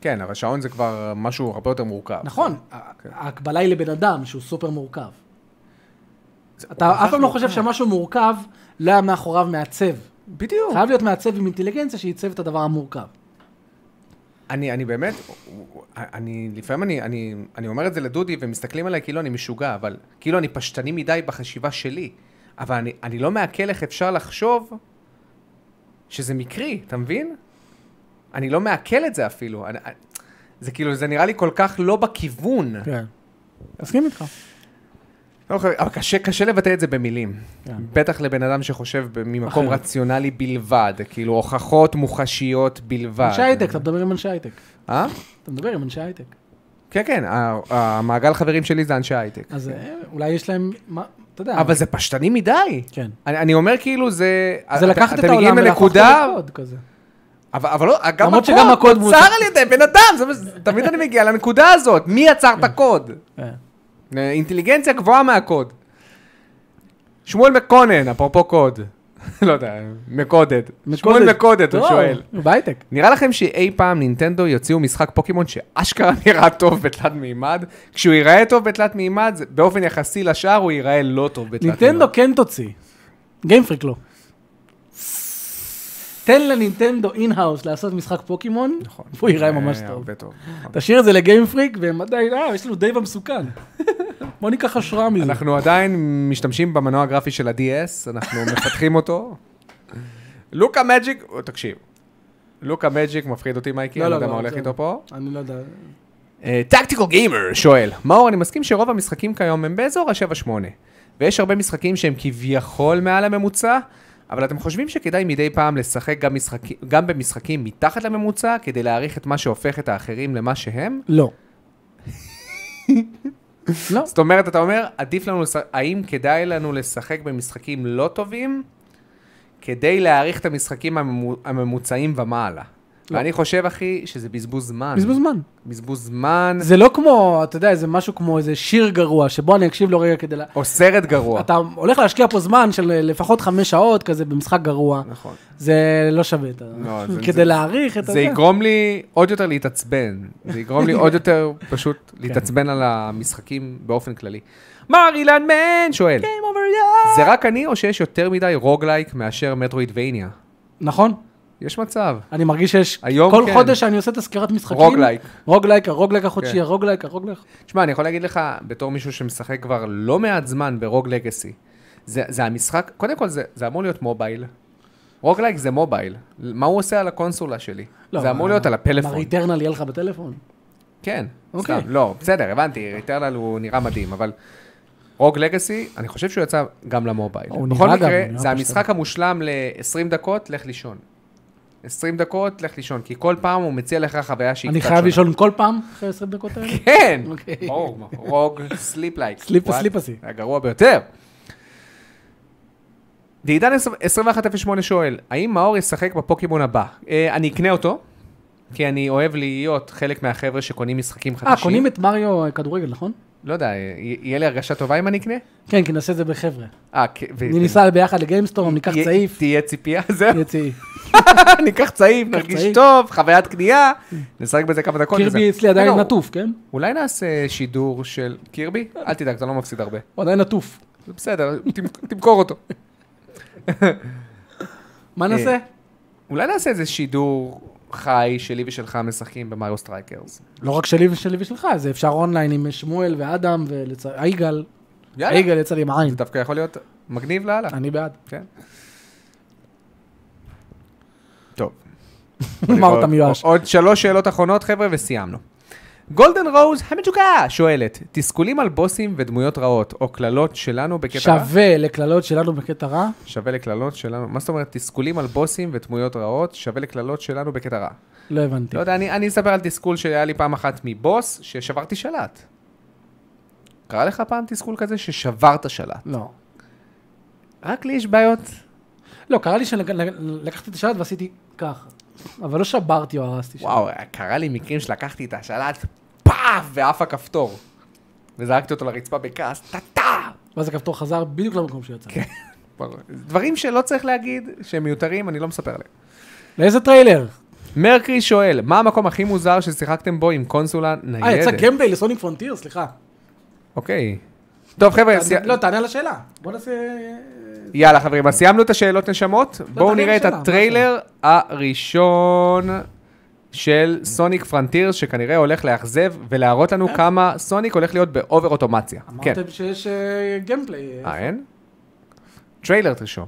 Speaker 2: כן, אבל שעון זה כבר משהו הרבה יותר מורכב.
Speaker 1: נכון,
Speaker 2: אה, כן.
Speaker 1: ההקבלה היא לבן אדם שהוא סופר מורכב. אתה אף פעם לא חושב שמשהו מורכב לא היה מאחוריו מעצב.
Speaker 2: בדיוק.
Speaker 1: חייב להיות מעצב עם אינטליגנציה שייצב את הדבר המורכב.
Speaker 2: אני, אני באמת, אני, לפעמים אני, אני, אני אומר את זה לדודי, ומסתכלים עליי כאילו אני משוגע, אבל כאילו אני פשטני מדי בחשיבה שלי. אבל אני, אני לא מעכל איך אפשר לחשוב שזה מקרי, אתה מבין? אני לא מעכל את זה אפילו. אני, אני- זה כאילו, זה נראה לי כל כך לא בכיוון.
Speaker 1: כן. מסכים איתך.
Speaker 2: לא יכול- אבל קשה, קשה לבטא את זה במילים.
Speaker 1: כן.
Speaker 2: בטח לבן אדם שחושב ב- ממקום
Speaker 1: אחרת.
Speaker 2: רציונלי בלבד, כאילו הוכחות מוחשיות בלבד.
Speaker 1: אנשי הייטק, אתה מדבר עם אנשי הייטק.
Speaker 2: אה?
Speaker 1: אתה מדבר עם אנשי הייטק.
Speaker 2: כן, כן, ה- המעגל חברים שלי זה אנשי הייטק.
Speaker 1: אז אה, אולי יש להם, מה- אתה יודע.
Speaker 2: אבל זה פשטני מדי.
Speaker 1: כן.
Speaker 2: אני, אני אומר כאילו זה...
Speaker 1: זה
Speaker 2: אתה-
Speaker 1: לקחת את
Speaker 2: אתם מגיעים
Speaker 1: העולם ולהפוך אותו
Speaker 2: לנקודה-
Speaker 1: לקוד כזה.
Speaker 2: אבל, אבל לא, גם
Speaker 1: למרות
Speaker 2: הקוד,
Speaker 1: שגם הקוד
Speaker 2: נוצר
Speaker 1: מוצר.
Speaker 2: על ידי בן אדם, זה, מה ש- תמיד אני מגיע לנקודה הזאת, מי יצר את הקוד?
Speaker 1: כן.
Speaker 2: אה, אינטליגנציה גבוהה מהקוד. שמואל מקונן, אפרופו קוד. לא יודע, מקודד. שמואל מקודד, הוא
Speaker 1: לא,
Speaker 2: שואל.
Speaker 1: הוא בהייטק.
Speaker 2: נראה לכם שאי פעם נינטנדו יוציאו משחק פוקימון שאשכרה נראה טוב בתלת מימד? כשהוא ייראה טוב בתלת מימד, זה- באופן יחסי לשאר הוא ייראה לא טוב בתלת מימד.
Speaker 1: נינטנדו כן תוציא. גיימפריק לא. תן לנינטנדו אין-האוס לעשות משחק פוקימון, והוא ייראה ממש
Speaker 2: אה,
Speaker 1: טוב.
Speaker 2: הרבה טוב. נכון.
Speaker 1: תשאיר את זה לגיימפריק, והם עדיין, אה, יש לנו דייב המסוכן. בוא ניקח השראה מזה.
Speaker 2: אנחנו עדיין משתמשים במנוע הגרפי של ה-DS, אנחנו מפתחים אותו. לוקה מג'יק, תקשיב, לוקה מג'יק מפחיד אותי מייקי,
Speaker 1: לא,
Speaker 2: אני לא
Speaker 1: לא,
Speaker 2: יודע
Speaker 1: לא,
Speaker 2: מה הולך
Speaker 1: זה-
Speaker 2: איתו פה.
Speaker 1: אני לא יודע.
Speaker 2: טקטיקל גיימר אה, שואל, מאור, אני מסכים שרוב המשחקים כיום הם באזור ה-7-8, ויש הרבה משחקים שהם כביכול מעל הממוצע, אבל אתם חושבים שכדאי מדי פעם לשחק גם, משחק... גם במשחקים מתחת לממוצע, כדי להעריך את מה שהופך את האחרים למה שהם?
Speaker 1: לא. לא.
Speaker 2: זאת אומרת, אתה אומר, עדיף לנו, לש... האם כדאי לנו לשחק במשחקים לא טובים, כדי להעריך את המשחקים הממו... הממוצעים ומעלה?
Speaker 1: לא.
Speaker 2: ואני חושב, אחי, שזה בזבוז זמן.
Speaker 1: בזבוז זמן.
Speaker 2: בזבוז זמן,
Speaker 1: זה לא כמו, אתה יודע, איזה משהו כמו איזה שיר גרוע, שבו אני אקשיב לו רגע כדי ל...
Speaker 2: או סרט גרוע.
Speaker 1: אתה הולך להשקיע פה זמן של אה, לפחות חמש שעות כזה במשחק גרוע.
Speaker 2: נכון.
Speaker 1: זה לא שווה את ה...
Speaker 2: לא, זה- זה-
Speaker 1: כדי להעריך את
Speaker 2: זה יגרום לי עוד יותר להתעצבן. זה יגרום לי עוד יותר פשוט להתעצבן על המשחקים באופן כללי. מר אילן מן שואל, זה רק אני או שיש יותר מדי רוגלייק מאשר מטרואידבניה?
Speaker 1: נכון.
Speaker 2: יש מצב.
Speaker 1: אני מרגיש שיש,
Speaker 2: היום
Speaker 1: כל
Speaker 2: כן.
Speaker 1: חודש שאני עושה את הסקירת משחקים,
Speaker 2: רוגלייק.
Speaker 1: רוגלייק, הרוגלייק החודשי,
Speaker 2: כן.
Speaker 1: הרוגלייק, הרוגלייק,
Speaker 2: תשמע, אני יכול להגיד לך, בתור מישהו שמשחק כבר לא מעט זמן ברוג לגאסי, זה, זה המשחק, קודם כל זה, זה אמור להיות מובייל. רוגלייק זה מובייל. מה הוא עושה על הקונסולה שלי?
Speaker 1: לא,
Speaker 2: זה אמור
Speaker 1: מה-
Speaker 2: להיות על
Speaker 1: מר
Speaker 2: הפלאפון.
Speaker 1: איטרנל יהיה לך בטלפון.
Speaker 2: כן,
Speaker 1: אוקיי.
Speaker 2: סתם, לא, בסדר, הבנתי, ריטרנל הוא נראה מדהים, אבל רוג לגאסי, אני חושב שהוא יצא גם למובייל.
Speaker 1: הוא
Speaker 2: בכל
Speaker 1: נראה גם,
Speaker 2: מקרה,
Speaker 1: הוא נראה
Speaker 2: זה המשחק
Speaker 1: פשוט.
Speaker 2: המושלם ל-20 דקות, לך לישון. 20 דקות, לך לישון, כי כל פעם הוא מציע לך חוויה שהיא
Speaker 1: אני
Speaker 2: קצת
Speaker 1: חייב
Speaker 2: שונה.
Speaker 1: לישון כל פעם אחרי 20 דקות האלה?
Speaker 2: כן,
Speaker 1: אוקיי.
Speaker 2: רוג, רוג, סליפ לייק.
Speaker 1: Sleep asleep asleep.
Speaker 2: הגרוע ביותר. ועידן 2108 שואל, האם מאור ישחק בפוקימון הבא? אה, אני אקנה אותו, כי אני אוהב להיות חלק מהחבר'ה שקונים משחקים חדשים.
Speaker 1: אה, קונים את מריו אה, כדורגל, נכון?
Speaker 2: לא יודע, אה, יהיה לי הרגשה טובה אם אני אקנה?
Speaker 1: כן, כי נעשה את זה בחבר'ה.
Speaker 2: אה, כן. ו-
Speaker 1: אני ניסע ביחד לגיימסטורם, ניקח
Speaker 2: תהיה-
Speaker 1: צעיף,
Speaker 2: תהיה ציפייה, זהו.
Speaker 1: יהיה צעיף.
Speaker 2: ניקח צעיף, נרגיש
Speaker 1: צעיף.
Speaker 2: טוב, חוויית קנייה, נשחק בזה כמה דקות.
Speaker 1: כן. קירבי
Speaker 2: וזה-
Speaker 1: אצלי עדיין
Speaker 2: רגע,
Speaker 1: נטוף, כן?
Speaker 2: אולי נעשה שידור של קירבי? אל תדאג, אתה לא מפסיד הרבה.
Speaker 1: הוא עדיין נטוף.
Speaker 2: זה בסדר, תמ- תמכור אותו.
Speaker 1: מה
Speaker 2: אה.
Speaker 1: נעשה?
Speaker 2: אולי נעשה איזה שידור חי שלי ושלך משחקים במריו סטרייקרס.
Speaker 1: לא רק שלי ושלי ושלך, זה אפשר אונליין עם שמואל ואדם ויגאל.
Speaker 2: יאללה.
Speaker 1: יגאל יצא לי עם עין.
Speaker 2: זה דווקא יכול להיות מגניב לאללה.
Speaker 1: אני בעד.
Speaker 2: כן. טוב.
Speaker 1: מה
Speaker 2: עוד-
Speaker 1: אתה מיואש?
Speaker 2: עוד שלוש שאלות אחרונות, חבר'ה, וסיימנו. גולדן רוז המצוקה שואלת, תסכולים על בוסים ודמויות רעות, או קללות שלנו בקטע רע?
Speaker 1: שווה לקללות שלנו בקטע רע.
Speaker 2: שווה לקללות שלנו, מה זאת אומרת, תסכולים על בוסים ודמויות רעות, שווה לקללות שלנו בקטע רע.
Speaker 1: לא הבנתי.
Speaker 2: לא יודע, אני, אני אספר על תסכול שהיה לי פעם אחת מבוס, ששברתי שלט. קרה לך פעם תסכול כזה ששברת שלט?
Speaker 1: לא.
Speaker 2: רק לי יש בעיות.
Speaker 1: לא, קרה לי שלקחתי את השלט ועשיתי ככה. אבל לא שברתי או הרסתי שלט.
Speaker 2: וואו, קרה לי מקרים שלקחתי את השלט, פאף, ועף הכפתור. וזרקתי אותו לרצפה בכעס, טה-טה!
Speaker 1: ואז הכפתור חזר בדיוק למקום שיצא.
Speaker 2: כן. ברור. דברים שלא צריך להגיד, שהם מיותרים, אני לא מספר עליהם.
Speaker 1: לאיזה טריילר? אה,
Speaker 2: מרקרי שואל, מה המקום הכי מוזר ששיחקתם בו עם קונסולה ניידת?
Speaker 1: אה, יצא גמפליי לסוניק פרונטיר, סליחה.
Speaker 2: כן, אוקיי. טוב, חבר'ה, סי...
Speaker 1: לא, תענה על השאלה. בוא נעשה...
Speaker 2: יאללה, חברים, אז סיימנו את השאלות נשמות. בואו
Speaker 1: תענה
Speaker 2: נראה את
Speaker 1: לשאלה,
Speaker 2: הטריילר הראשון של סוניק פרנטיר, שכנראה הולך לאכזב ולהראות
Speaker 1: אה?
Speaker 2: לנו כמה סוניק הולך להיות באובר אוטומציה. כן.
Speaker 1: אמרתם שיש אה, גמפליי.
Speaker 2: אה, אין? טריילר תרשום.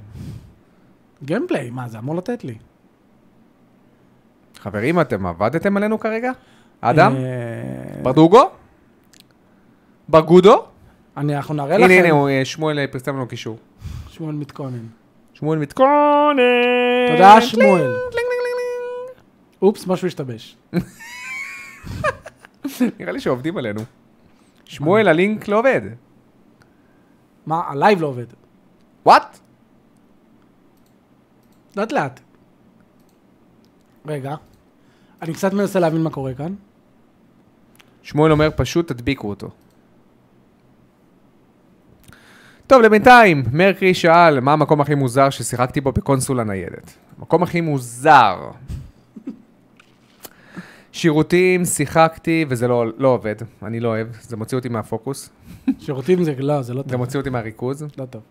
Speaker 1: גיימפליי, מה, זה אמור לתת לי.
Speaker 2: חברים, אתם עבדתם עלינו כרגע? אדם?
Speaker 1: אה,
Speaker 2: ברדוגו? ברגודו?
Speaker 1: אני, אנחנו נראה לכם.
Speaker 2: הנה, הנה, הוא, אה, שמואל אה, פרסם לנו קישור.
Speaker 1: שמואל מתכונן.
Speaker 2: שמואל מתכונן.
Speaker 1: תודה, שמואל. אופס, משהו השתבש.
Speaker 2: נראה לי שעובדים עלינו. שמואל, הלינק לא עובד.
Speaker 1: מה, הלייב לא עובד.
Speaker 2: וואט?
Speaker 1: לאט לאט. רגע. אני קצת מנסה להבין מה קורה כאן.
Speaker 2: שמואל אומר, פשוט תדביקו אותו. טוב, לבינתיים, מרקרי שאל, מה המקום הכי מוזר ששיחקתי בו בקונסולה ניידת? המקום הכי מוזר. שירותים, שיחקתי, וזה לא, לא עובד. אני לא אוהב, זה מוציא אותי מהפוקוס,
Speaker 1: שירותים זה, לא, זה לא
Speaker 2: זה
Speaker 1: טוב.
Speaker 2: מוציא אותי מהריכוז.
Speaker 1: לא טוב.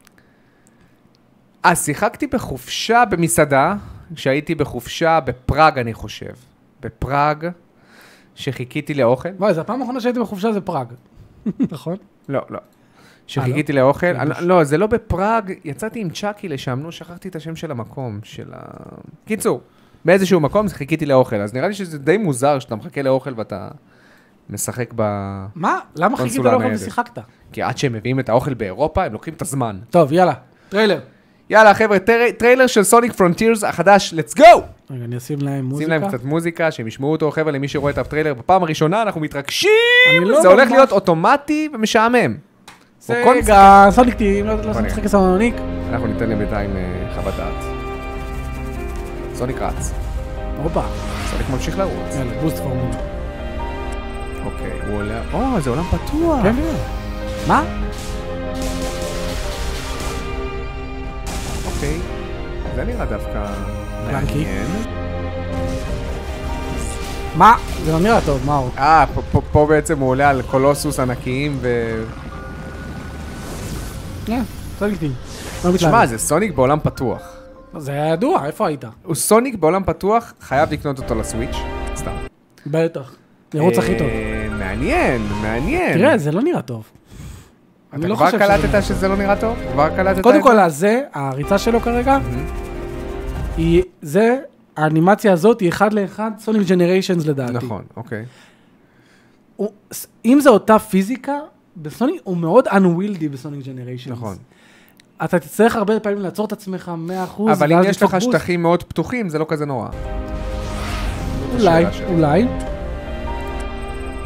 Speaker 2: אז שיחקתי בחופשה במסעדה, כשהייתי בחופשה בפראג, אני חושב. בפראג, שחיכיתי לאוכל.
Speaker 1: וואי, זו הפעם האחרונה שהייתי בחופשה זה פראג. נכון?
Speaker 2: לא, לא.
Speaker 1: אה,
Speaker 2: שחיכיתי לאוכל,
Speaker 1: חידוש.
Speaker 2: אני- לא, זה לא בפראג, יצאתי עם צ'אקי לשם, נו, שכחתי את השם של המקום, של ה... קיצור, באיזשהו מקום חיכיתי לאוכל, אז נראה לי שזה די מוזר שאתה מחכה לאוכל ואתה משחק ב...
Speaker 1: מה? למה חיכית
Speaker 2: קונסולה
Speaker 1: לאוכל
Speaker 2: ניידת.
Speaker 1: ושיחקת?
Speaker 2: כי עד שהם מביאים את האוכל באירופה, הם לוקחים את הזמן.
Speaker 1: טוב, יאללה. טריילר.
Speaker 2: יאללה, חבר'ה, טרי- טריילר של סוניק פרונטירס החדש, let's go!
Speaker 1: רגע, אני אשים להם
Speaker 2: שים
Speaker 1: מוזיקה.
Speaker 2: להם קצת מוזיקה, שהם ישמעו אותו, חבר'ה, למי שרואה את הטריילר בפעם הראשונה, אנחנו מתרגשים!
Speaker 1: אני לא
Speaker 2: זה הולך
Speaker 1: ממש-
Speaker 2: להיות אוטומטי ומשעמם. או כל
Speaker 1: רגע, סוניק טים, לא לא
Speaker 2: בוא נראה.
Speaker 1: משחק סוניק.
Speaker 2: אנחנו ניתן להם בינתיים אה, חוות דעת. סוניק רץ,
Speaker 1: הופה.
Speaker 2: סוניק ממשיך לרוץ.
Speaker 1: יאללה, בוסט פורמולה.
Speaker 2: אוקיי, הוא עולה... או, זה עולם פתוח.
Speaker 1: כן, כן. מה?
Speaker 2: אוקיי. זה נראה דווקא
Speaker 1: בנקי.
Speaker 2: מעניין.
Speaker 1: מה? זה לא נראה טוב, מאור.
Speaker 2: אה, פה- פה- פה בעצם הוא עולה על קולוסוס ענקיים ו...
Speaker 1: כן, סוניק טים. לא
Speaker 2: אה. תשמע,
Speaker 1: מתלהב.
Speaker 2: זה סוניק בעולם פתוח.
Speaker 1: זה היה ידוע, איפה היית?
Speaker 2: הוא סוניק בעולם פתוח, חייב לקנות אותו לסוויץ'. סתם.
Speaker 1: בטח. נרוץ הכי טוב.
Speaker 2: אה, מעניין, מעניין.
Speaker 1: תראה, זה לא נראה טוב.
Speaker 2: אתה
Speaker 1: אני לא
Speaker 2: כבר
Speaker 1: חושב שזה נראה
Speaker 2: קלטת שזה לא נראה טוב? כבר קלטת את
Speaker 1: קודם
Speaker 2: זה?
Speaker 1: כל, הזה, הריצה שלו כרגע,
Speaker 2: Mhm.
Speaker 1: היא, זה, האנימציה הזאת היא אחד לאחד סוניק ג'נריישנס לדעתי.
Speaker 2: נכון, אוקיי.
Speaker 1: הוא- ס- אם זו אותה פיזיקה, בסוניק הוא מאוד unwieldy בסוניק ג'נריישנס.
Speaker 2: נכון.
Speaker 1: אתה תצטרך הרבה פעמים לעצור את עצמך 100%,
Speaker 2: אבל אם
Speaker 1: ואז
Speaker 2: יש
Speaker 1: לדפוק
Speaker 2: לך
Speaker 1: בוסט.
Speaker 2: שטחים מאוד פתוחים, זה לא כזה נורא.
Speaker 1: אולי,
Speaker 2: השאלה שלי.
Speaker 1: אולי.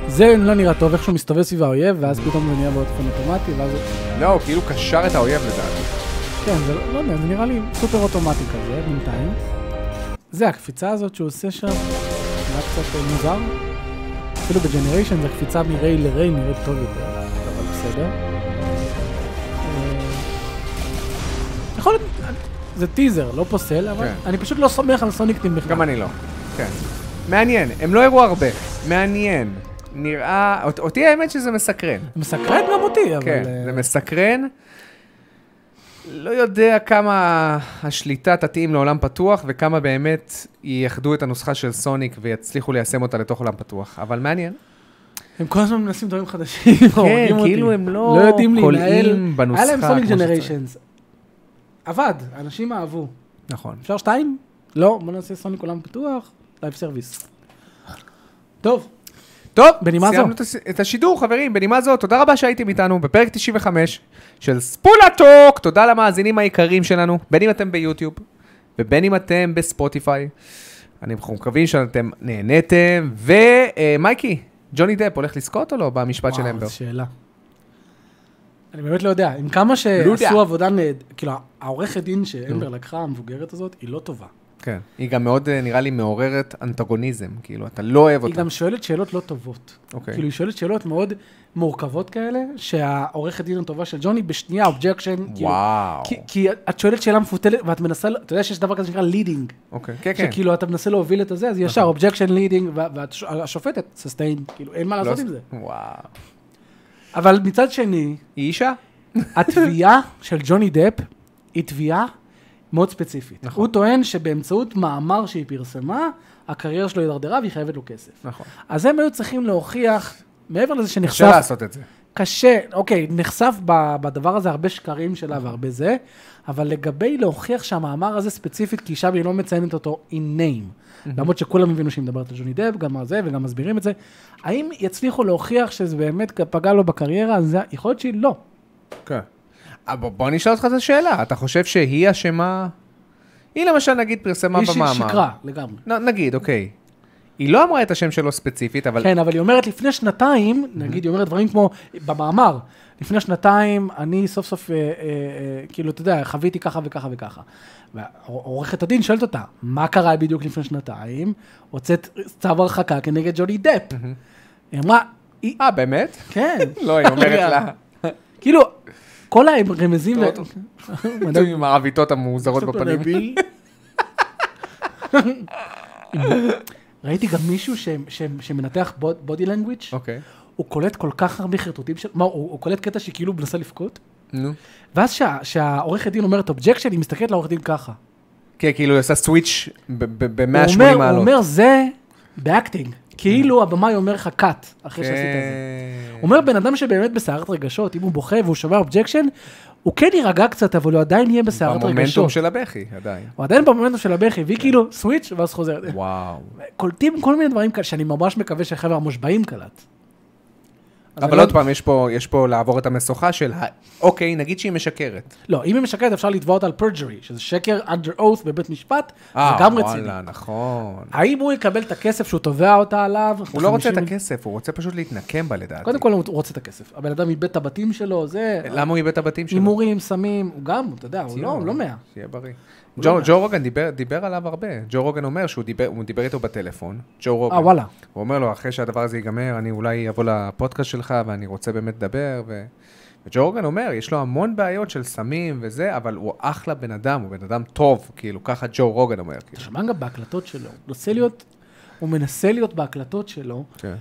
Speaker 1: זה לא נראה טוב, איך שהוא מסתובב סביב האויב, ואז פתאום זה נהיה באופן אוטומטי, ואז...
Speaker 2: לא, הוא כאילו קשר את האויב לדעתי.
Speaker 1: כן, זה לא לא יודע, זה נראה לי סופר אוטומטי כזה, בינתיים. זה הקפיצה הזאת שהוא עושה שם, נראה קצת אה, מוזר. אפילו בג'נריישן זה הקפיצה מריי לריי נראית טוב יותר, אבל בסדר. אה, יכול להיות, אה, זה טיזר, לא פוסל, אבל
Speaker 2: כן.
Speaker 1: אני פשוט לא סומך על סוניקטים בכלל.
Speaker 2: גם אני לא. כן. מעניין, הם לא הראו הרבה. מעניין. נראה... אות- אותי האמת שזה מסקרן.
Speaker 1: זה מסקרן גם אותי, אבל...
Speaker 2: כן,
Speaker 1: אה,
Speaker 2: זה מסקרן. לא יודע כמה השליטה תתאים לעולם פתוח וכמה באמת ייחדו את הנוסחה של סוניק ויצליחו ליישם אותה לתוך עולם פתוח, אבל מעניין.
Speaker 1: הם כל הזמן מנסים דברים חדשים, הורגים אותי.
Speaker 2: כאילו הם לא
Speaker 1: לא יודעים
Speaker 2: קולעים
Speaker 1: להינעל.
Speaker 2: בנוסחה
Speaker 1: היה להם
Speaker 2: כמו
Speaker 1: סוניק
Speaker 2: שצריך.
Speaker 1: ג'נריישנס. עבד, אנשים אהבו.
Speaker 2: נכון.
Speaker 1: אפשר שתיים? לא, בוא נעשה סוניק עולם פתוח, לייב סרוויס. טוב,
Speaker 2: טוב,
Speaker 1: בנימה זו.
Speaker 2: סיימנו את הס- את השידור, חברים, בנימה זו, תודה רבה שהייתם איתנו בפרק 95 של ספולה טוק, תודה למאזינים היקרים שלנו, בין אם אתם ביוטיוב ובין אם אתם בספוטיפיי. אני- אנחנו מקווים שאתם נהניתם, ומייקי, ג'וני דפ הולך לזכות או לא במשפט של
Speaker 1: וואו,
Speaker 2: אמבר?
Speaker 1: זו שאלה. אני באמת לא יודע, עם כמה
Speaker 2: לא יודע.
Speaker 1: שעשו עבודה, נהד- כאילו, העורכת דין שאמבר לקחה, המבוגרת הזאת, היא לא טובה.
Speaker 2: כן. היא גם מאוד, אה, נראה לי, מעוררת אנטגוניזם, כאילו, אתה לא אוהב
Speaker 1: היא
Speaker 2: אותה.
Speaker 1: גם שואלת שאלות לא טובות.
Speaker 2: אוקיי.
Speaker 1: כאילו, היא שואלת שאלות מאוד מורכבות כאלה, שהעורכת דין הטובה של ג'וני, בשנייה אובג'קשן, כאילו,
Speaker 2: וואו.
Speaker 1: כי, כי את שואלת שאלה מפותלת, ואת מנסה, ל- אתה יודע שיש דבר כזה שנקרא לידינג.
Speaker 2: אוקיי, כן, נכון. כן.
Speaker 1: שכאילו אתה מנסה להוביל את הזה, אז ישר אובג'קשן לידינג, והשופטת, ססטיין, כאילו אין מה
Speaker 2: לא
Speaker 1: לעשות
Speaker 2: עוש-
Speaker 1: עם זה.
Speaker 2: וואו.
Speaker 1: אבל מצד שני,
Speaker 2: היא אישה?
Speaker 1: התביעה של ג'וני דפ היא תביעה מאוד ספציפית.
Speaker 2: נכון.
Speaker 1: הוא טוען שבאמצעות מאמר שהיא פרסמה, הקריירה שלו הידרדרה והיא חייבת לו כסף.
Speaker 2: נכון.
Speaker 1: אז הם היו צריכים להוכיח, מעבר לזה
Speaker 2: אפשר
Speaker 1: שנחשף,
Speaker 2: לעשות את זה.
Speaker 1: קשה, אוקיי, נחשף ב- בדבר הזה הרבה שקרים שלה והרבה זה, אבל לגבי להוכיח שהמאמר הזה ספציפית, כי שם היא לא מציינת אותו in name, למרות שכולם הבינו שהיא מדברת על ג'וני דב, גם על זה וגם מסבירים את זה, האם יצליחו להוכיח שזה באמת פגע לו בקריירה? אז זה- יכול להיות לא. שלא.
Speaker 2: כן. אבל בוא נשאל אותך את השאלה, אתה חושב שהיא אשמה? היא למשל נגיד פרסמה
Speaker 1: היא ש-
Speaker 2: במאמר.
Speaker 1: שיקרה לגמרי.
Speaker 2: נ- נגיד, אוקיי. היא לא אמרה את השם שלו ספציפית, אבל...
Speaker 1: כן, אבל היא אומרת לפני שנתיים, נגיד, היא אומרת דברים כמו, במאמר, לפני שנתיים אני סוף סוף, אה, אה, אה, כאילו, אתה יודע, חוויתי ככה וככה וככה. ועורכת הדין שואלת אותה, מה קרה בדיוק לפני שנתיים? הוצאת צו הרחקה כנגד ג'וני דפ. היא אמרה, "היא-
Speaker 2: אה, באמת?
Speaker 1: כן,
Speaker 2: לא, היא אומרת לה.
Speaker 1: כאילו, כל הרמזים... ל-
Speaker 2: טוב, עם העוויתות המוזרות בפנים.
Speaker 1: סופרנביל. ראיתי גם מישהו ש- ש- שמנתח בודי לנגוויץ',
Speaker 2: אוקיי.
Speaker 1: הוא קולט כל כך הרבה חרטוטים של... מה, הוא, הוא קולט קטע שכאילו הוא מנסה לבכות?
Speaker 2: נו.
Speaker 1: ואז שה- שהעורכת דין אומרת אובג'קשן, היא מסתכלת לעורכת דין ככה.
Speaker 2: כן, כאילו היא עושה סוויץ'
Speaker 1: הוא
Speaker 2: ב-180
Speaker 1: אומר, הוא
Speaker 2: מעלות.
Speaker 1: אומר, זה באקטינג. כאילו הבמאי אומר לך קאט, אחרי שעשית את זה.
Speaker 2: כן.
Speaker 1: אומר בן אדם שבאמת בסערת רגשות, אם הוא בוכה והוא שומע אובג'קשן, הוא כן יירגע קצת, אבל הוא עדיין יהיה בסערת
Speaker 2: במומנטום
Speaker 1: רגשות.
Speaker 2: של כן. הבכי, עדיין.
Speaker 1: הוא עדיין במומנטום של הבכי, והיא כאילו סוויץ' ואז חוזרת.
Speaker 2: וואו.
Speaker 1: קולטים כל מיני דברים כאלה, שאני ממש מקווה שהחבר'ה המושבעים קלט. אז אני
Speaker 2: אבל
Speaker 1: לא-
Speaker 2: עוד פעם, יש פה- יש פה לעבור את המשוכה של, ה- אוקיי, נגיד שהיא משקרת.
Speaker 1: לא, אם היא משקרת אפשר לתבוע אותה על פרג'רי, שזה שקר under oath בבית משפט, זה
Speaker 2: אה,
Speaker 1: גם רציני.
Speaker 2: וואלה, נכון.
Speaker 1: האם הוא יקבל את הכסף שהוא תובע אותה עליו?
Speaker 2: הוא לא רוצה את
Speaker 1: 50
Speaker 2: הכסף, הוא רוצה פשוט להתנקם בה לדעתי.
Speaker 1: קודם כל הוא רוצה את הכסף. הבן אדם איבד את הבתים שלו, זה...
Speaker 2: למה הוא איבד את הבתים שלו?
Speaker 1: הימורים, סמים, הוא גם, אתה יודע, הוא לא- הוא לא מאה. לא
Speaker 2: שיהיה בריא. ג'ו, ג'ו רוגן דיבר, דיבר עליו הרבה. ג'ו רוגן אומר שהוא דיבר, הוא דיבר איתו בטלפון. ג'ו רוגן.
Speaker 1: אה, וואלה.
Speaker 2: הוא אומר לו, אחרי שהדבר הזה ייגמר, אני אולי אבוא לפודקאסט שלך ואני רוצה באמת לדבר. ו... וג'ו רוגן אומר, יש לו המון בעיות של סמים וזה, אבל הוא אחלה בן אדם, הוא בן אדם טוב, כאילו, ככה ג'ו רוגן אומר.
Speaker 1: אתה
Speaker 2: כאילו.
Speaker 1: שומע גם בהקלטות שלו. הוא מנסה להיות, הוא מנסה להיות בהקלטות שלו.
Speaker 2: כן.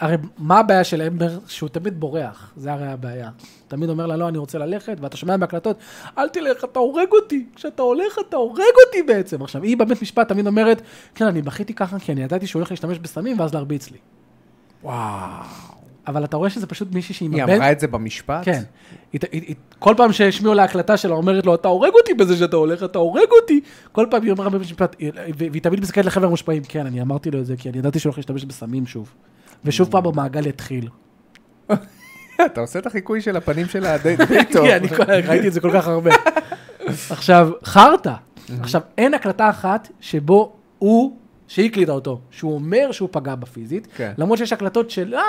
Speaker 1: הרי מה הבעיה של אמבר? שהוא תמיד בורח, זה הרי הבעיה. הוא תמיד אומר לה, לא, אני רוצה ללכת, ואתה שומע בהקלטות, אל תלך, אתה הורג אותי. כשאתה הולך, אתה הורג אותי בעצם. עכשיו, היא בבית משפט תמיד אומרת, כן, אני בכיתי ככה, כי אני ידעתי שהוא הולך להשתמש בסמים, ואז להרביץ לי.
Speaker 2: וואו.
Speaker 1: אבל אתה רואה שזה פשוט מישהי שהיא
Speaker 2: היא
Speaker 1: עם הבן-
Speaker 2: אמרה את זה במשפט?
Speaker 1: כן. היא- היא- היא- כל פעם שהשמיעו לה הקלטה שלה, אומרת לו, אתה הורג אותי בזה שאתה הולך, אתה הורג אותי. כל פעם היא אומרת במשפט, והיא תמיד מסתכלת לחבר המושפעים, כן, אני אמרתי לו את זה, כי אני ידעתי שהוא הולך להשתמש בסמים שוב. ושוב פעם המעגל התחיל.
Speaker 2: אתה עושה את החיקוי של הפנים שלה די די טוב.
Speaker 1: כן, אני כל- ראיתי את זה כל כך הרבה. עכשיו, חרטא.
Speaker 2: Mm-hmm.
Speaker 1: עכשיו, אין הקלטה אחת שבו הוא, שהיא הקליטה אותו, שהוא אומר שהוא פגע בה פיזית,
Speaker 2: כן.
Speaker 1: למרות שיש הקלטות שלה,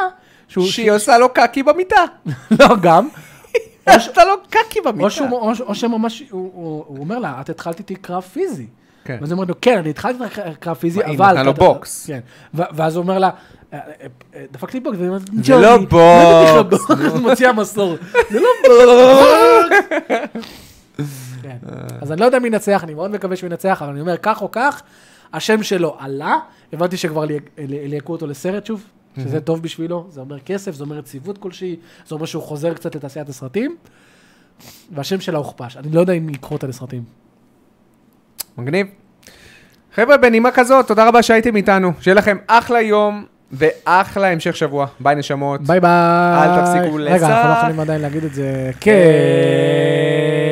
Speaker 1: שהוא...
Speaker 2: שהיא עושה לו קקי במיטה.
Speaker 1: לא, גם.
Speaker 2: היא עשתה לו לא קקי
Speaker 1: או
Speaker 2: במיטה.
Speaker 1: שהוא- או ש- או שממש, הוא- הוא הוא אומר לה, את התחלת איתי קרב פיזי.
Speaker 2: כן.
Speaker 1: ואז היא אומרת לו, כן, אני התחלתי איתך קרב פיזי,
Speaker 2: מה, היא
Speaker 1: אבל...
Speaker 2: נתנה לו
Speaker 1: אתה-
Speaker 2: בוקס.
Speaker 1: כן. ו- ואז הוא אומר לה, "אה, אה, אה, דפקת לי בוקס, והיא אומרת,
Speaker 2: זה לא
Speaker 1: "ג'וני,
Speaker 2: בוקס."
Speaker 1: נתתי לך בוקס, מוציאה מסור. זה לא בוקס. כן. אז אני לא יודע מי ינצח, אני מאוד מקווה שהוא ינצח, אבל אני אומר, כך או כך, השם שלו עלה, הבנתי שכבר לי- לי- ליהקו אותו לסרט שוב, שזה טוב בשבילו, זה אומר כסף, זה אומר יציבות כלשהי, זה אומר שהוא חוזר קצת לתעשיית הסרטים, והשם שלה הוכפש. אני לא יודע אם ייקחו אותה לסרטים.
Speaker 2: מגניב. חבר'ה, בנימה כזאת, תודה רבה שהייתם איתנו. שיהיה לכם אחלה יום ואחלה המשך שבוע. ביי נשמות.
Speaker 1: ביי ביי.
Speaker 2: אל תפסיקו
Speaker 1: רגע, אנחנו לא
Speaker 2: לצעוק.
Speaker 1: יכולים עדיין להגיד את זה. כן.